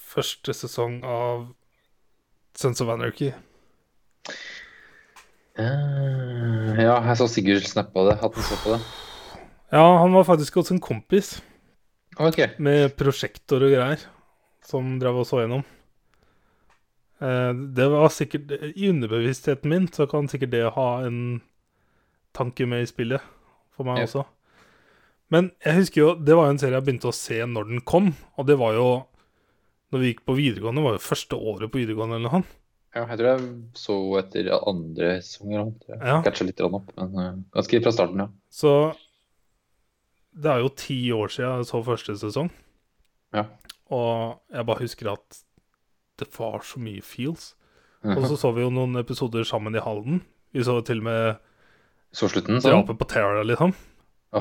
Speaker 1: første sesong av Sons of Anarchy.
Speaker 2: Eh, ja, jeg så Sigurd snappa det. Hatten snappa det.
Speaker 1: Ja, han var faktisk også en kompis.
Speaker 2: OK.
Speaker 1: med prosjektor og greier som drev og så gjennom. Eh, Det var sikkert I underbevisstheten min så kan sikkert det ha en tanke med i spillet for meg
Speaker 2: Ja.
Speaker 1: også. Men jeg husker jo Det var jo en serie jeg begynte å se når den kom, og det var jo når vi gikk på videregående, var jo første året på videregående eller noe. sånt.
Speaker 2: Ja, jeg tror jeg så etter andre sesonger. Ja.
Speaker 1: Ja.
Speaker 2: Catcha litt grann opp, men eh, ganske fra starten, ja.
Speaker 1: Så det er jo ti år siden jeg så første sesong.
Speaker 2: Ja.
Speaker 1: Og jeg bare husker at det var så mye feels. Og
Speaker 2: Mhm.
Speaker 1: så så vi jo noen episoder sammen i Halden. Vi så til og med
Speaker 2: Så slutten, så. Å,
Speaker 1: drapet på Tara, liksom.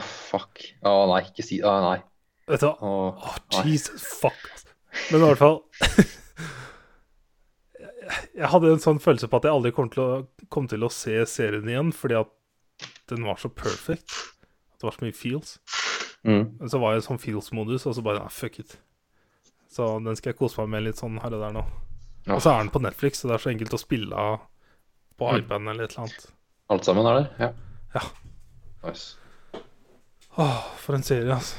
Speaker 2: fuck. Å nei, ikke si Å nei.
Speaker 1: Vet du hva?
Speaker 2: Å,
Speaker 1: Åh,
Speaker 2: Nei.
Speaker 1: Jesus fuck, ass. Men i hvert fall Jeg hadde en sånn følelse på at jeg aldri kom til å, kom til å se serien igjen, fordi at den var så perfect. At det var så mye feels.
Speaker 2: Mm.
Speaker 1: Men så var jeg i sånn feels-modus, og så bare nei, fuck it. Så den skal jeg kose meg med litt sånn her og der nå.
Speaker 2: Ja.
Speaker 1: Og så er den på Netflix, så det er så enkelt å spille av på
Speaker 2: Mm.
Speaker 1: iPaden eller et eller annet.
Speaker 2: Alt sammen er der? Ja.
Speaker 1: Ja.
Speaker 2: Nice.
Speaker 1: Åh, for en serie, altså.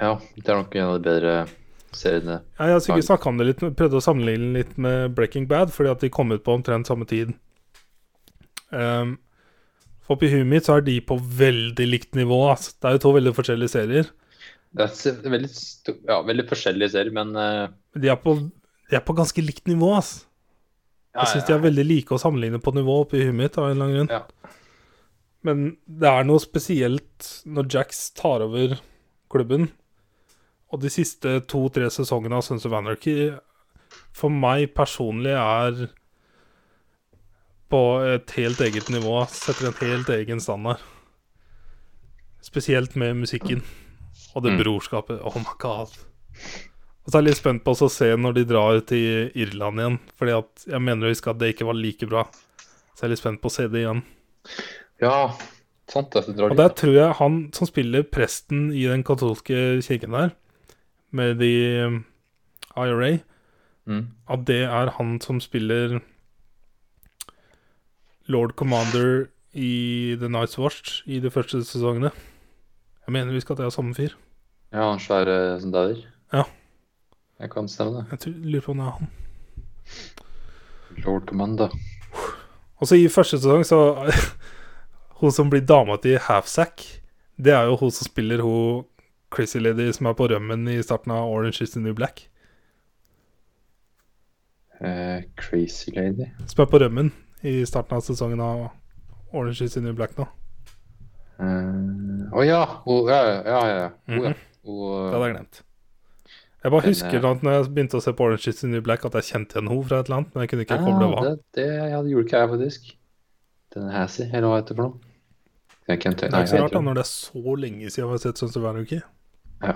Speaker 2: Ja, det er nok en av de bedre seriene.
Speaker 1: Ja, jeg sikkert snakka om det litt, men prøvde å sammenligne litt med Breaking Bad, fordi at de kom ut på omtrent samme tid. Ehm, for på huet mitt så er de på veldig likt nivå. Altså. Det er jo to veldig forskjellige serier.
Speaker 2: Det er se- veldig, sto- ja, veldig forskjellige serier, men eh,
Speaker 1: Men de er på, de er på ganske likt nivå. Altså.
Speaker 2: ja,
Speaker 1: Jeg syns de er veldig like å sammenligne på nivå oppi huet mitt. av en eller annen grunn.
Speaker 2: Ja.
Speaker 1: Men det er noe spesielt når Jacks tar over klubben. Og de siste to-tre sesongene av Sons of Anarchy for meg personlig er på et helt eget nivå. Setter en helt egen standard. Spesielt med musikken og det
Speaker 2: Mm.
Speaker 1: brorskapet. Oh my god. Og så er jeg litt spent på også å se når de drar til Irland igjen. Fordi at jeg mener å huske at det ikke var like bra. Så jeg er litt spent på å se det igjen.
Speaker 2: ja, sant det. at du drar
Speaker 1: Og
Speaker 2: dit,
Speaker 1: der tror jeg han som spiller presten i den katolske kirken der, med de um, IRA,
Speaker 2: da. Mm.
Speaker 1: at det er han som spiller Lord Commander i The Night's Watch i de første sesongene. Jeg mener vi skal at det er samme fyr.
Speaker 2: Ja, han svære eh, som dauer.
Speaker 1: Ja.
Speaker 2: Jeg kan stemme det.
Speaker 1: Jeg tror, lurer på om det er han.
Speaker 2: Lord Commander.
Speaker 1: Og så i første sesong så Hun som blir dama til Halfsack Det er jo hun som spiller hun Crazy Lady som er på rømmen i starten av Orange is the New Black
Speaker 2: Eh, crazy Lady.
Speaker 1: Som er på rømmen i starten av sesongen av Orange is the New Black nå
Speaker 2: Eh, Å ja. Hun, ja! Ja, ja, ja. Hun, ja.
Speaker 1: Mhm. Det
Speaker 2: Hun, eh,
Speaker 1: hadde jeg glemt Jeg bare
Speaker 2: Den,
Speaker 1: husker at når jeg begynte å se på Orange is the New Black At jeg kjente igjen hun fra et eller annet Men jeg kunne ikke koble
Speaker 2: ja,
Speaker 1: hva
Speaker 2: det, det ja, det gjorde ikke jeg, faktisk. Den Hassy, eller hva heter det for noe? Det er Kent-
Speaker 1: Det
Speaker 2: nei,
Speaker 1: er ikke så
Speaker 2: jeg
Speaker 1: rart da
Speaker 2: tror-
Speaker 1: når det er så lenge siden jeg har sett Sons of Anarchy
Speaker 2: Ja.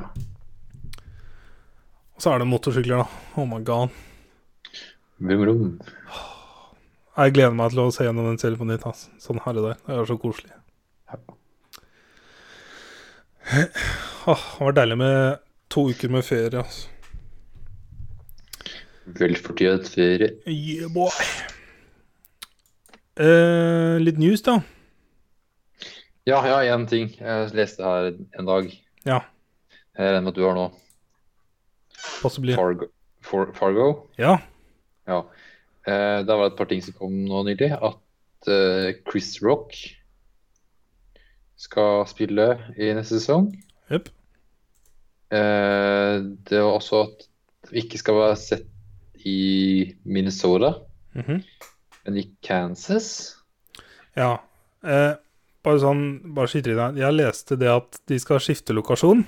Speaker 1: Og så er det motorsykler da Oh my god
Speaker 2: Vroom, vroom.
Speaker 1: Jeg gleder meg til å se gjennom den serien på nytt. ass. Sånn her og der. Det er så koselig.
Speaker 2: Ja.
Speaker 1: Åh, det var deilig med to uker med ferie. ass.
Speaker 2: Velfortjent ferie.
Speaker 1: Yeah, boy. Eh, litt news, da.
Speaker 2: Ja, ja, én ting. Jeg leste her en dag.
Speaker 1: Ja.
Speaker 2: Jeg regner med at du har nå.
Speaker 1: Possibly.
Speaker 2: Fargo. For, Fargo.
Speaker 1: Ja.
Speaker 2: Ja. Eh, det var et par ting som kom nå nylig. At eh, Chris Rock skal spille i neste sesong.
Speaker 1: Jepp.
Speaker 2: Eh, det var også at vi ikke skal være sett i Minnesota,
Speaker 1: Mhm.
Speaker 2: men i Kansas.
Speaker 1: Ja. Eh, bare sånn, bare skyter i deg. Jeg leste det at de skal skifte lokasjon,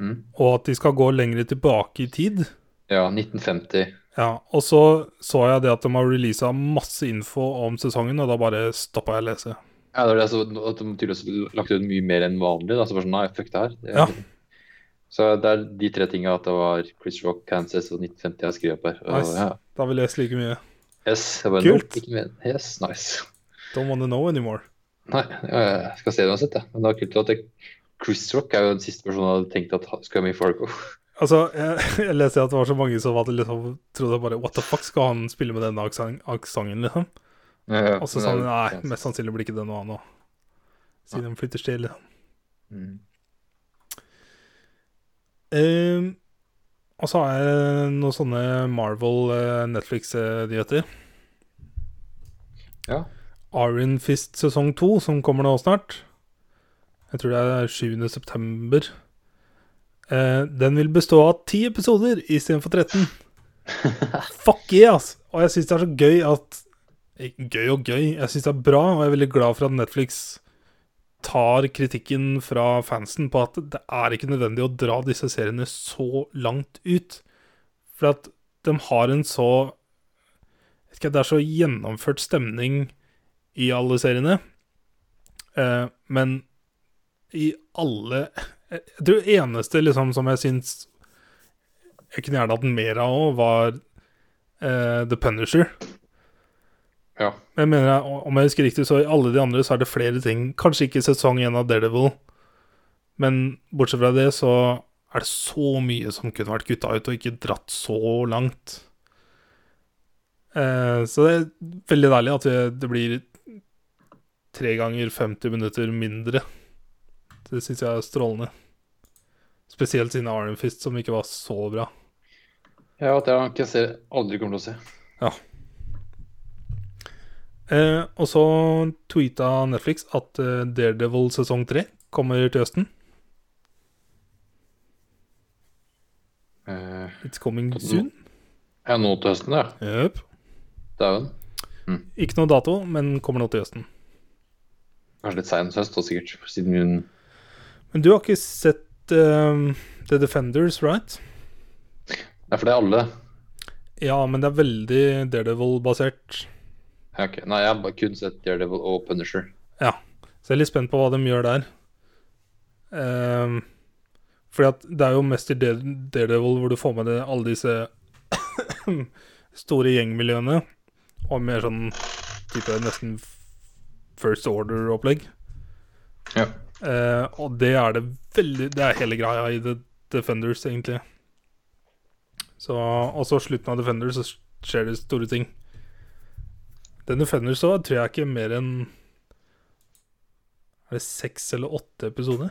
Speaker 2: Mm.
Speaker 1: og at de skal gå lenger tilbake i tid.
Speaker 2: Ja, 1950.
Speaker 1: Ja, og så så jeg det at de har releasa masse info om sesongen, og da bare stoppa jeg å lese.
Speaker 2: Ja, det var det, altså, at de tydeligvis har lagt ut mye mer enn vanlig. Da. Så bare sånn, nei, fuck det her. Det,
Speaker 1: Ja.
Speaker 2: Så det er de tre tinga at det var Chris Rock, Kansas og 1950 jeg har skrevet opp her. Og,
Speaker 1: Nice.
Speaker 2: ja.
Speaker 1: Da har vi lest like mye.
Speaker 2: Yes, jeg bare,
Speaker 1: Kult.
Speaker 2: nope, Ikke med. Yes, nice.
Speaker 1: Don't wanna know anymore.
Speaker 2: Nei, jeg skal se det uansett, jeg. Men det var kult at jeg, Chris Rock er jo den siste personen jeg hadde tenkt at han skulle være med i Fargo.
Speaker 1: Altså, jeg, jeg leste at det var så mange som hadde liksom, trodde bare What the fuck, skal han spille med denne aksang- aksenten, liksom? Og så sa han nei, mest sannsynlig blir ikke det noe annet. Siden han flytter til. liksom.
Speaker 2: Mm.
Speaker 1: Ehm, og så har jeg noen sånne eh, Marvel-Netflix-nyheter.
Speaker 2: Ja.
Speaker 1: Iron Fist sesong 2, som kommer nå snart. Jeg tror det er 7. september. Eh, den vil bestå av 10 episoder istedenfor 13. Fuck yeah, ass! Og jeg syns det er så gøy at Gøy og gøy. Jeg syns det er bra, og jeg er veldig glad for at Netflix tar kritikken fra fansen på at det er ikke nødvendig å dra disse seriene så langt ut. For at de har en så vet ikke, Det er så gjennomført stemning i alle seriene. Eh, men i alle Jeg jeg tror det eneste liksom, som jeg syns jeg kunne gjerne hatt mer av òg, var eh, The Punisher.
Speaker 2: Ja.
Speaker 1: Men jeg mener, jeg- om jeg husker riktig, så i alle de andre så er det flere ting. Kanskje ikke sesong én av Daredevil, men bortsett fra det så er det så mye som kunne vært kutta ut, og ikke dratt så langt. Eh, så det er veldig deilig at det, det blir tre ganger 50 minutter mindre. Det syns jeg er strålende. Spesielt siden Iron Fist, som ikke var så bra.
Speaker 2: Ja, det er ikke jeg ser, aldri kommer til å se.
Speaker 1: Eh, og så tweeta Netflix at eh, Daredevil sesong 3 kommer til høsten.
Speaker 2: Eh,
Speaker 1: It's coming soon.
Speaker 2: ja, nå til høsten, ja.
Speaker 1: Jøp.
Speaker 2: Dæven.
Speaker 1: Ikke noe dato, men kommer nå til høsten.
Speaker 2: Kanskje litt sein høst, da, sikkert. Siden hun
Speaker 1: Men du har ikke sett eh, The Defenders, right?
Speaker 2: Nei, for det er alle.
Speaker 1: Ja, men det er veldig Daredevil-basert.
Speaker 2: Ja, ok. Nei, jeg har bare kun sett Daredevil og Punisher.
Speaker 1: Så jeg er litt spent på hva de gjør der. Um, fordi at det er jo mest i Dare- Daredevil hvor du får med deg alle disse store gjengmiljøene. Og mer sånn type nesten First Order-opplegg.
Speaker 2: Ja.
Speaker 1: Eh, og det er det veldig Det er hele greia i The Defenders, egentlig. Så også slutten av Defenders så skjer det store ting. Den Defenders så tror jeg ikke mer enn Er det seks eller åtte episoder?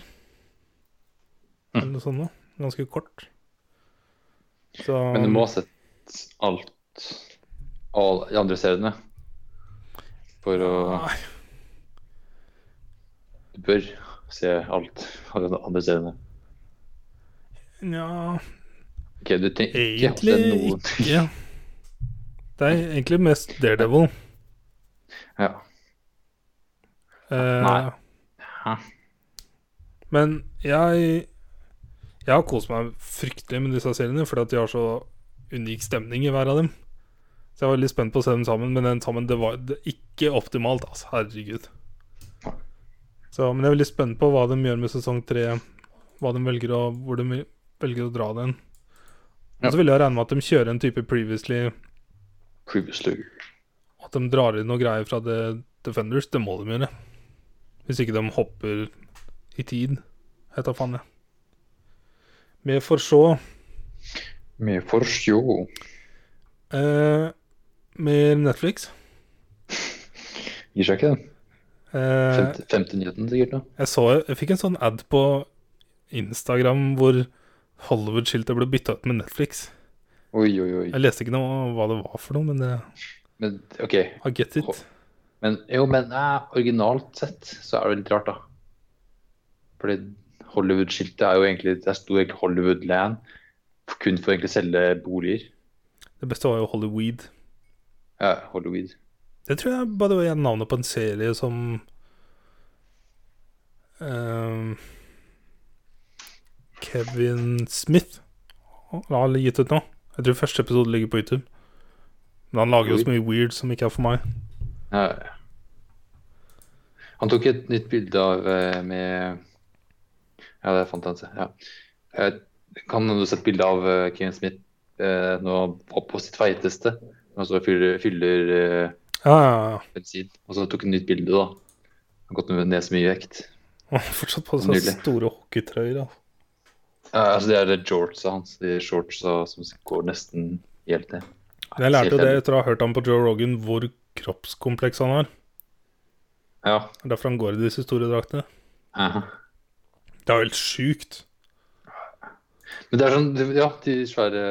Speaker 2: Mm.
Speaker 1: Eller noe sånt noe. Ganske kort. Så
Speaker 2: Men du må ha sett alt Alle de andre seriene. For å
Speaker 1: Nei,
Speaker 2: Du bør se alt av de andre seriene.
Speaker 1: Nja
Speaker 2: Ok, du trenger ikke å se
Speaker 1: Egentlig
Speaker 2: noen ting.
Speaker 1: ikke. Det er egentlig mest Daredevil.
Speaker 2: Ja.
Speaker 1: Eh,
Speaker 2: Nei. Hæ?
Speaker 1: Men jeg Jeg har kost meg fryktelig med disse seriene, fordi at de har så unik stemning i hver av dem. Så jeg var litt spent på å se dem sammen, men den sammen det var det, ikke optimalt. Altså, herregud. Så, men jeg er veldig spent på hva de gjør med sesong tre. Hva de velger å, hvor de velger å dra den. Og
Speaker 2: Ja.
Speaker 1: så ville jeg regne med at de kjører en type previously,
Speaker 2: Previously.
Speaker 1: at de drar inn noe greier fra The Defenders. Det må de gjøre. Hvis ikke de hopper i tid. Jeg tar faen, jeg. Vi får se.
Speaker 2: Med for show.
Speaker 1: Eh, mer Netflix.
Speaker 2: Gir seg ikke, den.
Speaker 1: Eh,
Speaker 2: Femte, femte nyheten, sikkert. da.
Speaker 1: jeg så Jeg fikk en sånn ad på Instagram hvor Hollywood-skiltet ble bytta ut med Netflix.
Speaker 2: Oi, oi, oi.
Speaker 1: Jeg leste ikke noe hva det var for noe, men jeg
Speaker 2: Men OK.
Speaker 1: har get it.
Speaker 2: Men jo, men eh, originalt sett så er det litt rart, da. Fordi Hollywood-skiltet er jo egentlig Det sto egentlig Hollywood-land kun for egentlig å selge boliger.
Speaker 1: Det beste var jo Hollyweed.
Speaker 2: Ja, Hollywood.
Speaker 1: Det tror jeg bare var navnet på en serie som ehm, Kevin Smith har aldri gitt ut nå. Jeg tror første episode ligger på YouTube. Men han lager jo så mye weird som ikke er for meg.
Speaker 2: Ja. ja. Han tok et nytt bilde av eh, med Ja, det fant jeg en se. Ja. Eh, Kan du sett bilde av eh, Kevin Smith eh, nå var på sitt feiteste? Han står og fyller, fyller eh,
Speaker 1: Ja, ja, ja.
Speaker 2: bensin. Og så tok han nytt bilde, da. Han har gått ned så mye i vekt.
Speaker 1: Han har fortsatt på seg
Speaker 2: Nydelig.
Speaker 1: store hockeytrøyer. Altså.
Speaker 2: Ja, altså det er det shortsa hans, de shortsa som går nesten helt ned.
Speaker 1: Men Jeg lærte jo
Speaker 2: Ser
Speaker 1: det
Speaker 2: fem-
Speaker 1: etter å ha hørt ham på Joe Rogan, hvor kroppskompleks han har.
Speaker 2: Ja.
Speaker 1: Det er Derfor han går i disse store draktene.
Speaker 2: aha.
Speaker 1: Det er jo helt sjukt.
Speaker 2: Men det er sånn, det- ja, de svære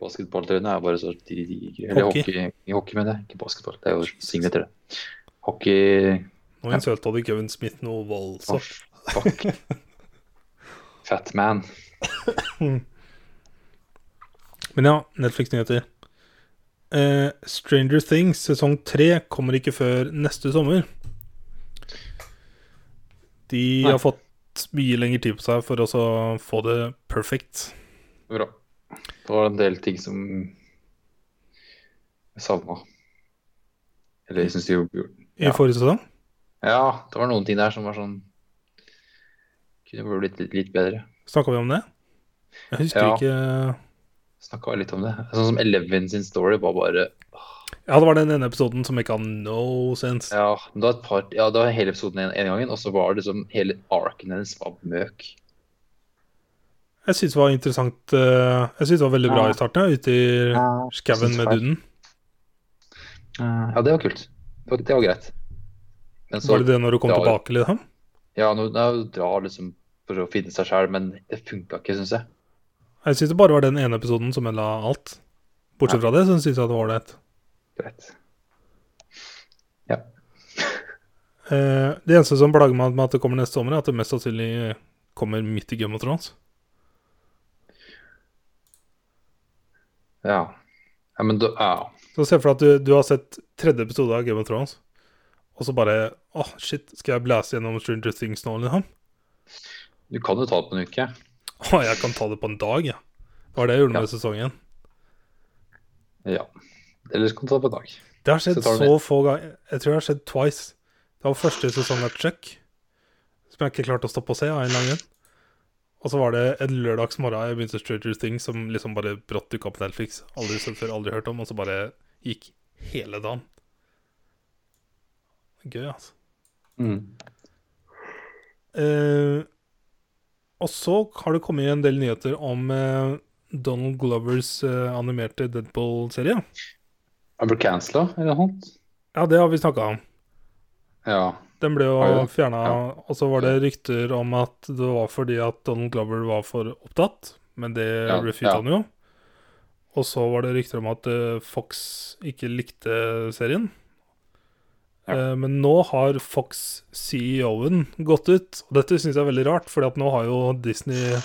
Speaker 2: basketballtrøyene er bare så de, de, Eller
Speaker 1: Hockey.
Speaker 2: hockey. hockey, hockey mener jeg, ikke basketball. Det er jo singlet til det. Hockey
Speaker 1: Nå innsølte hadde Kevin Smith noe voldsomt.
Speaker 2: Åh, Fuck. Fat man.
Speaker 1: Men ja, Netflix-nyheter. Eh, Stranger Things sesong tre kommer ikke før neste sommer. De
Speaker 2: Nei.
Speaker 1: har fått mye lengre tid på seg for å så få det perfect.
Speaker 2: Bra. Det var en del ting som jeg savna. Eller jeg syns de gjorde
Speaker 1: I
Speaker 2: Ja.
Speaker 1: forrige sesong.
Speaker 2: Ja, det var noen ting der som var sånn Kunne blitt litt, litt bedre.
Speaker 1: Snakka vi om det? Jeg husker
Speaker 2: Ja.
Speaker 1: ikke
Speaker 2: Snakka litt om det. Sånn som Eleven sin story var bare
Speaker 1: Ja, det var den ene episoden som ikke hadde no sense.
Speaker 2: Ja, men det var, et par, ja, det var hele episoden en, en gangen, og så var det liksom hele arken hennes var møk.
Speaker 1: Jeg syns det var interessant eh, Jeg synes det var veldig bra
Speaker 2: Ja.
Speaker 1: i starten, ja, ute i skauen
Speaker 2: synes
Speaker 1: med
Speaker 2: det var-
Speaker 1: duden.
Speaker 2: Ja, det var kult. Det var, det var greit. Men så
Speaker 1: Var det det når du kom
Speaker 2: Ja, ja.
Speaker 1: tilbake, liksom?
Speaker 2: Ja, nå, nå drar liksom for å finne seg sjøl, men det funka ikke, syns jeg.
Speaker 1: Jeg syns det bare var den ene episoden som ødela alt. Bortsett fra det, så syns jeg det var ålreit.
Speaker 2: Greit.
Speaker 1: Eh, det eneste som plager meg med at det kommer neste sommer, er at det mest sannsynlig kommer midt i Game of Thrones.
Speaker 2: Ja. ja men da ja.
Speaker 1: Så se for deg at du, du har sett tredje episode av Game of Thrones, og så bare Åh, shit, skal jeg blæse gjennom Stranger Things nå, liksom?
Speaker 2: Du kan jo ta det på en uke.
Speaker 1: Å, jeg kan ta det på en dag, jeg. Ja. Det var det jeg gjorde med sesongen.
Speaker 2: Ja. Eller så kan du ta det på en dag.
Speaker 1: Det har skjedd
Speaker 2: Så
Speaker 1: så,
Speaker 2: tar du
Speaker 1: få ganger. Jeg tror det har skjedd twice. Det var første sesong av Chuck, som jeg ikke klarte å stoppe å se av en eller annen grunn. Og så var det en lørdagsmorgen jeg begynte Stranger Things, som liksom bare brått dukka opp på Netflix. Aldri sett før, aldri hørt om, og så bare gikk hele dagen. Gøy, altså.
Speaker 2: Mm.
Speaker 1: Eh, og så har det kommet en del nyheter om eh, Donald Glovers eh, animerte Deadpool-serie.
Speaker 2: Jeg ble cancela, eller noe sånt?
Speaker 1: Ja, det har vi snakka om.
Speaker 2: Ja.
Speaker 1: Den ble
Speaker 2: Har vi
Speaker 1: jo
Speaker 2: det?
Speaker 1: fjerna,
Speaker 2: Ja.
Speaker 1: og så var det rykter om at det var fordi at Donald Glover var for opptatt, men det
Speaker 2: Ja,
Speaker 1: refuta
Speaker 2: ja.
Speaker 1: han jo. Og så var det rykter om at eh, Fox ikke likte serien.
Speaker 2: Ja.
Speaker 1: Eh, Men nå har Fox CEO-en gått ut, og dette syns jeg er veldig rart, fordi at nå har jo Disney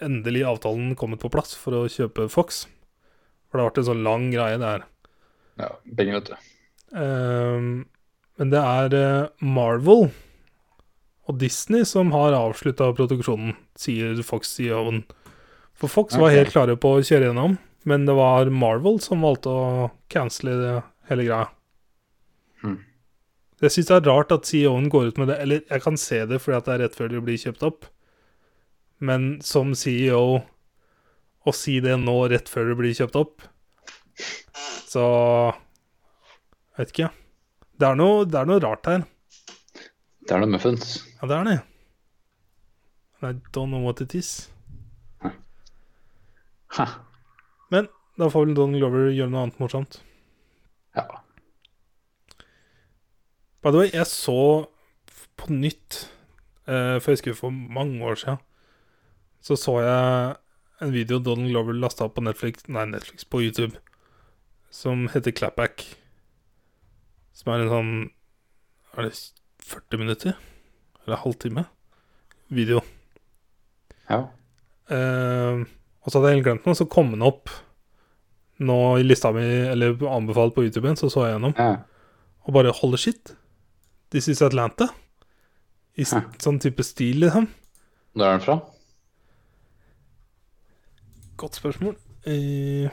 Speaker 1: endelig avtalen kommet på plass for å kjøpe Fox. For det har vært en sånn lang greie, det her.
Speaker 2: ja. Penger, vet du.
Speaker 1: Ehm, men det er eh, Marvel og Disney som har avslutta produksjonen, sier Fox i oven. For Fox var
Speaker 2: Ok.
Speaker 1: helt klare på å kjøre gjennom, men det var Marvel som valgte å cancele det- hele greia.
Speaker 2: Hmm.
Speaker 1: Jeg syns det er rart at CEO-en går ut med det, eller jeg kan se det fordi at det er rett før de blir kjøpt opp, men som CEO å si det nå rett før det blir kjøpt opp, så jeg vet ikke. Det er noe, det er noe rart her.
Speaker 2: Det er noe muffins.
Speaker 1: Ja, det er det. I don't know what it is.
Speaker 2: Ha.
Speaker 1: Men da får vel Donald Glover gjøre noe annet morsomt.
Speaker 2: Ja.
Speaker 1: By the way, jeg så f- på nytt, eh, for jeg husker for mange år siden, så så jeg en video Donald Glover lasta opp på Netflix, nei, Netflix, på YouTube, som heter Clapback. Som er en sånn Er det 40 minutter? Eller en halvtime? Video.
Speaker 2: ja.
Speaker 1: Eh, og så hadde jeg helt glemt den, og så kom den opp nå i lista mi, eller anbefalt på YouTube, så så jeg gjennom,
Speaker 2: ja.
Speaker 1: og bare holy shit. This is Atlanta. I s-
Speaker 2: Hæ.
Speaker 1: sånn type stil, liksom.
Speaker 2: Når er den fra?
Speaker 1: Godt spørsmål. Eh,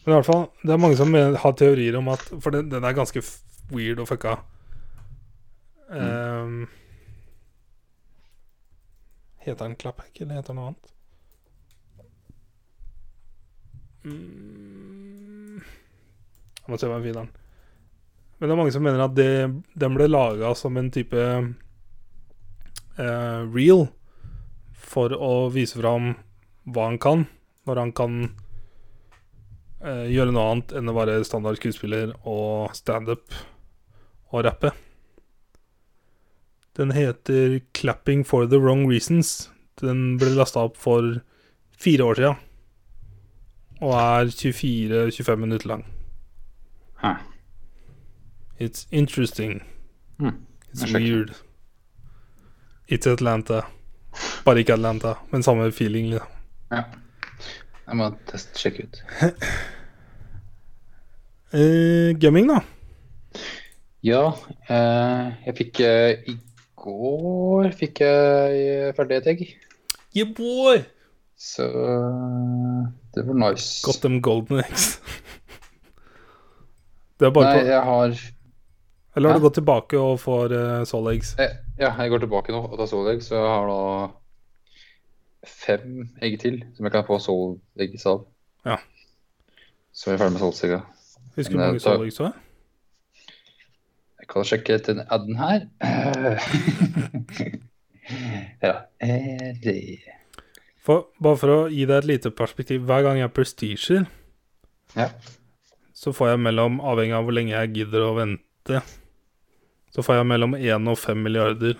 Speaker 1: men i hvert fall, det er mange som men- har teorier om at For den, den er ganske f- weird og fucka. Eh, Heter den Clapback, eller heter den noe annet? Mm. Jeg må se hva jeg finner den. Men det er mange som mener at det, den ble laga som en type eh, reel for å vise fram hva han kan, når han kan eh, gjøre noe annet enn å være standard skuespiller og standup og rappe. Den heter 'Clapping for the Wrong Reasons'. Den ble lasta opp for fire år sia. Og er 24-25 minutter lang.
Speaker 2: Hæ.
Speaker 1: It's interesting.
Speaker 2: Hmm.
Speaker 1: It's
Speaker 2: Jeg sjekker.
Speaker 1: weird. It's Atlanta. Bare ikke Atlanta, men samme feeling. Liksom.
Speaker 2: Ja. Jeg må test, sjekke ut.
Speaker 1: Eh, gaming, da.
Speaker 2: Ja, eh, jeg fikk eh, I går fikk jeg eh, ferdig et egg.
Speaker 1: Yeah, boy!
Speaker 2: Så eh, det var nice.
Speaker 1: Got them golden eggs. Det er bare
Speaker 2: Nei,
Speaker 1: på,
Speaker 2: jeg har jeg,
Speaker 1: eller har du
Speaker 2: ja.
Speaker 1: gått tilbake og
Speaker 2: eh,
Speaker 1: får uh, soul eggs?
Speaker 2: Ja, jeg går tilbake nå og tar solegg, så jeg har da fem egg til som jeg kan få Soul-eggs av.
Speaker 1: Ja.
Speaker 2: Så er jeg ferdig med Soul-egga.
Speaker 1: Husker du
Speaker 2: Men,
Speaker 1: hvor
Speaker 2: eh,
Speaker 1: mange
Speaker 2: ta-
Speaker 1: salg så?
Speaker 2: Jeg kan sjekke etter den adden her. ja. Eh, det-
Speaker 1: For, bare for å gi deg et lite perspektiv. Hver gang jeg prestiger,
Speaker 2: Ja.
Speaker 1: så får jeg mellom, avhengig av hvor lenge jeg gidder å vente, så får jeg mellom 1 og 5 milliarder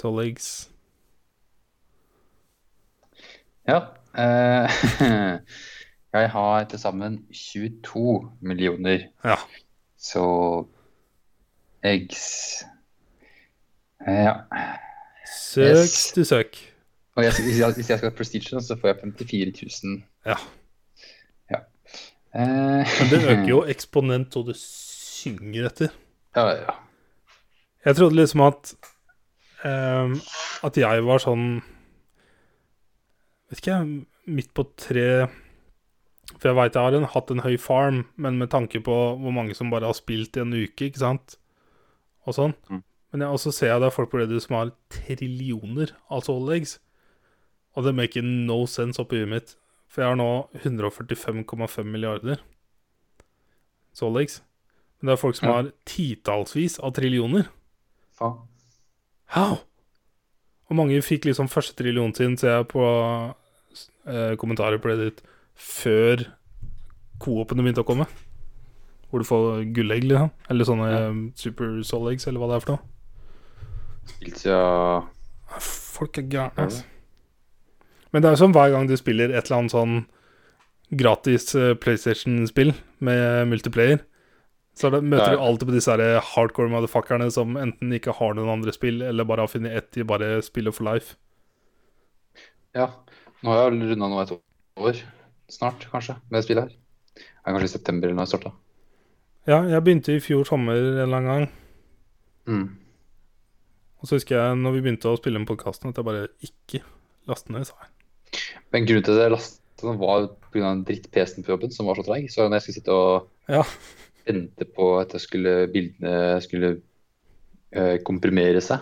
Speaker 1: salgs.
Speaker 2: ja. Eh, jeg har til sammen 22 millioner,
Speaker 1: Ja.
Speaker 2: så eggs eh, Ja.
Speaker 1: Søk
Speaker 2: Yes.
Speaker 1: til søk.
Speaker 2: Og jeg, hvis, jeg, hvis jeg skal ha prestige, så får jeg 54 000.
Speaker 1: Ja.
Speaker 2: ja. Eh,
Speaker 1: Men det øker jo eksponent, og det synger etter.
Speaker 2: Ja, ja.
Speaker 1: Jeg trodde liksom at ehm, At jeg var sånn Vet ikke, jeg, midt på tre For jeg veit jeg har en, hatt en høy farm, men med tanke på hvor mange som bare har spilt i en uke, ikke sant, og sånn.
Speaker 2: Mm.
Speaker 1: Men jeg, og så ser jeg det er folk på Reddit som har trillioner av solegs. Og det maker no sense oppi huet mitt. For jeg har nå 145,5 milliarder solegs. Men det er folk som
Speaker 2: Ja.
Speaker 1: har titallsvis av trillioner.
Speaker 2: Faen.
Speaker 1: How? Og mange fikk liksom første trillionen sin, ser jeg på eh, kommentarer på Reddit, før co-opene begynte å komme. Hvor du får gullegg, liksom. Eller sånne eh, super soul eggs, eller hva det er for noe.
Speaker 2: Spilt siden
Speaker 1: Ah, Folk er gærne, altså. Men det er jo som hver gang du spiller et eller annet sånn gratis eh, PlayStation-spill med multiplayer, så er det, møter
Speaker 2: Ja.
Speaker 1: du alltid på disse her hardcore motherfuckerne som enten ikke har noen andre spill, eller bare har funnet ett de bare spiller for life.
Speaker 2: Ja. Nå har jeg vel runda nå et år snart, kanskje, med det spillet her. Det er kanskje i september eller når jeg starta.
Speaker 1: Ja, jeg begynte i fjor sommer en eller annen gang.
Speaker 2: Mm.
Speaker 1: Og så husker jeg når vi begynte å spille inn podkasten, at jeg bare ikke lastet ned. sa jeg.
Speaker 2: Men grunnen til at jeg lastet den, var pga. den dritt-PC-en på jobben som var så treig. Så når jeg skulle sitte og
Speaker 1: Ja.
Speaker 2: vente på at jeg skulle, bildene skulle eh, komprimere seg,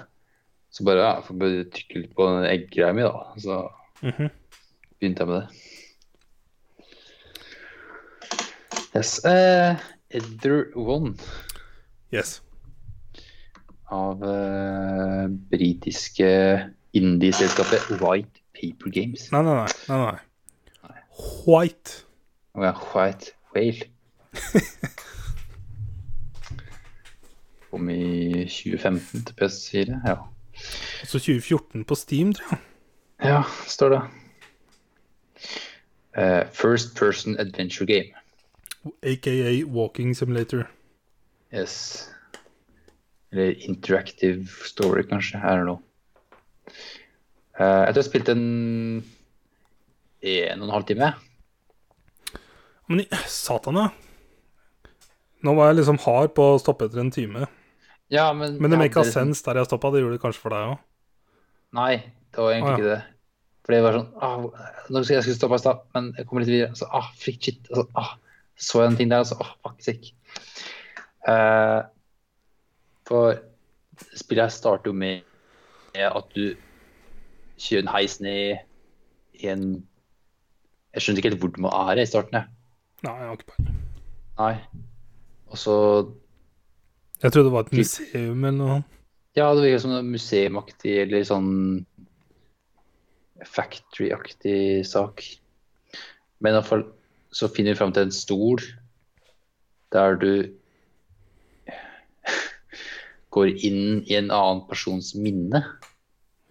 Speaker 2: så bare ja, får bare trykke litt på den egggreia mi, da. Så
Speaker 1: Mhm.
Speaker 2: begynte jeg med det. Yes. Eh, Edder One.
Speaker 1: Yes.
Speaker 2: av eh, britiske indieselskapet White Paper Games.
Speaker 1: Nei, nei, nei. nei, nei. White.
Speaker 2: Og ja, White Whale. Kom i 2015 til PS4, ja.
Speaker 1: Altså 2014 på Steam, tror jeg.
Speaker 2: Ja, står det. Eh, first Person Adventure Game.
Speaker 1: AKA Walking Simulator.
Speaker 2: Yes. Eller Interactive Story, kanskje. I don't know. Eh, jeg tror jeg spilte en en og en halv time. jeg.
Speaker 1: Men i satan, ja. Nå var jeg liksom hard på å stoppe etter en time.
Speaker 2: Ja, men,
Speaker 1: Men det
Speaker 2: jeg
Speaker 1: make a
Speaker 2: hadde-
Speaker 1: sense der jeg stoppa. Det gjorde det kanskje for deg òg.
Speaker 2: Nei, det var egentlig
Speaker 1: Å, ja.
Speaker 2: ikke det. For det var sånn ah, når Jeg skulle stoppe i stad, men jeg kommer litt videre. Så ah, fritt shit. Og så, ah, så jeg en ting der, og så ah, fuck sick. Eh, for spillet her starter jo med at du kjører en heis ned i en Jeg skjønte ikke helt hvor man er i starten, jeg.
Speaker 1: Nei, jeg har ikke peiling.
Speaker 2: Nei. Og så
Speaker 1: Jeg trodde det var et museum eller noe.
Speaker 2: Ja, det virker som noe museumaktig eller sånn factory-aktig sak. Men i hvert fall så finner vi fram til en stol der du går inn i en annen persons minne,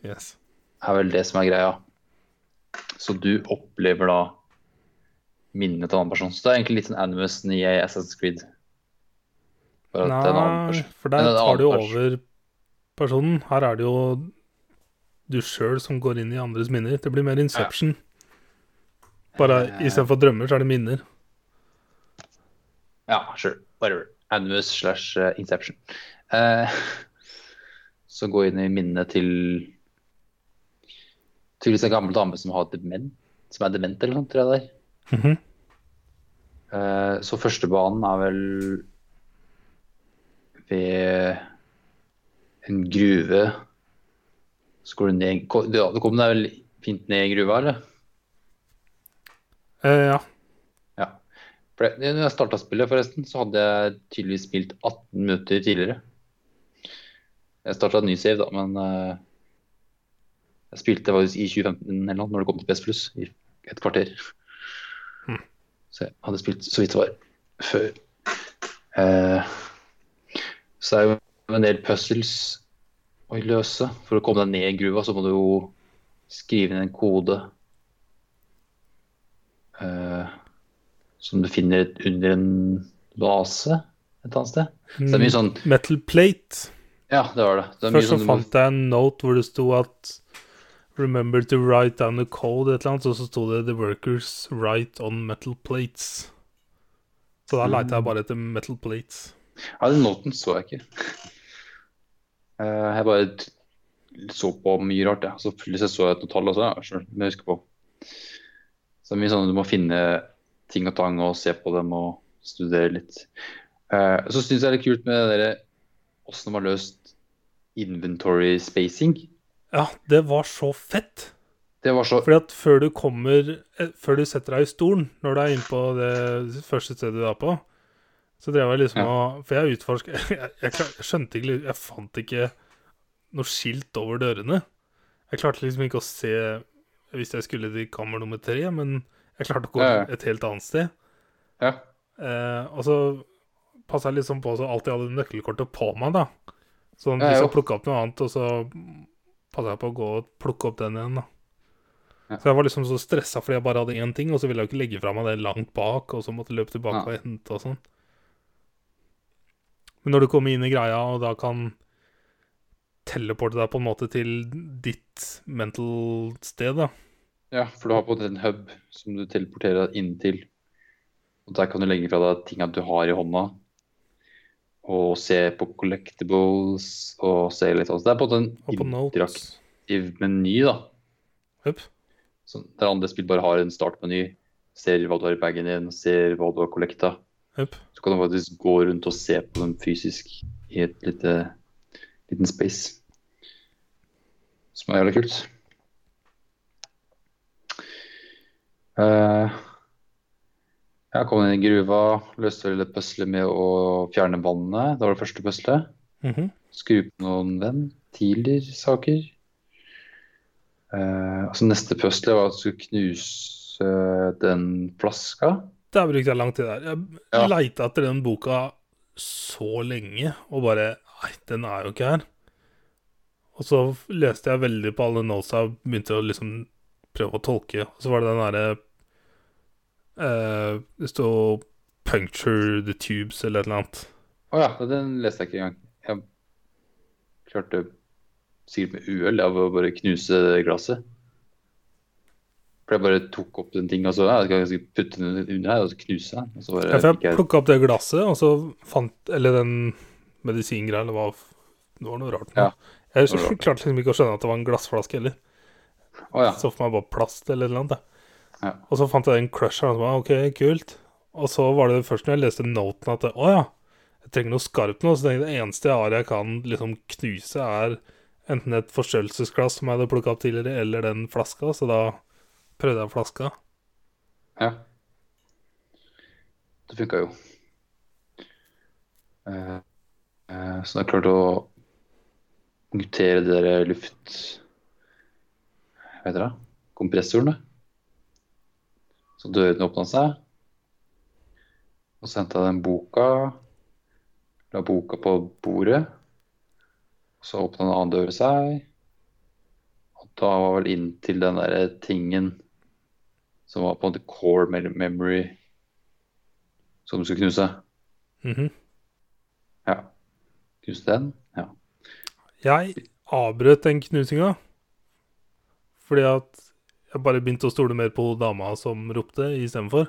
Speaker 1: Yes.
Speaker 2: er vel det som er greia. Så du opplever da minnet til en annen person. Så det er egentlig litt sånn animusen i Assassin's Creed. Bare at det er en annen
Speaker 1: Nei,
Speaker 2: person.
Speaker 1: for
Speaker 2: Men
Speaker 1: der
Speaker 2: en annen
Speaker 1: tar du jo
Speaker 2: pers-
Speaker 1: over personen. Her er det jo du sjøl som går inn i andres minner. Det blir mer Inception. Bare
Speaker 2: Eh.
Speaker 1: istedenfor drømmer, så er det minner.
Speaker 2: Ja, sure. Whatever. Animus slash eh, Inception. Eh, så gå inn i minnet til Tydeligvis en gammel dame som har dement, som er dement eller noe, tror jeg det er.
Speaker 1: Mhm.
Speaker 2: Eh, så førstebanen er vel ved en gruve Så går du ned ko- Du du kom deg vel fint ned i gruva, eller?
Speaker 1: Eh, ja.
Speaker 2: Ja. For det- Når jeg starta spillet, forresten, så hadde jeg tydeligvis spilt 18 minutter tidligere. Jeg starta ny save, da, men eh, jeg spilte faktisk i 2015 eller noe, når det kom til PS Plus, i et kvarter.
Speaker 1: Hmm.
Speaker 2: Så jeg hadde spilt så vidt det var før. Eh, så det er jo en del puzzles å løse. For å komme deg ned i gruva, så må du jo skrive inn en kode. Eh, som du finner under en base et annet sted. Så det er mye sånn
Speaker 1: Mm, Metal plate.
Speaker 2: Ja, det var det. det er mye
Speaker 1: Først så
Speaker 2: sånn du må-
Speaker 1: fant jeg en note hvor det sto at Remember to write down the code, et eller annet, og så sto det The workers write on metal plates. Så da leita jeg bare etter metal plates.
Speaker 2: Ja, den noten så jeg ikke. Eh, jeg bare t- så på mye rart, jeg. Så plutselig så jeg et tall også, ja, selv, men jeg husker på. Så det er mye sånn at du må finne ting og tang og se på dem og studere litt. Eh, så syns jeg det er litt kult med det derre åssen de har løst inventory spacing.
Speaker 1: Ja, det var så fett.
Speaker 2: Det var så
Speaker 1: Fordi at før du kommer eh, Før du setter deg i stolen når du er inne på det første stedet du er på, så drev jeg liksom
Speaker 2: Ja.
Speaker 1: og For jeg utforska jeg, jeg, klar- jeg skjønte ikke liksom, Jeg fant ikke noe skilt over dørene. Jeg klarte liksom ikke å se hvis jeg skulle til kammer nummer tre, men jeg klarte å gå
Speaker 2: Ja, ja.
Speaker 1: et helt annet sted.
Speaker 2: Ja.
Speaker 1: Eh, og så passa jeg liksom på så alltid hadde nøkkelkortet på meg, da. Så
Speaker 2: Ja,
Speaker 1: hvis
Speaker 2: jo.
Speaker 1: jeg plukka opp noe annet, og så passa jeg på å gå og plukke opp den igjen, da.
Speaker 2: Ja.
Speaker 1: Så jeg var liksom så stressa fordi jeg bare hadde én ting, og så ville jeg jo ikke legge fra meg det langt bak, og så måtte jeg løpe tilbake
Speaker 2: Ja.
Speaker 1: og hente og sånn. Men når du kommer inn i greia, og da kan teleporte deg på en måte til ditt mental sted, da.
Speaker 2: Ja, for du har på en måte en hub som du teleporterer deg inn til. Og der kan du legge fra deg tinga du har i hånda, og se på collectibles og se litt sånn. Så det er på en
Speaker 1: Og på
Speaker 2: måte en
Speaker 1: notes.
Speaker 2: interaktiv meny, da.
Speaker 1: Hup.
Speaker 2: Så Sånn, der andre spill bare har en startmeny. Ser hva du har i bagen din, ser hva du har collecta.
Speaker 1: Hup.
Speaker 2: Så kan du faktisk gå rundt og se på dem fysisk i et lite, liten space. Som er jævlig kult. Eh, jeg kom inn i gruva, løste vel et puzzle med å fjerne vannet. Det var det første puzzlet.
Speaker 1: Mhm.
Speaker 2: Skru på noen ventiler-saker. Eh, altså neste puzzle var at du skulle knuse eh, den flaska.
Speaker 1: Der brukte jeg lang tid der. Jeg
Speaker 2: Ja.
Speaker 1: leita etter den boka så lenge, og bare Nei, den er jo ikke her. Og så f- leste jeg veldig på alle notesa og begynte å liksom prøve å tolke. Og så var det den derre eh, Det sto 'puncture the tubes' eller et eller annet.
Speaker 2: Å ja, den leste jeg ikke engang. Jeg klarte sikkert med uhell av å bare knuse det glasset. For jeg bare tok opp den tinga og så ja, jeg skal putte den under her og så knuse den. Og så bare
Speaker 1: Ja, for
Speaker 2: fikk
Speaker 1: jeg
Speaker 2: jeg,
Speaker 1: plukka opp det glasset, og så fant Eller den medisingreia, eller hva f- Det var noe rart.
Speaker 2: Ja,
Speaker 1: nå. Jeg
Speaker 2: det var rart.
Speaker 1: klarte liksom ikke å skjønne at det var en glassflaske heller.
Speaker 2: å ja.
Speaker 1: Så for meg bare plast eller noe annet. jeg.
Speaker 2: Ja.
Speaker 1: Og så fant jeg den crusher, og så bare, ok, kult. Og så var det først når jeg leste noten at å ja, jeg trenger noe skarpt nå. Så tenkte jeg det eneste jeg har jeg kan liksom knuse, er enten et forstørrelsesglass som jeg hadde plukka opp tidligere, eller den flaska. Så da prøvde jeg flaska.
Speaker 2: ja. Det funka jo. Eh, eh, så jeg klarte å punktere det der luft... Hva heter det? Kompressoren, da. Så dørene åpna seg. Og så henta jeg den boka. La boka på bordet. Så åpna en annen dør seg. Og da var vel inn til den derre tingen som var på en måte core me- memory som du skulle knuse.
Speaker 1: Mhm.
Speaker 2: Ja. Knuse den? Ja.
Speaker 1: Jeg avbrøt den knusinga fordi at jeg bare begynte å stole mer på hun dama som ropte, istedenfor.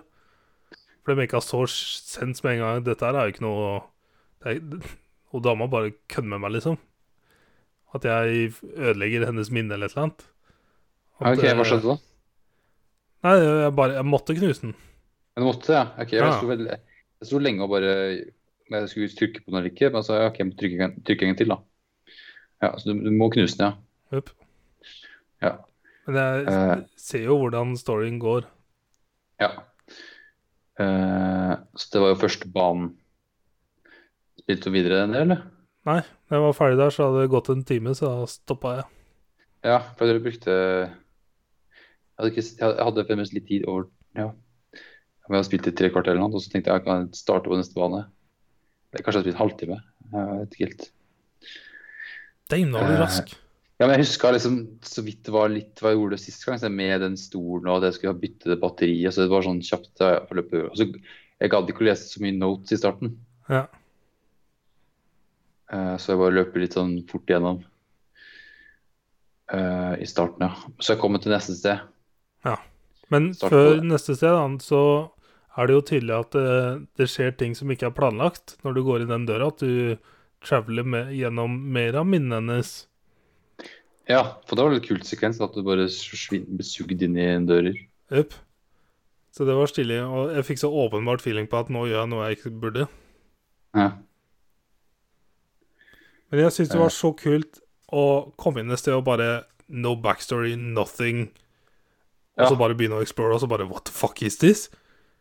Speaker 1: For det meka så sens med en gang. Dette her er jo ikke noe det er, Hun dama bare kødder med meg, liksom. At jeg ødelegger hennes minne eller et eller annet. At,
Speaker 2: OK, hva
Speaker 1: eh,
Speaker 2: skjedde da?
Speaker 1: Nei, jeg bare Jeg måtte knuse den.
Speaker 2: Men du måtte, ja. Ok, jeg,
Speaker 1: Ja.
Speaker 2: sto vel, jeg sto lenge og bare men Jeg skulle trykke på den eller ikke, men så ja, ok, jeg må trykke, en- trykke en gang til, da. Ja, Så du, du må knuse den, ja.
Speaker 1: Hup.
Speaker 2: Ja.
Speaker 1: Men jeg
Speaker 2: Eh.
Speaker 1: ser jo hvordan storyen går.
Speaker 2: Ja. Eh, så det var jo første banen. Spilte du videre den, eller?
Speaker 1: Nei, når jeg var ferdig der, så hadde det gått en time, så da stoppa jeg.
Speaker 2: Ja, for dere brukte Jeg hadde, ikke, jeg hadde fremdeles litt tid over Ja. Vi hadde spilt i tre kvarter eller noe, og så tenkte jeg jeg kan starte på neste bane. Eller Kanskje jeg hadde spilt halvtime. Jeg vet ikke helt.
Speaker 1: Damn, nå var du
Speaker 2: Eh.
Speaker 1: rask.
Speaker 2: Ja, men jeg huska liksom, så vidt det var litt hva jeg gjorde sist gang, så jeg med den stolen og at jeg skulle ha byttet batteri. og Så det var sånn kjapt eh, forløp. Og så, jeg gadd ikke å lese så mye notes i starten,
Speaker 1: Ja.
Speaker 2: eh, så jeg bare løper litt sånn fort gjennom eh, i starten, ja. Så jeg kommer til neste sted.
Speaker 1: Men
Speaker 2: Start på
Speaker 1: før
Speaker 2: det.
Speaker 1: neste sted, da, så er det jo tydelig at det, det skjer ting som ikke er planlagt når du går i den døra, at du traveler med, gjennom mer av minnene hennes.
Speaker 2: Ja, for det var en kult sekvens at du bare forsvin- blir sugd inn i en dører.
Speaker 1: Jep. Så det var stilig, og jeg fikk så åpenbart feeling på at nå gjør jeg noe jeg ikke burde.
Speaker 2: Ja.
Speaker 1: Men jeg syns det var så kult å komme inn et sted og bare No backstory, nothing. Og så
Speaker 2: Ja.
Speaker 1: bare begynne å explore, og så bare What the fuck is this?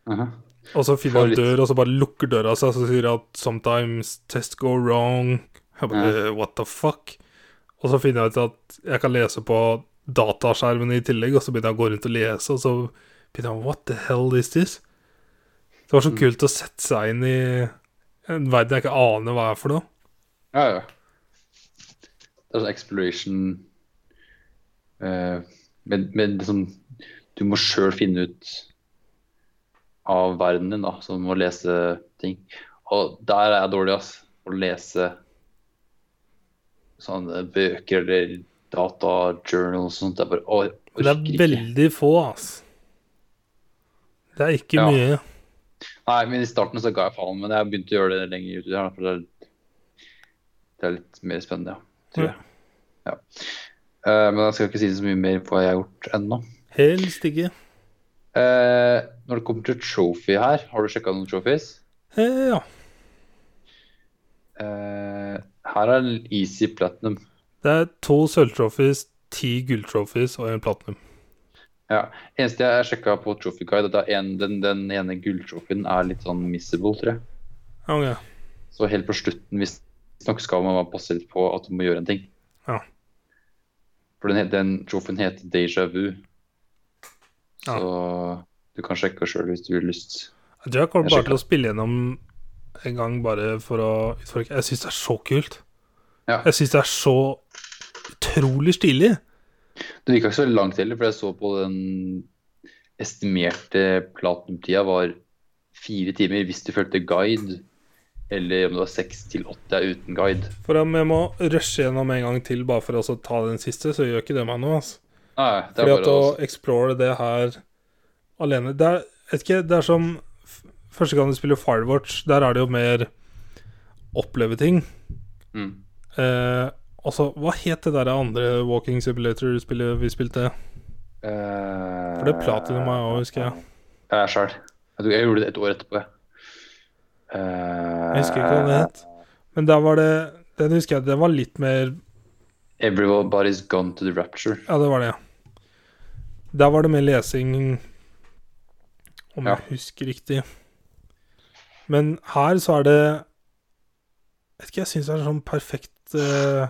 Speaker 2: aha.
Speaker 1: Og så finner
Speaker 2: Får
Speaker 1: jeg en
Speaker 2: litt-
Speaker 1: dør, og så bare lukker døra seg, og så sier jeg at 'sometimes test go wrong'. Jeg bare, eh, What the fuck? Og så finner jeg ut at jeg kan lese på dataskjermen i tillegg, og så begynner jeg å gå rundt og lese, og så begynner jeg What the hell is this? Det var så
Speaker 2: Mm.
Speaker 1: kult å sette seg inn i en verden jeg ikke aner hva er for noe.
Speaker 2: Ja, ja. Det er sånn exploration eh, med, med liksom Du må sjøl finne ut av verden din, da, så du må lese ting. Og der er jeg dårlig, ass. Å lese sånne bøker eller data journals og sånt. Det er bare Å, jeg
Speaker 1: Men det
Speaker 2: orker
Speaker 1: er
Speaker 2: ikke.
Speaker 1: veldig få, altså. Det er ikke
Speaker 2: Ja.
Speaker 1: mye.
Speaker 2: Nei, men i starten så ga jeg faen, men jeg begynte å gjøre det lenger uti her. da, For det er, det er litt mer spennende, ja. Tror jeg.
Speaker 1: Mm.
Speaker 2: Ja. Eh, men jeg skal ikke si så mye mer på hva jeg har gjort ennå.
Speaker 1: Helst ikke.
Speaker 2: Eh, når det kommer til trophy her, har du sjekka noen trophies?
Speaker 1: Eh, ja.
Speaker 2: Eh, her er en easy platinum.
Speaker 1: Det er to sølvtrophies, ti gulltrophies og en platinum.
Speaker 2: Ja. Eneste jeg sjekka på trophy guide, at det er en, den, den ene gulltrophyen er litt sånn missable, tror jeg.
Speaker 1: Ja, ok.
Speaker 2: Så helt på slutten hvis nok skal man bare passe litt på at du må gjøre en ting.
Speaker 1: Ja.
Speaker 2: For den, he- den troffen heter Deja Vu. Så
Speaker 1: Ja.
Speaker 2: du kan sjekke sjøl hvis du har lyst.
Speaker 1: Jeg tror jeg kommer
Speaker 2: Jeg
Speaker 1: bare til å spille gjennom en gang bare for å utforske. Jeg syns det er så kult.
Speaker 2: Ja.
Speaker 1: Jeg syns det er så utrolig stilig.
Speaker 2: Det gikk ikke så langt heller, for jeg så på den estimerte platinumtida var fire timer hvis du fulgte guide, eller om det var seks til åtte uten guide.
Speaker 1: For om jeg må rushe gjennom en gang til bare for å også ta den siste, så gjør ikke det meg noe. Altså.
Speaker 2: Nei, det er
Speaker 1: Fordi at
Speaker 2: bare
Speaker 1: å
Speaker 2: å
Speaker 1: explore det her alene Det er, vet ikke, det er som f- første gang du spiller Firewatch, der er det jo mer oppleve ting.
Speaker 2: mm.
Speaker 1: Eh, altså, hva het det der andre Walking Simulator-spillet vi spilte? For det er platinum jeg også, husker jeg.
Speaker 2: Jeg er sjæl. Jeg tror jeg gjorde det et år etterpå, jeg. Eh,
Speaker 1: Jeg husker ikke hva det het. Men der var det Den husker jeg, den var litt mer
Speaker 2: Everybody's gone to the rapture.
Speaker 1: Ja, det var det, ja. Der var det mer lesing, om
Speaker 2: Ja.
Speaker 1: jeg husker riktig. Men her så er det Jeg vet ikke, jeg syns det er sånn perfekt eh,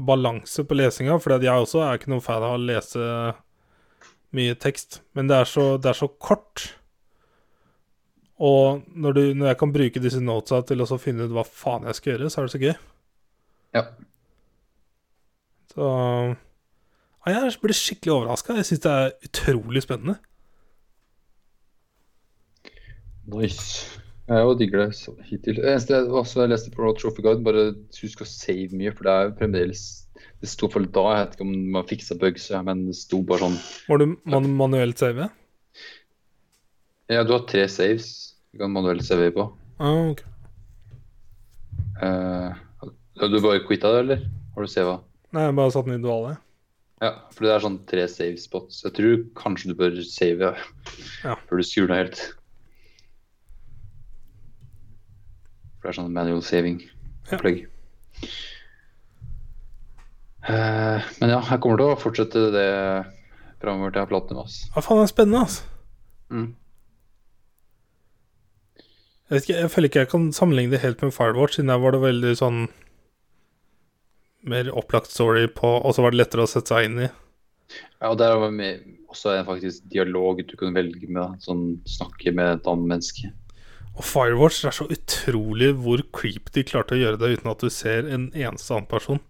Speaker 1: balanse på lesinga, for jeg også er ikke noen fan av å lese mye tekst. Men det er så, det er så kort. Og når, du, når jeg kan bruke disse notesa til å så finne ut hva faen jeg skal gjøre, så er det så gøy.
Speaker 2: Ja.
Speaker 1: Så ja, Ah, Jeg ble skikkelig overraska. Jeg syns det er utrolig spennende.
Speaker 2: Nice. Jeg er jo digger det så- hittil. Det eneste jeg, også jeg leste på Road Trophy Guide, bare husk å save mye, for det er jo fremdeles Det sto for da, jeg vet ikke om man fiksa bugs, ja, men det sto bare sånn
Speaker 1: Må du man manuelt save?
Speaker 2: Ja, du har tre saves du kan manuelt save på.
Speaker 1: Ah, ok.
Speaker 2: Eh, har du bare quitta det, eller? Har du sava?
Speaker 1: Nei, jeg bare satt den i dvale.
Speaker 2: Ja, for det er sånn tre save spots. Jeg tror kanskje du bør save ja.
Speaker 1: Ja.
Speaker 2: før du skrur deg helt. For det er sånn manual saving-opplegg. Eh, men ja, jeg kommer til å fortsette det framover til jeg har platinum. ass.
Speaker 1: Ja, faen, det er spennende, altså.
Speaker 2: Mm.
Speaker 1: Jeg, vet ikke, jeg føler ikke jeg kan sammenligne det helt med Firewatch, siden der var det veldig sånn Mer opplagt story på, og så var det lettere å sette seg inn i.
Speaker 2: Ja, og der var med, også en faktisk dialog du kunne velge med. da. Sånn snakke med et annet menneske.
Speaker 1: Og Firewatch det er så utrolig hvor creep de klarte å gjøre det uten at du ser en eneste annen person.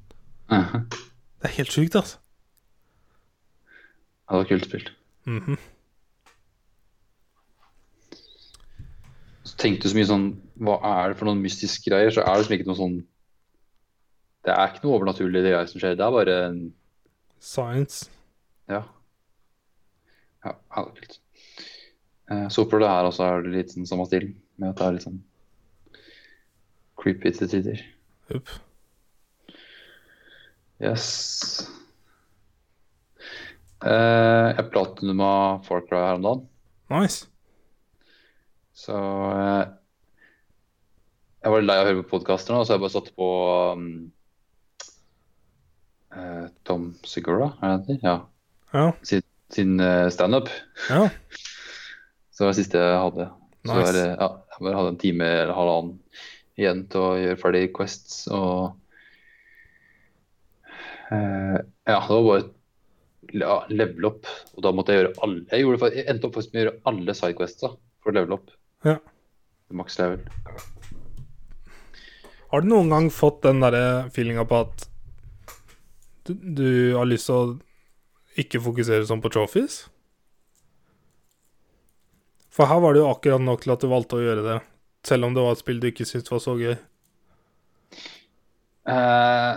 Speaker 2: Ja,
Speaker 1: Det er helt sjukt, altså.
Speaker 2: det var kult spilt.
Speaker 1: Mhm.
Speaker 2: Så tenkte du så mye sånn Hva er det for noen mystiske greier? Så er det liksom ikke noe sånn Det er ikke noe overnaturlig det greier som skjer. Det er bare en
Speaker 1: Science.
Speaker 2: Ja. Ja, ja, det er kult. Eh, Så for det her også er det litt sånn samme stil, med at det er litt sånn creepy til tider.
Speaker 1: Upp.
Speaker 2: Yes. Eh, jeg platinuma Far Cry her om dagen,
Speaker 1: Nice.
Speaker 2: så eh, jeg var lei av å høre på podkaster nå, så jeg bare satte på um, eh, Tom Segura, er det det? heter? Ja.
Speaker 1: Ja.
Speaker 2: Sin, sin eh, standup.
Speaker 1: ja.
Speaker 2: Så det var det siste jeg hadde. Så
Speaker 1: Nice.
Speaker 2: var det- ja, jeg bare hadde en time eller halvannen igjen til å gjøre ferdig Quests og Eh, Ja, det var bare ja, level up. Og da måtte jeg gjøre alle Jeg, gjorde, fa- jeg endte opp faktisk med å gjøre alle sidequestsa for å level up.
Speaker 1: Ja.
Speaker 2: Maks level.
Speaker 1: Har du noen gang fått den derre feelinga på at du, du har lyst til å ikke fokusere sånn på trophies? For her var det jo akkurat nok til at du valgte å gjøre det, selv om det var et spill du ikke syntes var så gøy.
Speaker 2: Eh,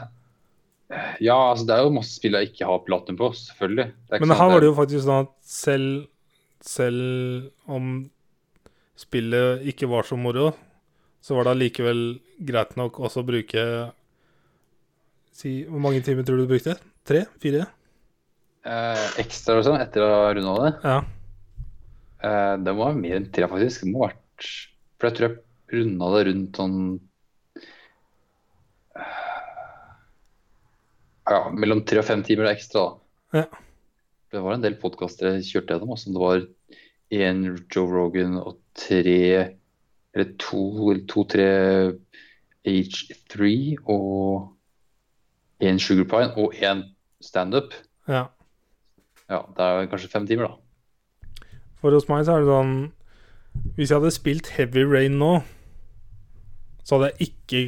Speaker 2: ja, altså det er jo masse spill jeg ikke har platinum på, selvfølgelig. Det er ikke
Speaker 1: Men
Speaker 2: sånn at
Speaker 1: her var
Speaker 2: jeg-
Speaker 1: det jo faktisk sånn at selv, selv om spillet ikke var så moro, så var det allikevel greit nok også å bruke si, Hvor mange timer tror du du brukte? Tre? Fire?
Speaker 2: eh, ekstra og sånn etter å ha runda det.
Speaker 1: Ja.
Speaker 2: Eh, det må være mer enn tre, faktisk. Det må ha vært For jeg tror jeg runda det rundt sånn eh, Ja, mellom tre og fem timer ekstra, da.
Speaker 1: Ja.
Speaker 2: Det var en del podkaster jeg kjørte gjennom, også, om det var én Joe Rogan og tre Eller to eller to-tre H3 og én Sugar Pine og én standup.
Speaker 1: ja.
Speaker 2: Ja, det er kanskje fem timer, da.
Speaker 1: For hos meg så er det sånn Hvis jeg hadde spilt Heavy Rain nå, så hadde jeg ikke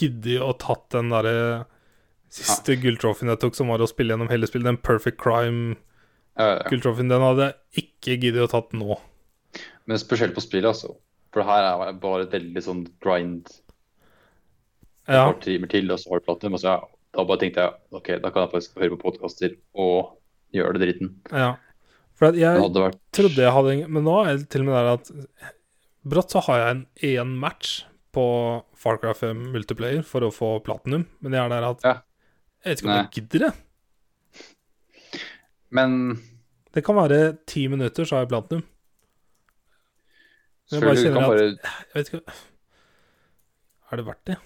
Speaker 1: giddet å tatt den derre siste gulltrofeen jeg tok, som var å spille gjennom hele spillet, den Perfect Crime-gulltrofeen.
Speaker 2: Ja, ja, ja.
Speaker 1: Den hadde jeg ikke giddet å tatt nå.
Speaker 2: Men spesielt på spillet, altså. For det her er bare et veldig sånn grind et
Speaker 1: Ja,
Speaker 2: par timer til, og så har du platinum. Og så ja, da bare tenkte jeg OK, da kan jeg faktisk høre på podkaster og gjøre det dritten.
Speaker 1: ja. For at
Speaker 2: Det
Speaker 1: jeg
Speaker 2: hadde vært
Speaker 1: trodde jeg hadde en Men nå er det til og med der at brått så har jeg en én match på Far Cry 5 multiplayer for å få platinum, men jeg er der at
Speaker 2: Ja.
Speaker 1: Jeg vet ikke om jeg gidder det.
Speaker 2: Men
Speaker 1: Det kan være ti minutter, så har jeg platinum. Jeg bare
Speaker 2: selvfølgelig, du
Speaker 1: kjenner
Speaker 2: kan
Speaker 1: at-
Speaker 2: bare
Speaker 1: Jeg vet ikke Er det verdt det?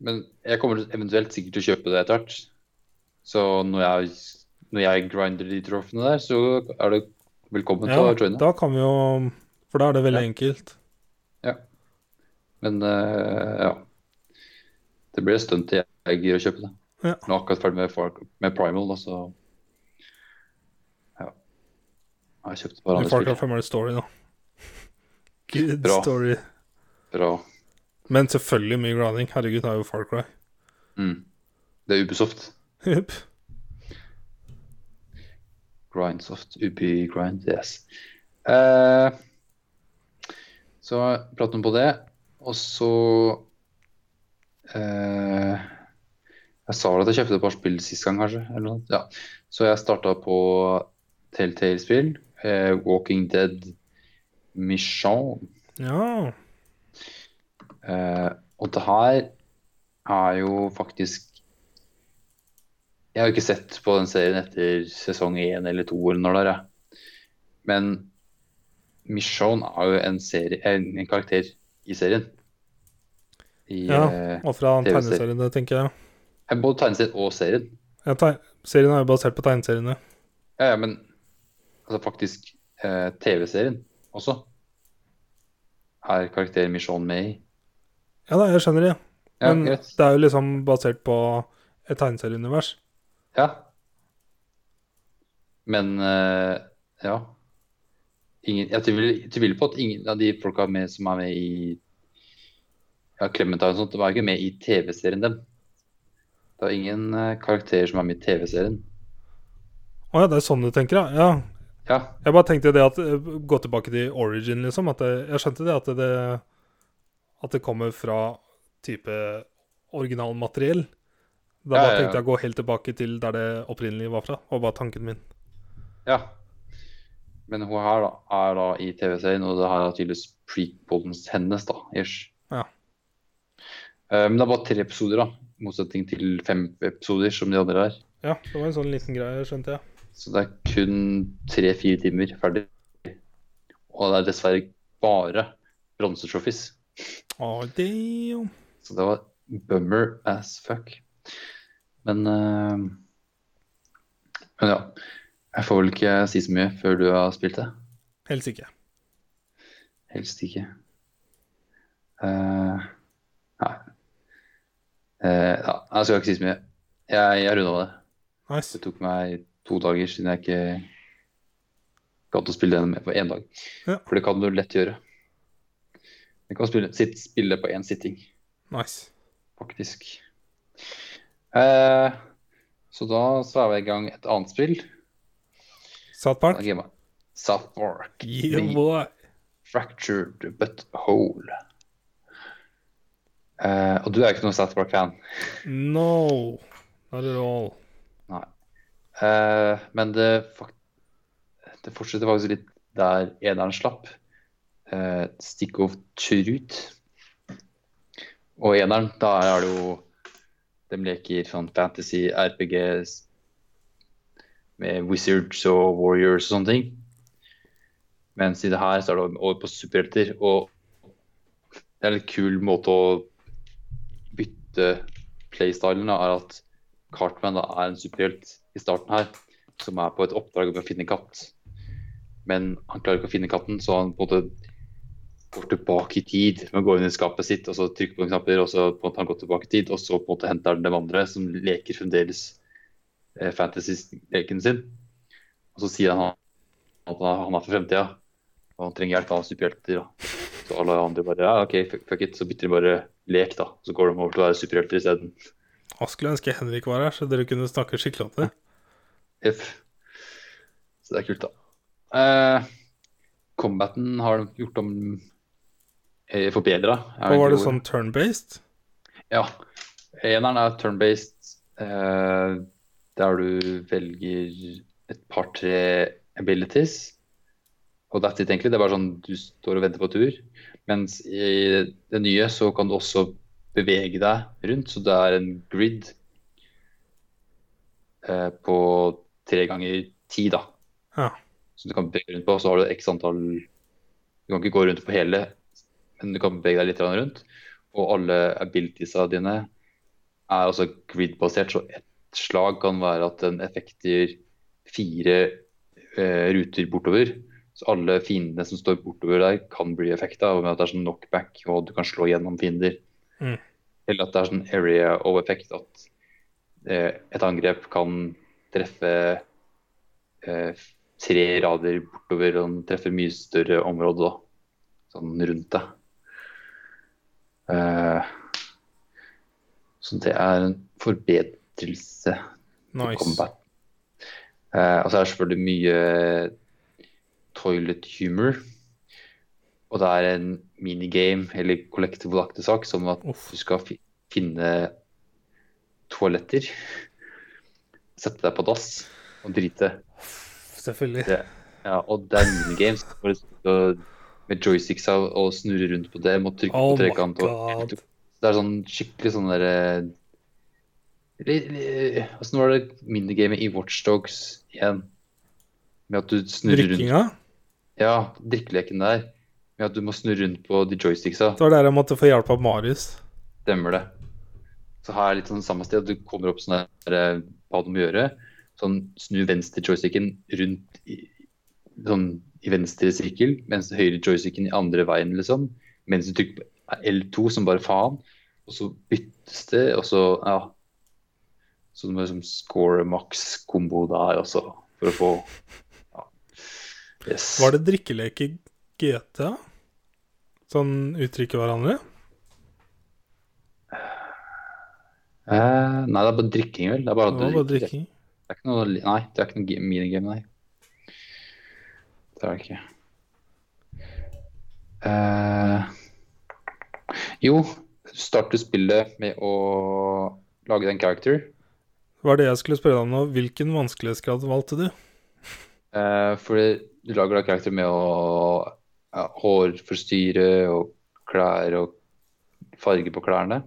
Speaker 2: Men jeg kommer eventuelt sikkert til å kjøpe det etter hvert. Så når jeg, når jeg grinder de trofene der, så er du velkommen til å joine.
Speaker 1: da kan vi jo For da er det veldig enkelt.
Speaker 2: Men eh, ja. Det blir et stunt til jeg gir å kjøpe det.
Speaker 1: Ja.
Speaker 2: Nå er jeg akkurat ferdig med, Far- med Primal, da, så Ja. Jeg kjøpte bare
Speaker 1: I
Speaker 2: andre
Speaker 1: Far Cry
Speaker 2: spill.
Speaker 1: 5 er det story, da. Good
Speaker 2: Bra.
Speaker 1: story.
Speaker 2: Bra.
Speaker 1: Men selvfølgelig mye grinding. Herregud, det er jo Far Cry.
Speaker 2: Mm. Det er Ubisoft.
Speaker 1: Jupp.
Speaker 2: Grindsoft. Ubi Grind, yes. Eh, så prater vi på det, og så eh, Jeg sa vel at jeg kjøpte et par spill sist gang, kanskje. Eller noe. sånt. Ja. Så jeg starta på Telltale-spill. Eh, Walking Dead Mission.
Speaker 1: Ja.
Speaker 2: Eh, og det her er jo faktisk Jeg har ikke sett på den serien etter sesong én eller to eller når det er. jeg. Men Michonne er jo en, serie, en, en karakter i serien. I,
Speaker 1: Ja.
Speaker 2: eh,
Speaker 1: Og fra
Speaker 2: TV-serie.
Speaker 1: tegneseriene, tenker jeg.
Speaker 2: Eh, Både tegneserien og serien.
Speaker 1: Ja, teg- serien er jo basert på tegneseriene.
Speaker 2: Ja, ja, men altså faktisk eh, TV-serien også. Er karakteren Michonne med i?
Speaker 1: Ja da, jeg skjønner det.
Speaker 2: Ja,
Speaker 1: Men
Speaker 2: greit.
Speaker 1: det er jo liksom basert på et tegneserieunivers.
Speaker 2: Ja. Men eh, ja. Ingen, jeg tviler jeg tviler på at ingen av de folka med, som er med i ja, Clementine og sånt, de er ikke med i TV-serien, dem. Det er ingen eh, karakterer som er med i TV-serien.
Speaker 1: Å ja, det er sånn du tenker, ja. ja.
Speaker 2: Ja,
Speaker 1: Jeg bare tenkte det at eh, Gå tilbake til origin, liksom. At det, jeg skjønte det at det At det kommer fra type originalmateriell. Da
Speaker 2: Ja,
Speaker 1: bare
Speaker 2: ja, ja.
Speaker 1: tenkte jeg å gå helt tilbake til der det opprinnelig var fra, og bare tanken min.
Speaker 2: ja. Men hun her da, er da i TV-serien, og det her er tydeligvis prequelens hennes, da. ish.
Speaker 1: Ja.
Speaker 2: Eh, men det er bare tre episoder, da. I motsetning til fem episoder som de andre er.
Speaker 1: Ja, det var en sånn liten greie, skjønte jeg.
Speaker 2: Så det er kun tre-fire timer ferdig. Og det er dessverre bare bronsetrophies.
Speaker 1: Oh, damn.
Speaker 2: Så det var bummer as fuck. Men eh, Men ja. Jeg får vel ikke si så mye før du har spilt det.
Speaker 1: Helst ikke.
Speaker 2: Helst ikke. Eh, nei. Eh, ja, jeg skal ikke si så mye. Jeg, jeg runda det.
Speaker 1: Nice.
Speaker 2: Det tok meg to dager siden jeg ikke gadd å spille det med på én dag.
Speaker 1: Ja.
Speaker 2: For det kan du lett gjøre. Du kan spille, sitt, spille på én sitting,
Speaker 1: Nice.
Speaker 2: faktisk. Eh, så da sveiver jeg i gang et annet spill.
Speaker 1: South
Speaker 2: Da
Speaker 1: Park?
Speaker 2: gamet jeg South Park.
Speaker 1: Yeah, boy.
Speaker 2: Fractured but whole. Eh, og du er jo ikke noen South Park-fan.
Speaker 1: No. Not at all.
Speaker 2: Nei. Eh, men det, fak- det fortsetter faktisk litt der eneren slapp. Eh, stick of truth. Og eneren, da er det jo De leker sånn fantasy, RPG s- med wizards og warriors og sånne ting. Mens i det her så er det over på superhelter. Og det er en litt kul måte å bytte playstylen da, er at Cartman da er en superhelt i starten her, som er på et oppdrag om å finne katt. Men han klarer ikke å finne katten, så han på en måte går tilbake i tid med å gå inn i skapet sitt og så trykke på noen knapper, og så på en måte han går tilbake i tid, og så på en måte henter han de andre som leker fremdeles eh, fantasy-leken sin. Og så sier han at han han er for fremtida, og han trenger hjelp av superhelter. da. Så alle andre bare ja, OK, fuck- fuck it, så bytter de bare lek, da. Så går de over til å være superhelter isteden.
Speaker 1: Jeg skulle ønske Henrik var her, så dere kunne snakke skikkelig om det.
Speaker 2: Jepp. Så det er kult, da. Eh, combaten har de gjort om eh, forbedra.
Speaker 1: Og var det sånn turn-based?
Speaker 2: Ja. Eneren er turn-based, eh, der du velger et par-tre abilities. Og that's it, egentlig. Det er bare sånn du står og venter på tur. Mens i det nye så kan du også bevege deg rundt, så det er en grid eh, på tre ganger ti, da
Speaker 1: Ja.
Speaker 2: som du kan bevege rundt på. Så har du x antall Du kan ikke gå rundt på hele, men du kan bevege deg litt grann rundt. Og alle abilitiesa dine er altså grid-basert, så ett slag kan være at den effekter fire eh, ruter bortover. Så alle fiendene som står bortover der, kan bli effekta. Og med at det er sånn knockback, og du kan slå gjennom fiender.
Speaker 1: Mm.
Speaker 2: Eller at det er sånn area of effect, at eh, et angrep kan treffe eh, tre rader bortover og den treffer mye større område da. Sånn rundt deg. Eh, så det er en forbedrelse på
Speaker 1: Nice.
Speaker 2: combat. Eh, og så er det selvfølgelig mye toilet humor. Og det er en minigame eller collectible-aktig sak, som at
Speaker 1: Uff.
Speaker 2: du skal fi finne toaletter. Sette deg på dass og drite.
Speaker 1: Selvfølgelig.
Speaker 2: Ja, og det er minigames hvor du sitter og- med joysticks og, og snurre rundt på dem og trykke
Speaker 1: Oh
Speaker 2: på
Speaker 1: my
Speaker 2: trekant. Og,
Speaker 1: god.
Speaker 2: det er sånn skikkelig sånn derre eh, Åssen var det minigamet i Watchdogs igjen? Med at du snurrer rundt
Speaker 1: Drikkinga?
Speaker 2: Ja, drikkeleken der. Med at du må snurre rundt på de joysticksa.
Speaker 1: Det var der jeg måtte få hjelp av Marius.
Speaker 2: Stemmer det. Så her er litt sånn samme sted. Du kommer opp sånn her eh, hva du må gjøre. Sånn snu venstre joysticken rundt i, sånn, i venstre sirkel, mens høyre joysticken i andre veien, liksom. Mens du trykker på L2 som bare faen. Og så byttes det, og så ja. Så du må liksom score maks kombo der også, for å få ja. Yes.
Speaker 1: Var det drikkelek i GTA? Sånn uttrykke hverandre?
Speaker 2: Eh, nei, det er bare drikking, vel. Det er bare,
Speaker 1: Det var bare
Speaker 2: drikking.
Speaker 1: drikking.
Speaker 2: Det er ikke noe, nei, det er ikke noe ge- minigame, nei. Det er det ikke. Eh, jo, du starter spillet med å lage deg en character.
Speaker 1: Hva er det jeg skulle spørre deg om nå? Hvilken vanskelighetsgrad valgte du?
Speaker 2: Eh, fordi du lager da karakter med å ja, hårforstyrre og klær og farge på klærne.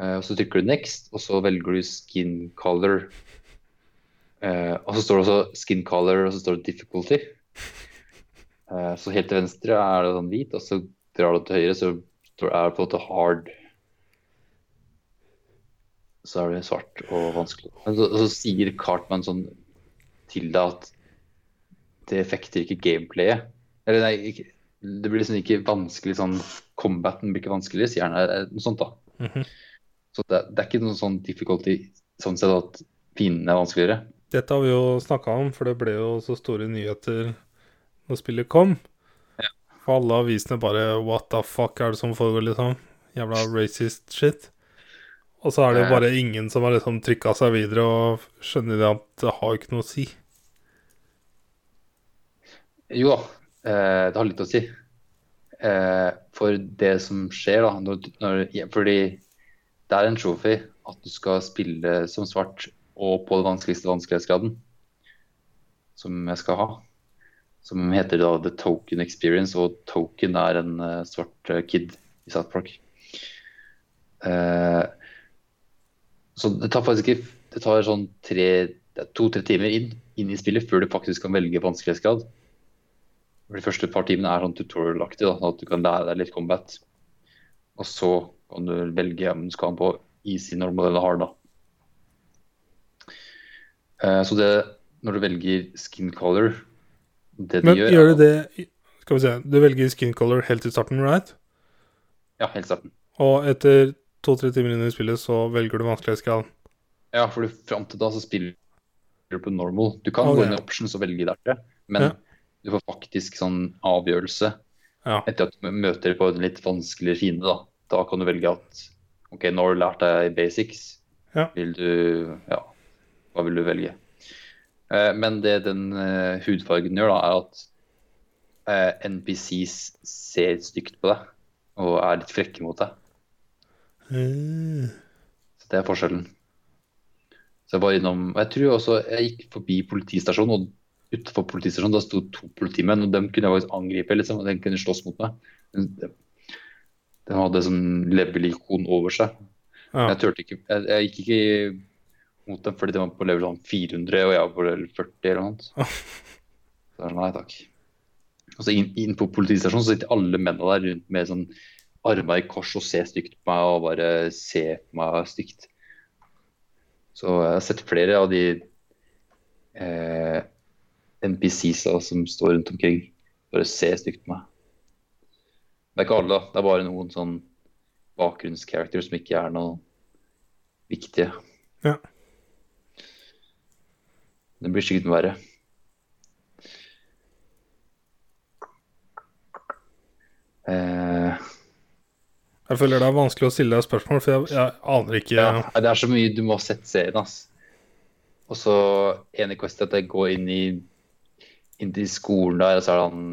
Speaker 2: Eh, og så trykker du 'next', og så velger du 'skin color'. Eh, og så står det også 'skin color', og så står det 'difficulty'. Eh, så helt til venstre er det sånn hvit, og så drar du til høyre, så står det, er det på en måte hard. Så er det svart og vanskelig. Men så, så sier Cartman sånn til deg at det effekter ikke gameplayet. Eller nei, ikke, det blir liksom ikke vanskelig sånn Combaten blir ikke vanskelig, sier han. eller Noe sånt, da.
Speaker 1: Mhm.
Speaker 2: Så det, det er ikke noe sånn difficulty sånn sett at fiendene er vanskeligere.
Speaker 1: Dette har vi jo snakka om, for det ble jo så store nyheter når spillet kom. For alle avisene bare What the fuck er det som foregår, liksom? Jævla racist shit. Og så er det jo
Speaker 2: Ja.
Speaker 1: bare ingen som har liksom trykka seg videre og skjønner det at det har ikke noe å si.
Speaker 2: Jo da, eh, det har litt å si. Eh, for det som skjer, da når, når, ja, Fordi det er en trophy at du skal spille som svart og på den vanskeligste vanskelighetsgraden som jeg skal ha. Som heter da The Token Experience, og Token er en eh, svart eh, kid i South Park. Eh, så det tar faktisk ikke Det tar sånn tre- det er to-tre timer inn, inn i spillet før du faktisk kan velge vanskelighetsgrad. For De første par timene er sånn tutorial-aktig, da, sånn at du kan lære deg litt combat. Og så kan du velge om du skal ha den på easy, normal eller hard. da. Eh, så det, når du velger skin color det
Speaker 1: Men
Speaker 2: de
Speaker 1: gjør,
Speaker 2: gjør, er
Speaker 1: du det Skal vi se. Du velger skin color helt i starten, right?
Speaker 2: Ja, helt starten.
Speaker 1: Og etter to-tre timer inn i spillet så velger du vanskelighetsgraden.
Speaker 2: Ja, for du- fram til da så spiller du på normal. Du kan
Speaker 1: Ok.
Speaker 2: gå inn i options og velge derfra, men
Speaker 1: Ja.
Speaker 2: du får faktisk sånn avgjørelse
Speaker 1: Ja.
Speaker 2: etter at du møter på en litt vanskeligere fiende. Da Da kan du velge at OK, nå har du lært deg basics.
Speaker 1: Ja.
Speaker 2: Vil du Ja, hva vil du velge? Eh, men det den eh, hudfargen gjør, da, er at eh, NPCs ser stygt på deg og er litt frekke mot deg.
Speaker 1: Eh,
Speaker 2: Så det er forskjellen. Så jeg var innom og Jeg tror også jeg gikk forbi politistasjonen, og utenfor politistasjonen da sto to politimenn, og dem kunne jeg faktisk angripe, liksom, og de kunne slåss mot meg. Men De de hadde sånn level-ikon over seg.
Speaker 1: Ja.
Speaker 2: Jeg turte ikke jeg, jeg gikk ikke mot dem fordi de var på level sånn 400, og jeg var på level 40 eller noe sånt. Så jeg sa, nei takk. Og så inn, inn på politistasjonen så sitter alle mennene der rundt med sånn armer i kors og ser stygt på meg og bare ser på meg stygt. Så jeg har sett flere av de eh, NPCs da, som står rundt omkring, bare ser stygt på meg. Det er ikke alle, da. Det er bare noen sånn bakgrunnscharakter som ikke er noe viktige.
Speaker 1: Ja.
Speaker 2: Det blir sikkert verre. Eh,
Speaker 1: Jeg føler det er vanskelig å stille deg spørsmål, for jeg, jeg aner ikke
Speaker 2: ja. Det er så mye du må ha sett serien, ass. Og så ene quest er at jeg går inn i, inn i skolen der, og så er det han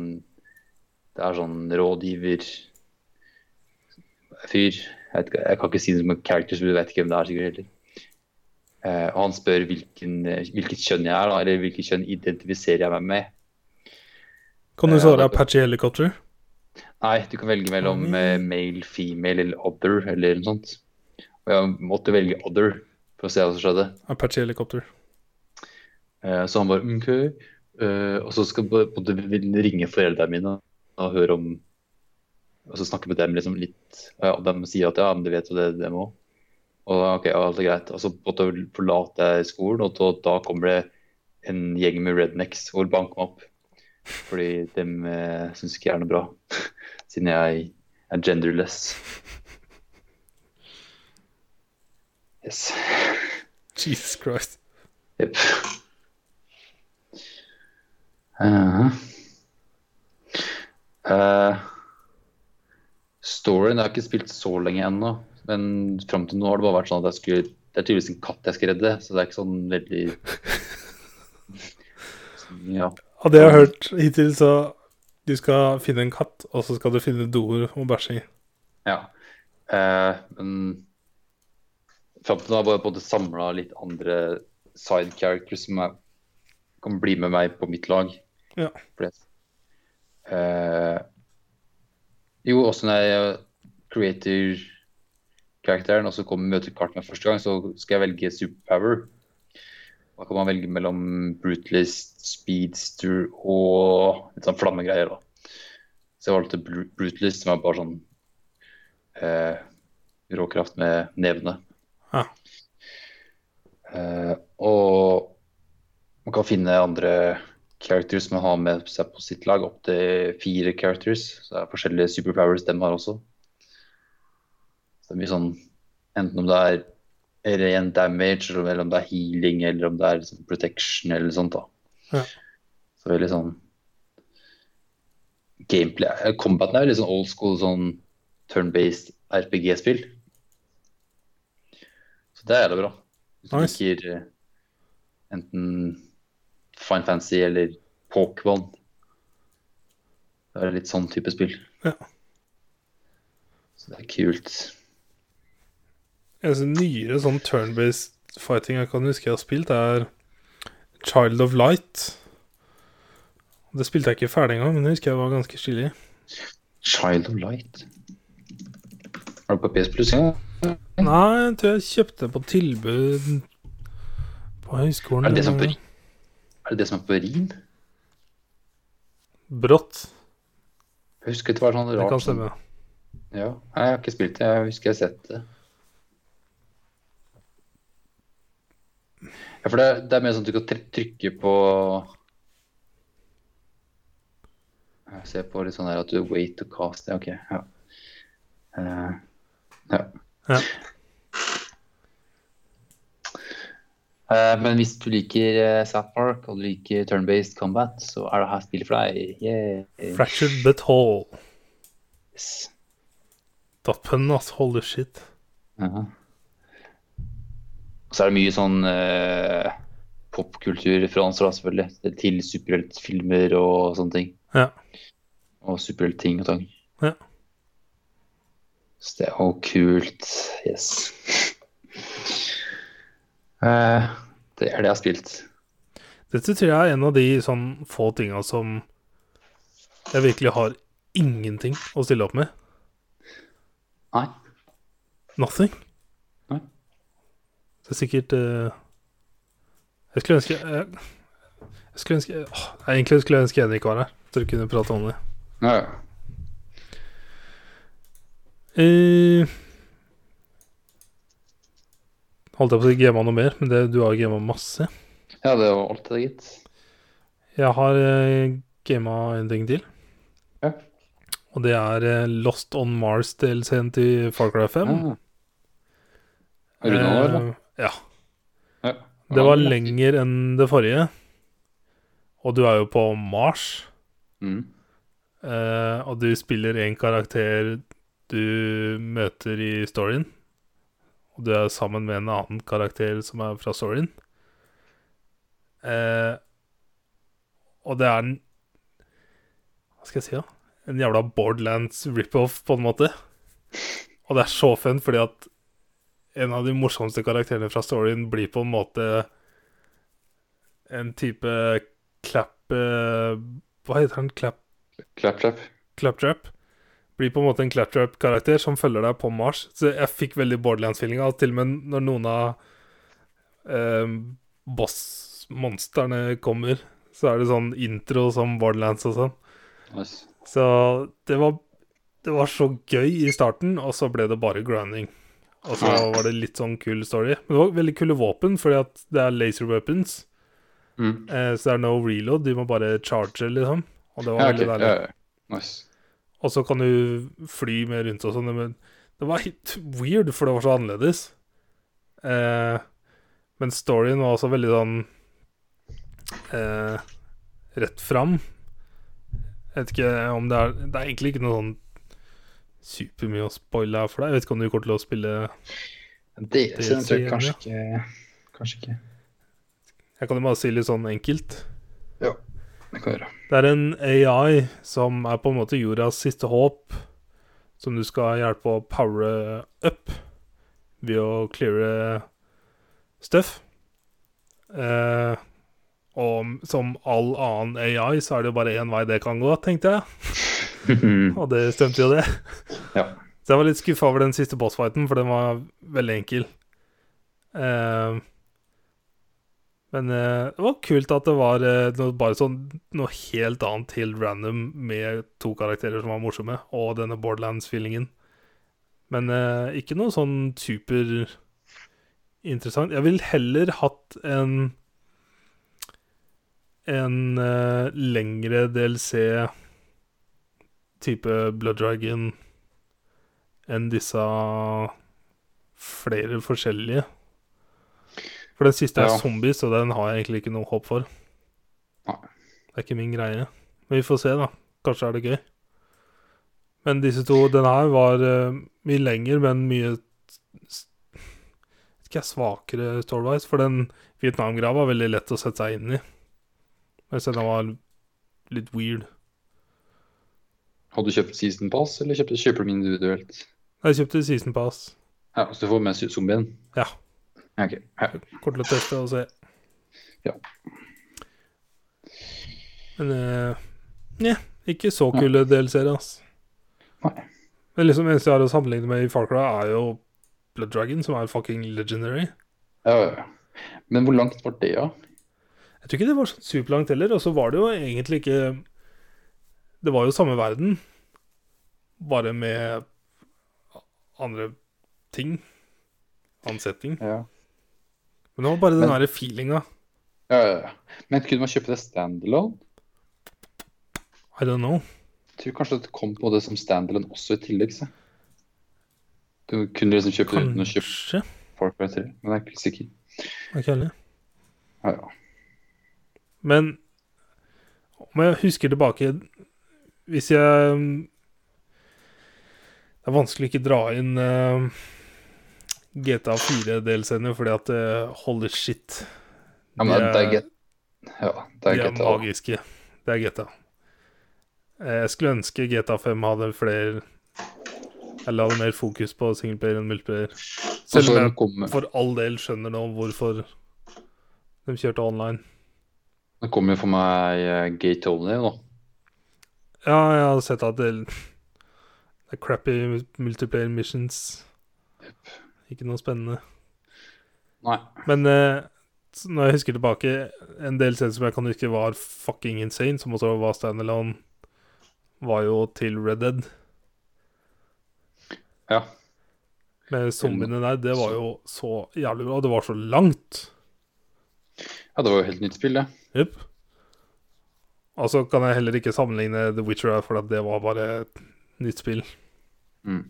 Speaker 2: Det er sånn rådgiver Fyr. Jeg, vet, ikke- jeg kan ikke si det som en character, så du vet ikke hvem det er sikkert heller. Eh, og han spør hvilken, eh, hvilket kjønn jeg er, da, eller hvilket kjønn identifiserer jeg meg med.
Speaker 1: Kan du
Speaker 2: Ja,
Speaker 1: svare
Speaker 2: det-
Speaker 1: Apache Helicopter?
Speaker 2: Nei, du kan velge mellom eh, male, female eller other, eller noe sånt. Og jeg måtte velge other for å se hva som skjedde.
Speaker 1: Apache Helicopter.
Speaker 2: Eh, Så han bare OK. eh, Og så skal jeg på- på en måte ringe foreldrene mine og høre om altså Og så snakke med dem liksom litt. eh, Og de sier at ja, men du vet jo det, dem òg. Og da, ok, ja, alt er greit. Og så måtte jeg forlate skolen, og da, da kommer det en gjeng med rednecks og vil banke meg opp. Fordi de eh, syns ikke jeg er noe bra, siden jeg er genderless. Yes.
Speaker 1: Jesus Christ.
Speaker 2: Jepp. Eh. Eh, storyen har jeg ikke spilt så lenge ennå, men fram til nå har det bare vært sånn at jeg skulle Det er tydeligvis en katt jeg skal redde, så det er ikke sånn veldig Ja.
Speaker 1: Av det jeg har hørt hittil, så du skal finne en katt, og så skal du finne doer å bæsje i.
Speaker 2: ja. Eh, men fram til nå har jeg bare på en måte samla litt andre side characters som er, kan bli med meg på mitt lag.
Speaker 1: Ja.
Speaker 2: For det- Eh, jo, også når jeg creator karakteren og så kommer møter kartene første gang, så skal jeg velge superpower. Da kan man velge mellom brutalist, speedster og litt sånn flammegreier. da. Så jeg valgte bru- brutalist, som er bare sånn eh, råkraft med nevene.
Speaker 1: Ja.
Speaker 2: Eh, og man kan finne andre characters man har med seg på sitt lag, opp til fire characters. Så det er forskjellige superpowers de har også. Så det blir sånn enten om det er ren damage, eller om det er healing, eller om det er liksom protection, eller sånt da.
Speaker 1: Ja.
Speaker 2: Så veldig sånn gameplay. eh, Combaten er veldig sånn old school, sånn turn-based RPG-spill. Så det er jævlig bra. Hvis du
Speaker 1: Nice.
Speaker 2: liker eh, enten Fine Fancy eller Pokémon. Det er litt sånn type spill.
Speaker 1: Ja.
Speaker 2: Så det er kult.
Speaker 1: Eneste nyere sånn turn-based fighting jeg kan huske jeg har spilt, er Child of Light. Det spilte jeg ikke ferdig engang, men det husker jeg var ganske stilig.
Speaker 2: Child of Light. Er det på PS Plus? Ja.
Speaker 1: Nei, jeg tror jeg kjøpte det på tilbud på høyskolen.
Speaker 2: Er det det som er
Speaker 1: eller
Speaker 2: på, er det det som er på Rin?
Speaker 1: Brått.
Speaker 2: Jeg husker det var sånn rart.
Speaker 1: Det kan
Speaker 2: sånn-
Speaker 1: stemme.
Speaker 2: Ja. Nei, jeg har ikke spilt det. Jeg husker jeg har sett det. Ja, for det, er- det er mer sånn at du kan try- trykke på Jeg ser på litt sånn her at du wait to cast. Ja, OK. Ja. Eh, ja.
Speaker 1: Ja.
Speaker 2: Eh, men hvis du liker eh, South Park og du liker turn-based combat, så er det her spillet for deg. Yeah.
Speaker 1: Fractured but whole.
Speaker 2: Yes.
Speaker 1: Da pønn, ass. Holy shit.
Speaker 2: Ja. Så er det mye sånn eh, popkulturreferanser, da, selvfølgelig. Til superheltfilmer og sånne ting.
Speaker 1: Ja.
Speaker 2: Og superheltting og tang.
Speaker 1: Ja.
Speaker 2: Så det er jo kult. Yes. Eh, det er det jeg har spilt.
Speaker 1: Dette tror jeg er en av de sånn få tinga som jeg virkelig har ingenting å stille opp med.
Speaker 2: Nei.
Speaker 1: Nothing.
Speaker 2: Nei.
Speaker 1: Det er sikkert eh, Jeg skulle ønske jeg, jeg skulle ønske åh, jeg Egentlig skulle jeg ønske Henrik var her, så vi kunne prate om det.
Speaker 2: Ja.
Speaker 1: Eh, holdt jeg på å si gama noe mer, men det, du har gama masse.
Speaker 2: ja, det var alt det, gitt.
Speaker 1: Jeg har uh, gama en ting til.
Speaker 2: Ja.
Speaker 1: Og det er eh, Lost on Mars-delscenen til Far Cry 5.
Speaker 2: Ja. Runde Ah, nå, eller?
Speaker 1: Eh, ja.
Speaker 2: Ja.
Speaker 1: Eh, Det var lenger enn det forrige. Og du er jo på Mars,
Speaker 2: Mm.
Speaker 1: eh, og du spiller en karakter du møter i storyen. Og du er sammen med en annen karakter som er fra storyen. Eh, og det er en Hva skal jeg si, da? En jævla Borderlands rip-off, på en måte. Og det er så fun, fordi at en av de morsomste karakterene fra storyen blir på en måte en type clap eh, Hva heter han? Clap,
Speaker 2: Clap, clap.
Speaker 1: claptrap? Blir på en måte en claptrap-karakter som følger deg på Mars. Så jeg fikk veldig Borderlands-feelinga. Til og med når noen av eh, boss-monstrene kommer, så er det sånn intro som Borderlands og sånn.
Speaker 2: Nice.
Speaker 1: Så det var, det var så gøy i starten, og så ble det bare grinding. Og så var det litt sånn kul story. Men det var veldig kule våpen, fordi at det er laser weapons.
Speaker 3: Mm.
Speaker 1: Eh, så det er no reload, de må bare charge, liksom. Og det var
Speaker 2: Ja, ok.
Speaker 1: veldig
Speaker 2: Ja,
Speaker 1: deilig.
Speaker 2: ja, ja. Nice.
Speaker 1: Og så kan du fly med rundt og sånn, men det var helt weird, for det var så annerledes. Eh, men storyen var også veldig sånn eh, rett fram. Jeg vet ikke om det er Det er egentlig ikke noe sånn supermye å spoile her for deg. Jeg vet ikke om du kommer til å spille
Speaker 2: Det, så jeg tror
Speaker 1: sier
Speaker 2: kanskje ikke Kanskje ikke.
Speaker 1: Jeg kan jo bare si litt sånn enkelt.
Speaker 2: Ja, det kan jeg gjøre.
Speaker 1: Det er en AI som er på en måte jordas siste håp, som du skal hjelpe å powere up ved å cleare stuff. Eh, og som all annen AI, så er det jo bare én vei det kan gå, tenkte jeg.
Speaker 2: Mm.
Speaker 1: Og det stemte jo, det.
Speaker 3: Ja.
Speaker 1: Så jeg var litt skuffa over den siste bossfighten, for den var veldig enkel. Eh, men eh, det var kult at det var eh, noe, bare sånn noe helt annet helt random med to karakterer som var morsomme, og denne Borderlands-feelingen. Men eh, ikke noe sånn superinteressant. Jeg ville heller hatt en en eh, lengre DLC type Blood Dragon enn disse flere forskjellige. For den siste er
Speaker 2: Ja.
Speaker 1: zombies, og den har jeg egentlig ikke noe håp for.
Speaker 2: Nei.
Speaker 1: Det er ikke min greie. Men vi får se, da. Kanskje er det gøy. Men disse to Den her var eh, mye lenger, men mye s- vet ikke jeg, svakere story-wise. For den Vietnam-greia var veldig lett å sette seg inn i. Mens den var litt weird.
Speaker 2: Hadde du kjøpt season pass, eller kjøpte, kjøper du den individuelt?
Speaker 1: Jeg kjøpte season pass.
Speaker 2: Ja, Så du får med zombien?
Speaker 1: Ja.
Speaker 2: Ok. Ja.
Speaker 1: Kort til å teste og se.
Speaker 2: Ja.
Speaker 1: Men eh, Nja, ikke så kule DLC-er, ass.
Speaker 2: Nei.
Speaker 1: Men liksom eneste jeg har å sammenligne med i Far Cry, er jo Blood Dragon, som er fucking legendary.
Speaker 2: Ja, ja, ja. Men hvor langt var det, da?
Speaker 1: Jeg tror ikke det var sånn superlangt heller, og så var det jo egentlig ikke Det var jo samme verden, bare med andre ting. Ansetting.
Speaker 2: Ja.
Speaker 1: Men det var bare den
Speaker 2: Men-
Speaker 1: derre feelinga.
Speaker 2: Ja, ja, ja. Men kunne man kjøpe det standalone?
Speaker 1: I don't know.
Speaker 2: Jeg tror kanskje det kom på det som standalone også i tillegg. Så. Du kunne liksom kjøpe det uten å kjøpe
Speaker 1: Kanskje.
Speaker 2: Far Cry 3, men jeg er ikke sikker.
Speaker 1: Ikke heller.
Speaker 2: Ja, ja.
Speaker 1: Men om jeg husker tilbake Hvis jeg Det er vanskelig å ikke dra inn eh, GTA 4-delscener, fordi at eh, holy shit
Speaker 2: ja men det, det er get... Ja, det
Speaker 1: de
Speaker 2: er
Speaker 1: er
Speaker 2: GTA.
Speaker 1: magiske. Det er GTA. Eh, Jeg skulle ønske GTA 5 hadde flere Eller hadde mer fokus på singleplayer enn multiplayer.
Speaker 2: Og
Speaker 1: Selv
Speaker 2: så
Speaker 1: om jeg
Speaker 2: kommer
Speaker 1: for all del skjønner nå hvorfor de kjørte online.
Speaker 2: det kommer jo for meg eh, Gay Tony nå.
Speaker 1: Ja, jeg har sett at det det er crappy multiplayer missions. Ikke noe spennende.
Speaker 2: Nei.
Speaker 1: Men eh, s- når jeg husker tilbake, en del scener som jeg kan huske var fucking insane, som også var standalone, var jo til Red Dead.
Speaker 2: Ja.
Speaker 1: Med zombiene der, det var jo så jævlig bra. og Det var så langt.
Speaker 2: ja, det var jo helt nytt spill, det.
Speaker 1: Jepp. Og så Altså, kan jeg heller ikke sammenligne The Witcher, for at det var bare et nytt spill.
Speaker 2: Mm.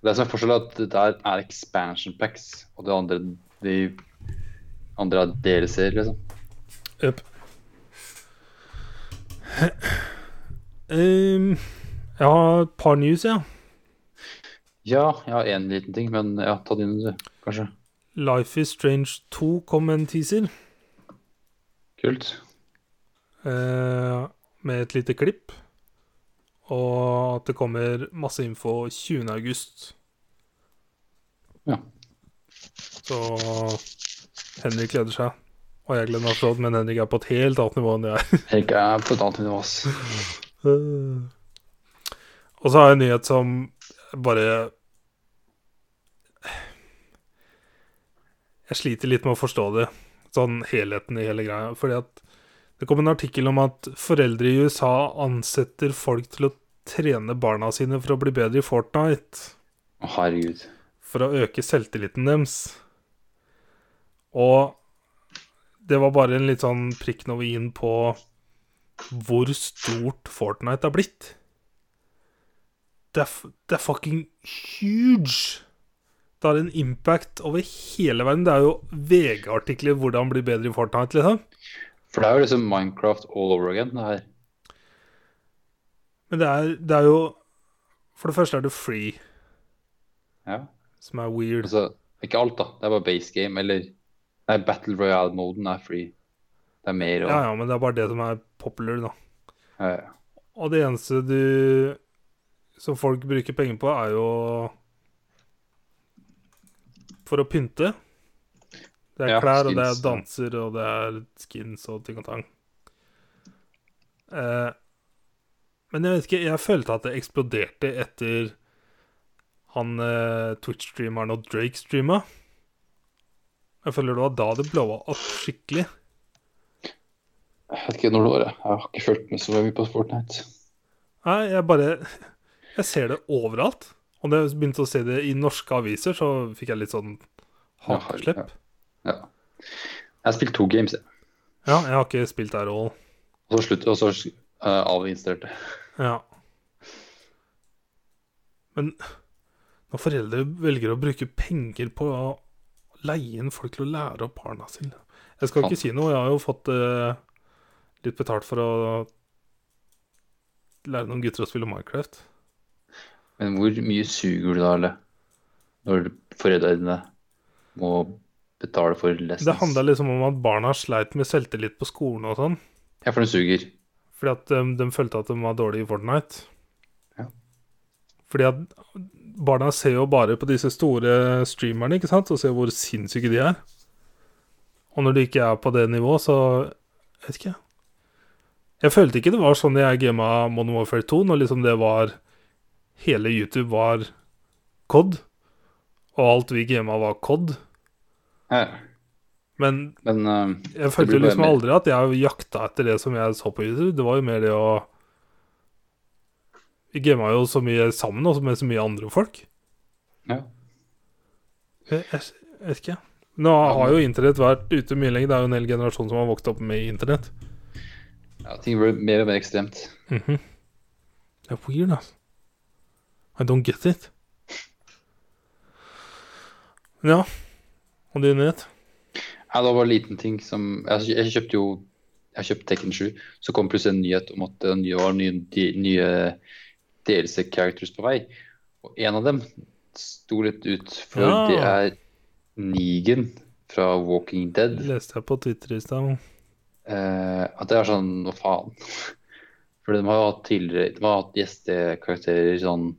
Speaker 2: Det som er forskjellen, er at det der er expansion packs, og det andre de andre er DLC-er, liksom.
Speaker 1: Jepp. Ehm, jeg har et par news, jeg. Ja.
Speaker 2: Ja, jeg har én liten ting, men ja, ta dine, du. Kanskje.
Speaker 1: Life is Strange 2 kom med en teaser
Speaker 2: Kult.
Speaker 1: eh, med et lite klipp. Og at det kommer masse info 20. august.
Speaker 2: Ja.
Speaker 1: Så Henrik gleder seg. Og jeg gleder meg forstått, men Henrik er på et helt annet nivå enn jeg er.
Speaker 2: Henrik er på et annet nivå, ass.
Speaker 1: Øh. Og så har jeg en nyhet som bare Jeg sliter litt med å forstå det, sånn helheten i hele greia. Fordi at det kom en artikkel om at foreldre i USA ansetter folk til å trene barna sine for å bli bedre i Fortnite.
Speaker 2: Å, Herregud.
Speaker 1: for å øke selvtilliten deres. Og det var bare en litt sånn prikk over i-en på hvor stort Fortnite har blitt. Det er, f- det er fucking huge! Det har en impact over hele verden. Det er jo VG-artikler 'Hvordan bli bedre i Fortnite', liksom.
Speaker 2: For det er jo liksom Minecraft all over again, det her.
Speaker 1: Men det er, det er jo For det første er det free,
Speaker 2: Ja.
Speaker 1: som er weird.
Speaker 2: Altså, ikke alt, da. Det er bare base game, eller Nei, Battle Royale-moden er free. Det er mer og
Speaker 1: Ja, ja, men det er bare det som er popular, da.
Speaker 2: Ja, ja.
Speaker 1: Og det eneste du Som folk bruker penger på, er jo For å pynte. Det er
Speaker 2: Ja,
Speaker 1: klær, og det er
Speaker 2: skins, ja.
Speaker 1: danser, og det er skins og ting og tang. Eh, men jeg vet ikke, jeg følte at det eksploderte etter han eh, Twitch-streameren og Drake-streama. Jeg føler det var da det blowa opp skikkelig.
Speaker 2: Jeg vet ikke når det var. jeg. Jeg har ikke fulgt med så mye på Fortnite.
Speaker 1: Nei, jeg bare Jeg ser det overalt. Og da jeg begynte å se det i norske aviser, så fikk jeg litt sånn
Speaker 2: Ja,
Speaker 1: hakeslepp.
Speaker 2: Ja. Jeg har spilt to games, jeg.
Speaker 1: Ja, jeg har ikke spilt der òg.
Speaker 2: og så slutt, og så eh, avinstallerte jeg.
Speaker 1: Ja. Men når foreldre velger å bruke penger på å leie inn folk til å lære opp barna sine Jeg skal ikke si noe, jeg har jo fått eh, litt betalt for å lære noen gutter å spille Minecraft.
Speaker 2: Men hvor mye suger du da, eller? Når foreldrene må betale for lessons?
Speaker 1: Det handla liksom om at barna sleit med selvtillit på skolen og sånn.
Speaker 2: Ja, for den suger.
Speaker 1: Fordi at um, de, de følte at de var dårlige i Fortnite.
Speaker 2: Ja.
Speaker 1: Fordi at barna ser jo bare på disse store streamerne, ikke sant, og ser hvor sinnssyke de er. Og når de ikke er på det nivået, så Jeg vet ikke. Jeg følte ikke det var sånn jeg gama Modern Warfare 2, når liksom det var Hele YouTube var COD, og alt vi gama var COD.
Speaker 2: Ja,
Speaker 1: Men
Speaker 2: men eh,
Speaker 1: jeg følte jo
Speaker 2: blir bare
Speaker 1: liksom
Speaker 2: mer.
Speaker 1: aldri at jeg jakta etter det som jeg så på YouTube. Det var jo mer det å Vi gama jo så mye sammen, også med så mye andre folk.
Speaker 2: ja.
Speaker 1: Jeg, jeg, jeg vet ikke. Nå har jo internett vært ute mye lenger. Det er jo en hel generasjon som har vokst opp med internett.
Speaker 2: ja, ting blir mer og mer ekstremt.
Speaker 1: Mhm. Det er weird, altså. I don't get it. Men ja. Og din nyhet?
Speaker 2: Ja, det var bare en liten ting som Jeg, jeg kjøpte jo jeg kjøpte Tekken 7, så kom plutselig en nyhet om at det nye- var nye, de, nye DLC-characters på vei. Og en av dem sto litt ut, for
Speaker 1: Ja.
Speaker 2: det er Negan fra Walking Dead.
Speaker 1: Det leste jeg på Twitter i stad.
Speaker 2: Eh, at det er sånn Hva faen? For de har jo hatt tidligere De har hatt gjestekarakterer sånn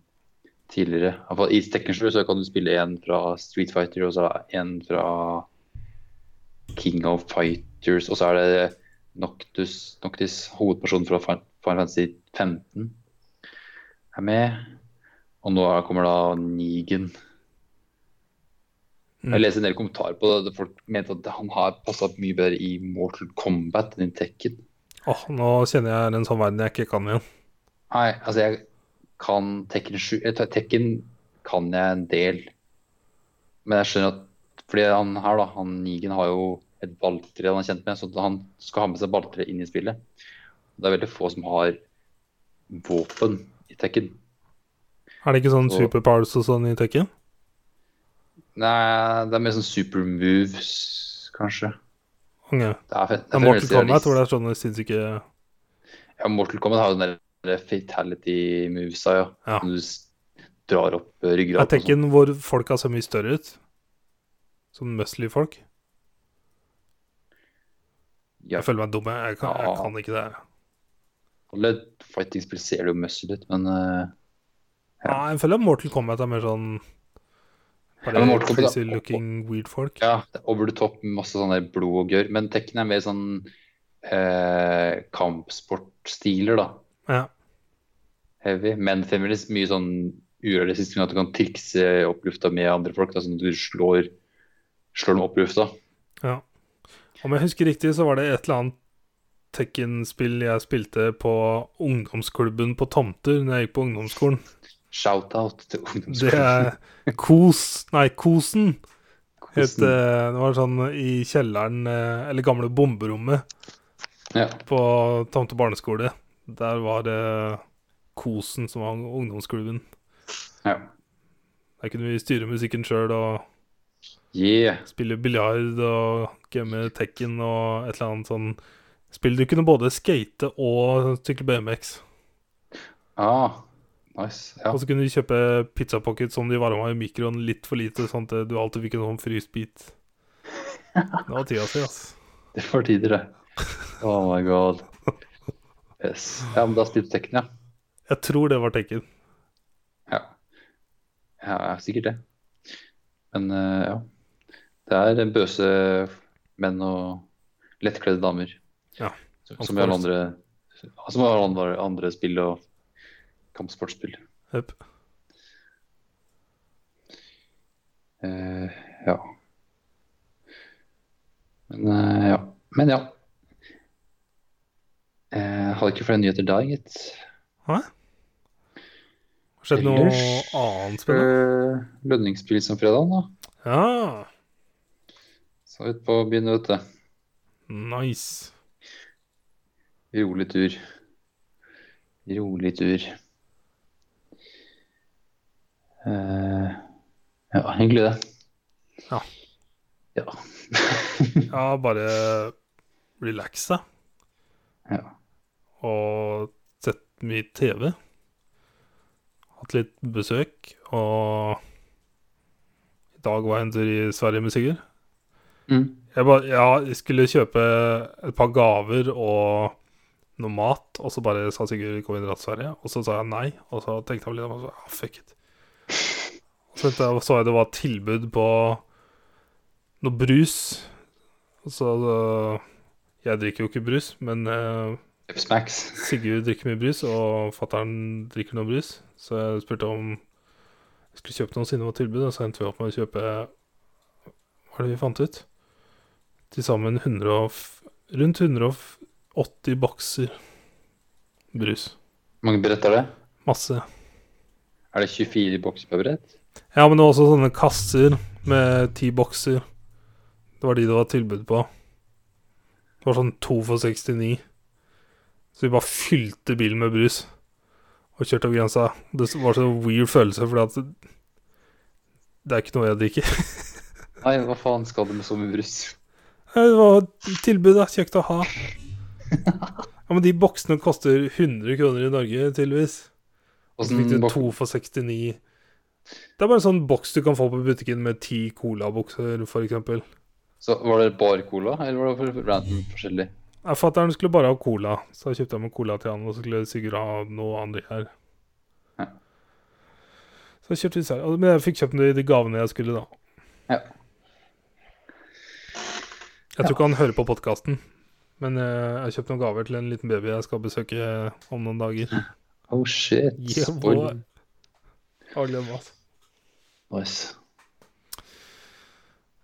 Speaker 2: tidligere. I hvert fall I Tekken 7 så kan du spille en fra Street Fighter og så en fra King of Fighters, og så er det Noctus, Noctis, hovedpersonen fra Fin- Final Fantasy 15, er med. Og nå er- kommer da Negan.
Speaker 1: Mm.
Speaker 2: Jeg leste en del kommentarer på det. Folk mente at han har passa mye bedre i Mortal Kombat enn i Tekken.
Speaker 1: Åh, nå kjenner jeg en sånn verden jeg ikke kan igjen.
Speaker 2: Nei, altså jeg kan Tekken 7 eh, Te- Tekken kan jeg en del. Men jeg skjønner at Fordi han her, da, han Nigen har jo et balltre han er kjent med, så han skal ha med seg balltre inn i spillet. Det er veldig få som har våpen i Tekken.
Speaker 1: Er det ikke sånn
Speaker 2: Så-
Speaker 1: superpowers og sånn i Tekken?
Speaker 2: Nei, det er mer sånn super moves, kanskje.
Speaker 1: Ok.
Speaker 2: Det er, fe- det
Speaker 1: Det
Speaker 2: er
Speaker 1: er Mortal Kombat hvor det
Speaker 2: det.
Speaker 1: er sånne sinnssyke
Speaker 2: Ja, Mortal Kombat har jo den der fatality movesa, ja.
Speaker 1: Ja.
Speaker 2: Når du s- drar opp eh,
Speaker 1: Er
Speaker 2: ryggraden. og sånn.
Speaker 1: Tekken hvor folka ser mye større ut? Sånn muscly folk?
Speaker 2: Ja.
Speaker 1: Jeg føler meg dum, jeg. jeg, kan, jeg
Speaker 2: Ja.
Speaker 1: kan ikke det her.
Speaker 2: Alle fighting-spill ser jo muscle ut, men eh, Ja.
Speaker 1: Nei, jeg føler Mortal Kombat er mer sånn
Speaker 2: Ja,
Speaker 1: Bare
Speaker 2: men Mortal Kombat er-
Speaker 1: crazy looking weird folk.
Speaker 2: ja, det er over the top, masse sånn der blod og gørr. Men Tekken er mer sånn eh, kampsportstiler, da.
Speaker 1: Ja.
Speaker 2: Heavy. Men feminist, mye sånn urealistisk, sånn at du kan trikse opp lufta med andre folk. Da, sånn at du slår, slår dem opp i lufta.
Speaker 1: Om jeg husker riktig, så var det et eller annet Tekken-spill jeg spilte på ungdomsklubben på Tomter når jeg gikk på ungdomsskolen.
Speaker 2: Shout-out til
Speaker 1: Det
Speaker 2: ungdomsskolen.
Speaker 1: er Kos Nei, Kosen het
Speaker 2: Kosen.
Speaker 1: eh, Det var sånn i kjelleren, eh, eller gamle bomberommet
Speaker 2: Ja.
Speaker 1: på Tomte barneskole. Der var det Kosen som var ungdomsklubben.
Speaker 2: Ja.
Speaker 1: Der kunne vi styre musikken sjøl og
Speaker 2: Yeah.
Speaker 1: spille biljard og game Tekken og et eller annet sånn spill. Du kunne både skate og sykle BMX.
Speaker 2: Ah, nice. Ja.
Speaker 1: Og så kunne du kjøpe pizza pocket som de varma i mikroen litt for lite, sånn at du alltid fikk en sånn frysbit. Det var tida si, ass.
Speaker 2: Det var tider, det. Oh my god. Yes. Ja, men da spilte Tekken, ja.
Speaker 1: Jeg tror det var Tekken.
Speaker 2: Ja, ja ja, sikkert det. Men eh, ja. Det er bøse menn og lettkledde damer.
Speaker 1: Ja,
Speaker 2: Som-
Speaker 1: of
Speaker 2: Som i alle
Speaker 1: course.
Speaker 2: andre, som i alle andre, andre spill og kampsportspill.
Speaker 1: Jep.
Speaker 2: Eh, ja. Men eh, ja. Men ja. Eh, hadde ikke flere nyheter der, gitt.
Speaker 1: Skjedde noe
Speaker 2: Ellers-
Speaker 1: annet spennende?
Speaker 2: Eh, Lønningspils om fredagen, da.
Speaker 1: Ja,
Speaker 2: Så ut på byen, vet du.
Speaker 1: nice.
Speaker 2: Rolig tur. Rolig tur. Eh, ja, hyggelig det.
Speaker 1: Ja.
Speaker 2: Ja.
Speaker 1: Ja, bare relaxa
Speaker 2: Ja.
Speaker 1: og sett mye TV. Hatt litt besøk, og i dag var jeg en tur i Sverige med Sigurd.
Speaker 2: Mm.
Speaker 1: Jeg, bare, ja, jeg skulle kjøpe et par gaver og noe mat, og så bare sa Sigurd kom inn i Sverige, og så sa jeg nei, og så tenkte jeg vel litt, og så, ah, fuck it. Og så, tenkte jeg, og så jeg det var tilbud på noe brus, og så, eh, jeg drikker jo ikke brus, men eh,
Speaker 2: Kjøp snacks.
Speaker 1: Sigurd drikker mye brus, og fatteren drikker noe brus. Så jeg spurte om jeg skulle kjøpe noe siden det var tilbud, og så endte vi opp med å kjøpe Hva er det vi fant ut? Til sammen 100 og, f- rundt 180 bokser brus.
Speaker 2: Hvor mange brett er det?
Speaker 1: Masse.
Speaker 2: Er det 24 bokser per brett?
Speaker 1: Ja, men det var også sånne kasser med ti bokser. Det var de det var tilbud på. Det var sånn to for 69. Så vi bare fylte bilen med brus og kjørte over grensa. Det var så weird følelse, fordi at det er ikke noe jeg drikker.
Speaker 2: Nei, hva faen skal du med så mye brus?
Speaker 1: Nei, Det var tilbud, da. Kjekt å ha. Ja, Men de boksene koster 100 kroner i Norge, tydeligvis. Og så fikk
Speaker 2: Åssen
Speaker 1: du
Speaker 2: bok-
Speaker 1: to for 69. Det er bare en sånn boks du kan få på butikken med ti colabokser, f.eks.
Speaker 2: Så var det bare cola, eller var det for- random forskjellig?
Speaker 1: Fatter'n skulle bare ha cola, så kjøpte jeg med cola til han. Og så skulle Sigurd ha noe andre her.
Speaker 2: Ja.
Speaker 1: Så kjøpte vi sær. og- Men jeg fikk kjøpt de, de gavene jeg skulle, da.
Speaker 2: Ja.
Speaker 1: Jeg tror ikke han hører på podkasten, men eh, jeg har kjøpt noen gaver til en liten baby jeg skal besøke eh, om noen dager.
Speaker 2: Oh shit.
Speaker 1: Yeah,
Speaker 2: Spoiler.
Speaker 1: boy. Har gledet meg. ass.
Speaker 2: Nice.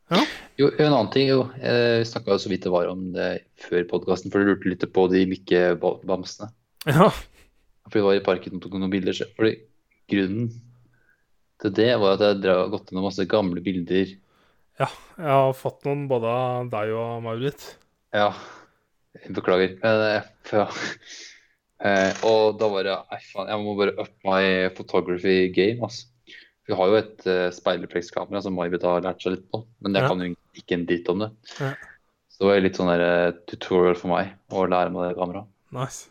Speaker 1: Ja.
Speaker 2: Jo, en annen ting, jo. Jeg snakka så vidt det var om det før podkasten, for du lurte litt på de mikkebamsene.
Speaker 1: Ja.
Speaker 2: For vi var i parken og tok noen bilder. så- Fordi grunnen til det var at jeg drev og gått gjennom masse gamle bilder.
Speaker 1: Jeg har fått noen både av deg og av Maurits.
Speaker 2: Ja, jeg beklager. Men, eh, ja. Eh, og da var det Nei, faen, jeg må bare up my photography game, altså. Vi har jo et uh, speilreflekskamera som May-Britt har lært seg litt på, men jeg
Speaker 1: Ja.
Speaker 2: kan jo ikke en dritt om det.
Speaker 1: Ja.
Speaker 2: Så det var litt sånn der, eh, tutorial for meg å lære meg det kameraet.
Speaker 1: Nice.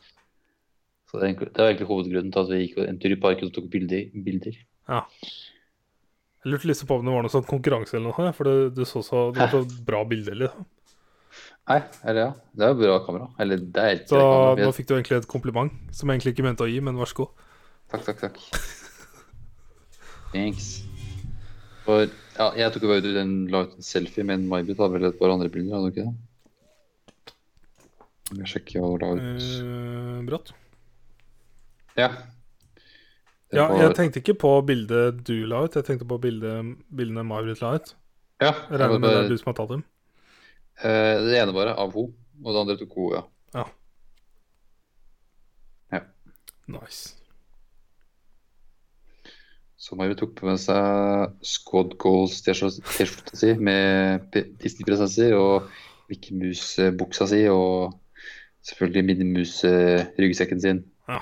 Speaker 2: Så det, er egentlig- det var egentlig hovedgrunnen til at vi gikk en tur i parken og tok bilder. bilder.
Speaker 1: Jeg lurte liksom på om det var noe sånn konkurranse eller noe, for det, det så så det var så bra bilde. Liksom.
Speaker 2: Nei, eller ja. Det er jo bra kamera. Eller det er helt
Speaker 1: Så
Speaker 2: bra kamera.
Speaker 1: nå fikk du egentlig et kompliment, som jeg egentlig ikke mente å gi, men vær så god.
Speaker 2: Takk, takk, takk. Thanks. For, ja, jeg tok jo bare ut en, la ut en selfie med en May-Britt. Hadde vel et par andre bilder, hadde du ikke det? Jeg sjekker hva hun la ut.
Speaker 1: Eh, brått.
Speaker 2: Ja. Det
Speaker 1: Ja,
Speaker 2: var-
Speaker 1: jeg tenkte ikke på bildet du la ut, jeg tenkte på bildet, bildene May-Britt la ut.
Speaker 2: ja,
Speaker 1: Jeg
Speaker 2: det, var
Speaker 1: regner med det
Speaker 2: bare-
Speaker 1: er du som har tatt dem.
Speaker 2: eh, det ene bare av henne, og det andre tok hun, ja.
Speaker 1: Nice.
Speaker 2: Så Mario tok med seg Squad Goals-T-skjorta si med P- Disney-presenser og Mickey Mouse-buksa si og selvfølgelig Minnie Mouse-ryggsekken sin.
Speaker 1: Ja.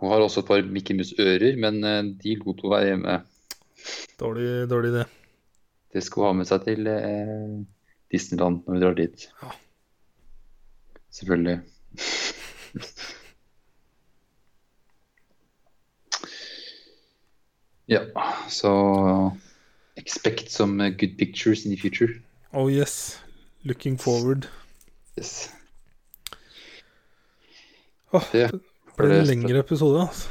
Speaker 2: Hun har også et par Mickey Mouse-ører, men eh, de lot hun være hjemme.
Speaker 1: Dårlig, dårlig idé.
Speaker 2: Det skal hun ha med seg til eh, Disneyland når vi drar dit.
Speaker 1: Ja.
Speaker 2: Selvfølgelig. ja, så Expect some eh, good pictures in the future.
Speaker 1: Oh yes. Looking forward.
Speaker 2: Yes.
Speaker 1: Åh,
Speaker 2: Det
Speaker 1: det ble en
Speaker 2: det-
Speaker 1: lengre episode, altså.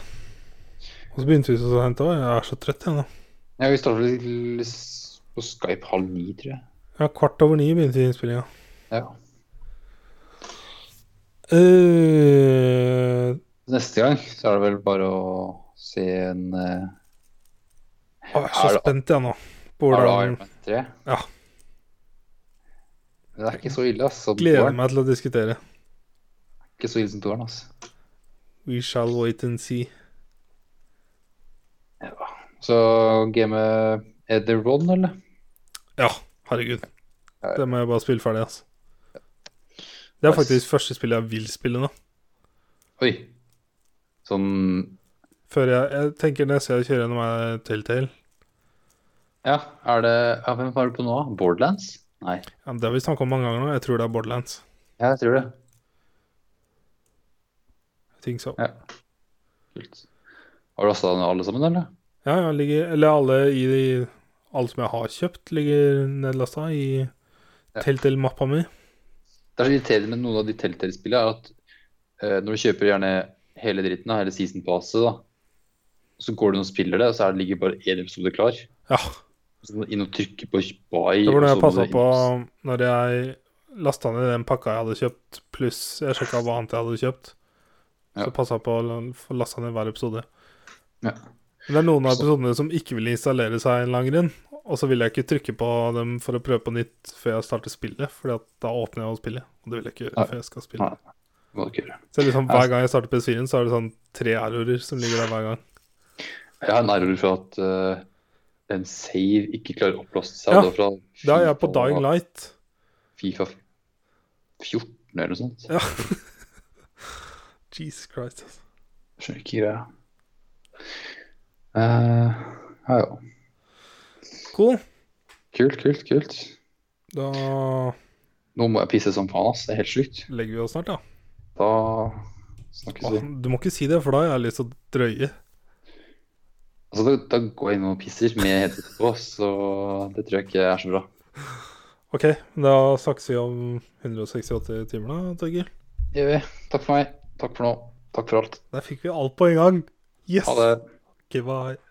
Speaker 1: Og så begynte vi så sent òg. Jeg er så trøtt, jeg nå.
Speaker 2: Ja, vi starter vel s- på Skype halv ni, tror jeg.
Speaker 1: Ja, kvart over ni begynte innspillinga.
Speaker 2: Ja.
Speaker 1: Eh,
Speaker 2: Neste gang så er det vel bare å se en eh,
Speaker 1: å, jeg er så
Speaker 2: Er det-
Speaker 1: spent, jeg nå. På
Speaker 2: Er det
Speaker 1: hvordan
Speaker 2: Iron Man 3?
Speaker 1: Ja.
Speaker 2: Men det er ikke så ille, ass. Som
Speaker 1: Gleder
Speaker 2: toeren.
Speaker 1: meg til å diskutere.
Speaker 2: Ikke så ille som toeren, ass.
Speaker 1: We shall wait and see.
Speaker 2: Så game Er det Ron, eller?
Speaker 1: Ja, herregud.
Speaker 2: Ja.
Speaker 1: Det må jeg bare spille ferdig, altså. Det er
Speaker 2: Nice.
Speaker 1: faktisk første spillet jeg vil spille nå.
Speaker 2: Oi. Sånn
Speaker 1: Før jeg, jeg tenker neste jeg kjører gjennom er Telltale.
Speaker 2: Ja, er det ja, Hvem var det på nå? Borderlands? Nei.
Speaker 1: Ja, det har vi snakka om mange ganger nå. Jeg tror det er Borderlands.
Speaker 2: Ja, jeg tror det.
Speaker 1: I think so.
Speaker 2: Ja. Kult. Har du lasta den alle sammen, eller?
Speaker 1: Ja, ja, ligger Eller alle i i- Alt som jeg har kjøpt, ligger nedlasta i
Speaker 2: Ja.
Speaker 1: Telltale-mappa mi.
Speaker 2: Det er så irriterende med noen av de Telltale-spillene, er at eh, når du kjøper gjerne hele dritten, da, hele season passet, da, så går du inn og spiller det, og så er det ligger bare én episode klar.
Speaker 1: Ja.
Speaker 2: Så må du inn og trykke på buy.
Speaker 1: Det var
Speaker 2: og
Speaker 1: det
Speaker 2: så
Speaker 1: jeg
Speaker 2: må
Speaker 1: passa
Speaker 2: du-
Speaker 1: på når jeg lasta ned den pakka jeg hadde kjøpt, pluss jeg sjekka hva annet jeg hadde kjøpt. Så
Speaker 2: Ja.
Speaker 1: passa jeg på å la- få lasta ned hver episode.
Speaker 2: Ja.
Speaker 1: Men det er noen av episodene som ikke vil installere seg en lang grunn, og så vil jeg ikke trykke på dem for å prøve på nytt før jeg starter spillet, Fordi at da åpner jeg og spiller, og det vil jeg ikke
Speaker 2: Nei.
Speaker 1: gjøre før jeg skal spille.
Speaker 2: Nei. Må du ikke gjøre.
Speaker 1: Så liksom
Speaker 2: Ja.
Speaker 1: hver gang jeg starter PS4-en, så er det sånn tre errorer som ligger der hver gang.
Speaker 2: Jeg har en error for at eh, en save ikke klarer å oppblåse seg.
Speaker 1: Ja,
Speaker 2: og det er fra
Speaker 1: Da er jeg på
Speaker 2: FIFA-
Speaker 1: Dying Light.
Speaker 2: Fifa 14 eller noe sånt.
Speaker 1: Ja. Jesus Christ, altså.
Speaker 2: Skjønner ikke greia. Eh, ja, ja.
Speaker 1: Cool.
Speaker 2: Kult, kult, kult.
Speaker 1: Da
Speaker 2: Nå må jeg pisse som faen, ass. Det er helt sjukt.
Speaker 1: legger vi oss snart, da.
Speaker 2: Da snakkes
Speaker 1: Åh,
Speaker 2: vi.
Speaker 1: Du må ikke si det, for da har jeg lyst til å drøye.
Speaker 2: Altså, da, da går jeg inn og pisser med headsetet på, så det tror jeg ikke er så bra.
Speaker 1: OK, da snakkes vi om 168 timer, da, Torgeir.
Speaker 2: Det gjør vi. Takk for meg. Takk for nå. Takk for alt.
Speaker 1: Der fikk vi alt på en gang. Yes!
Speaker 2: Ha det.
Speaker 1: Ok, bye.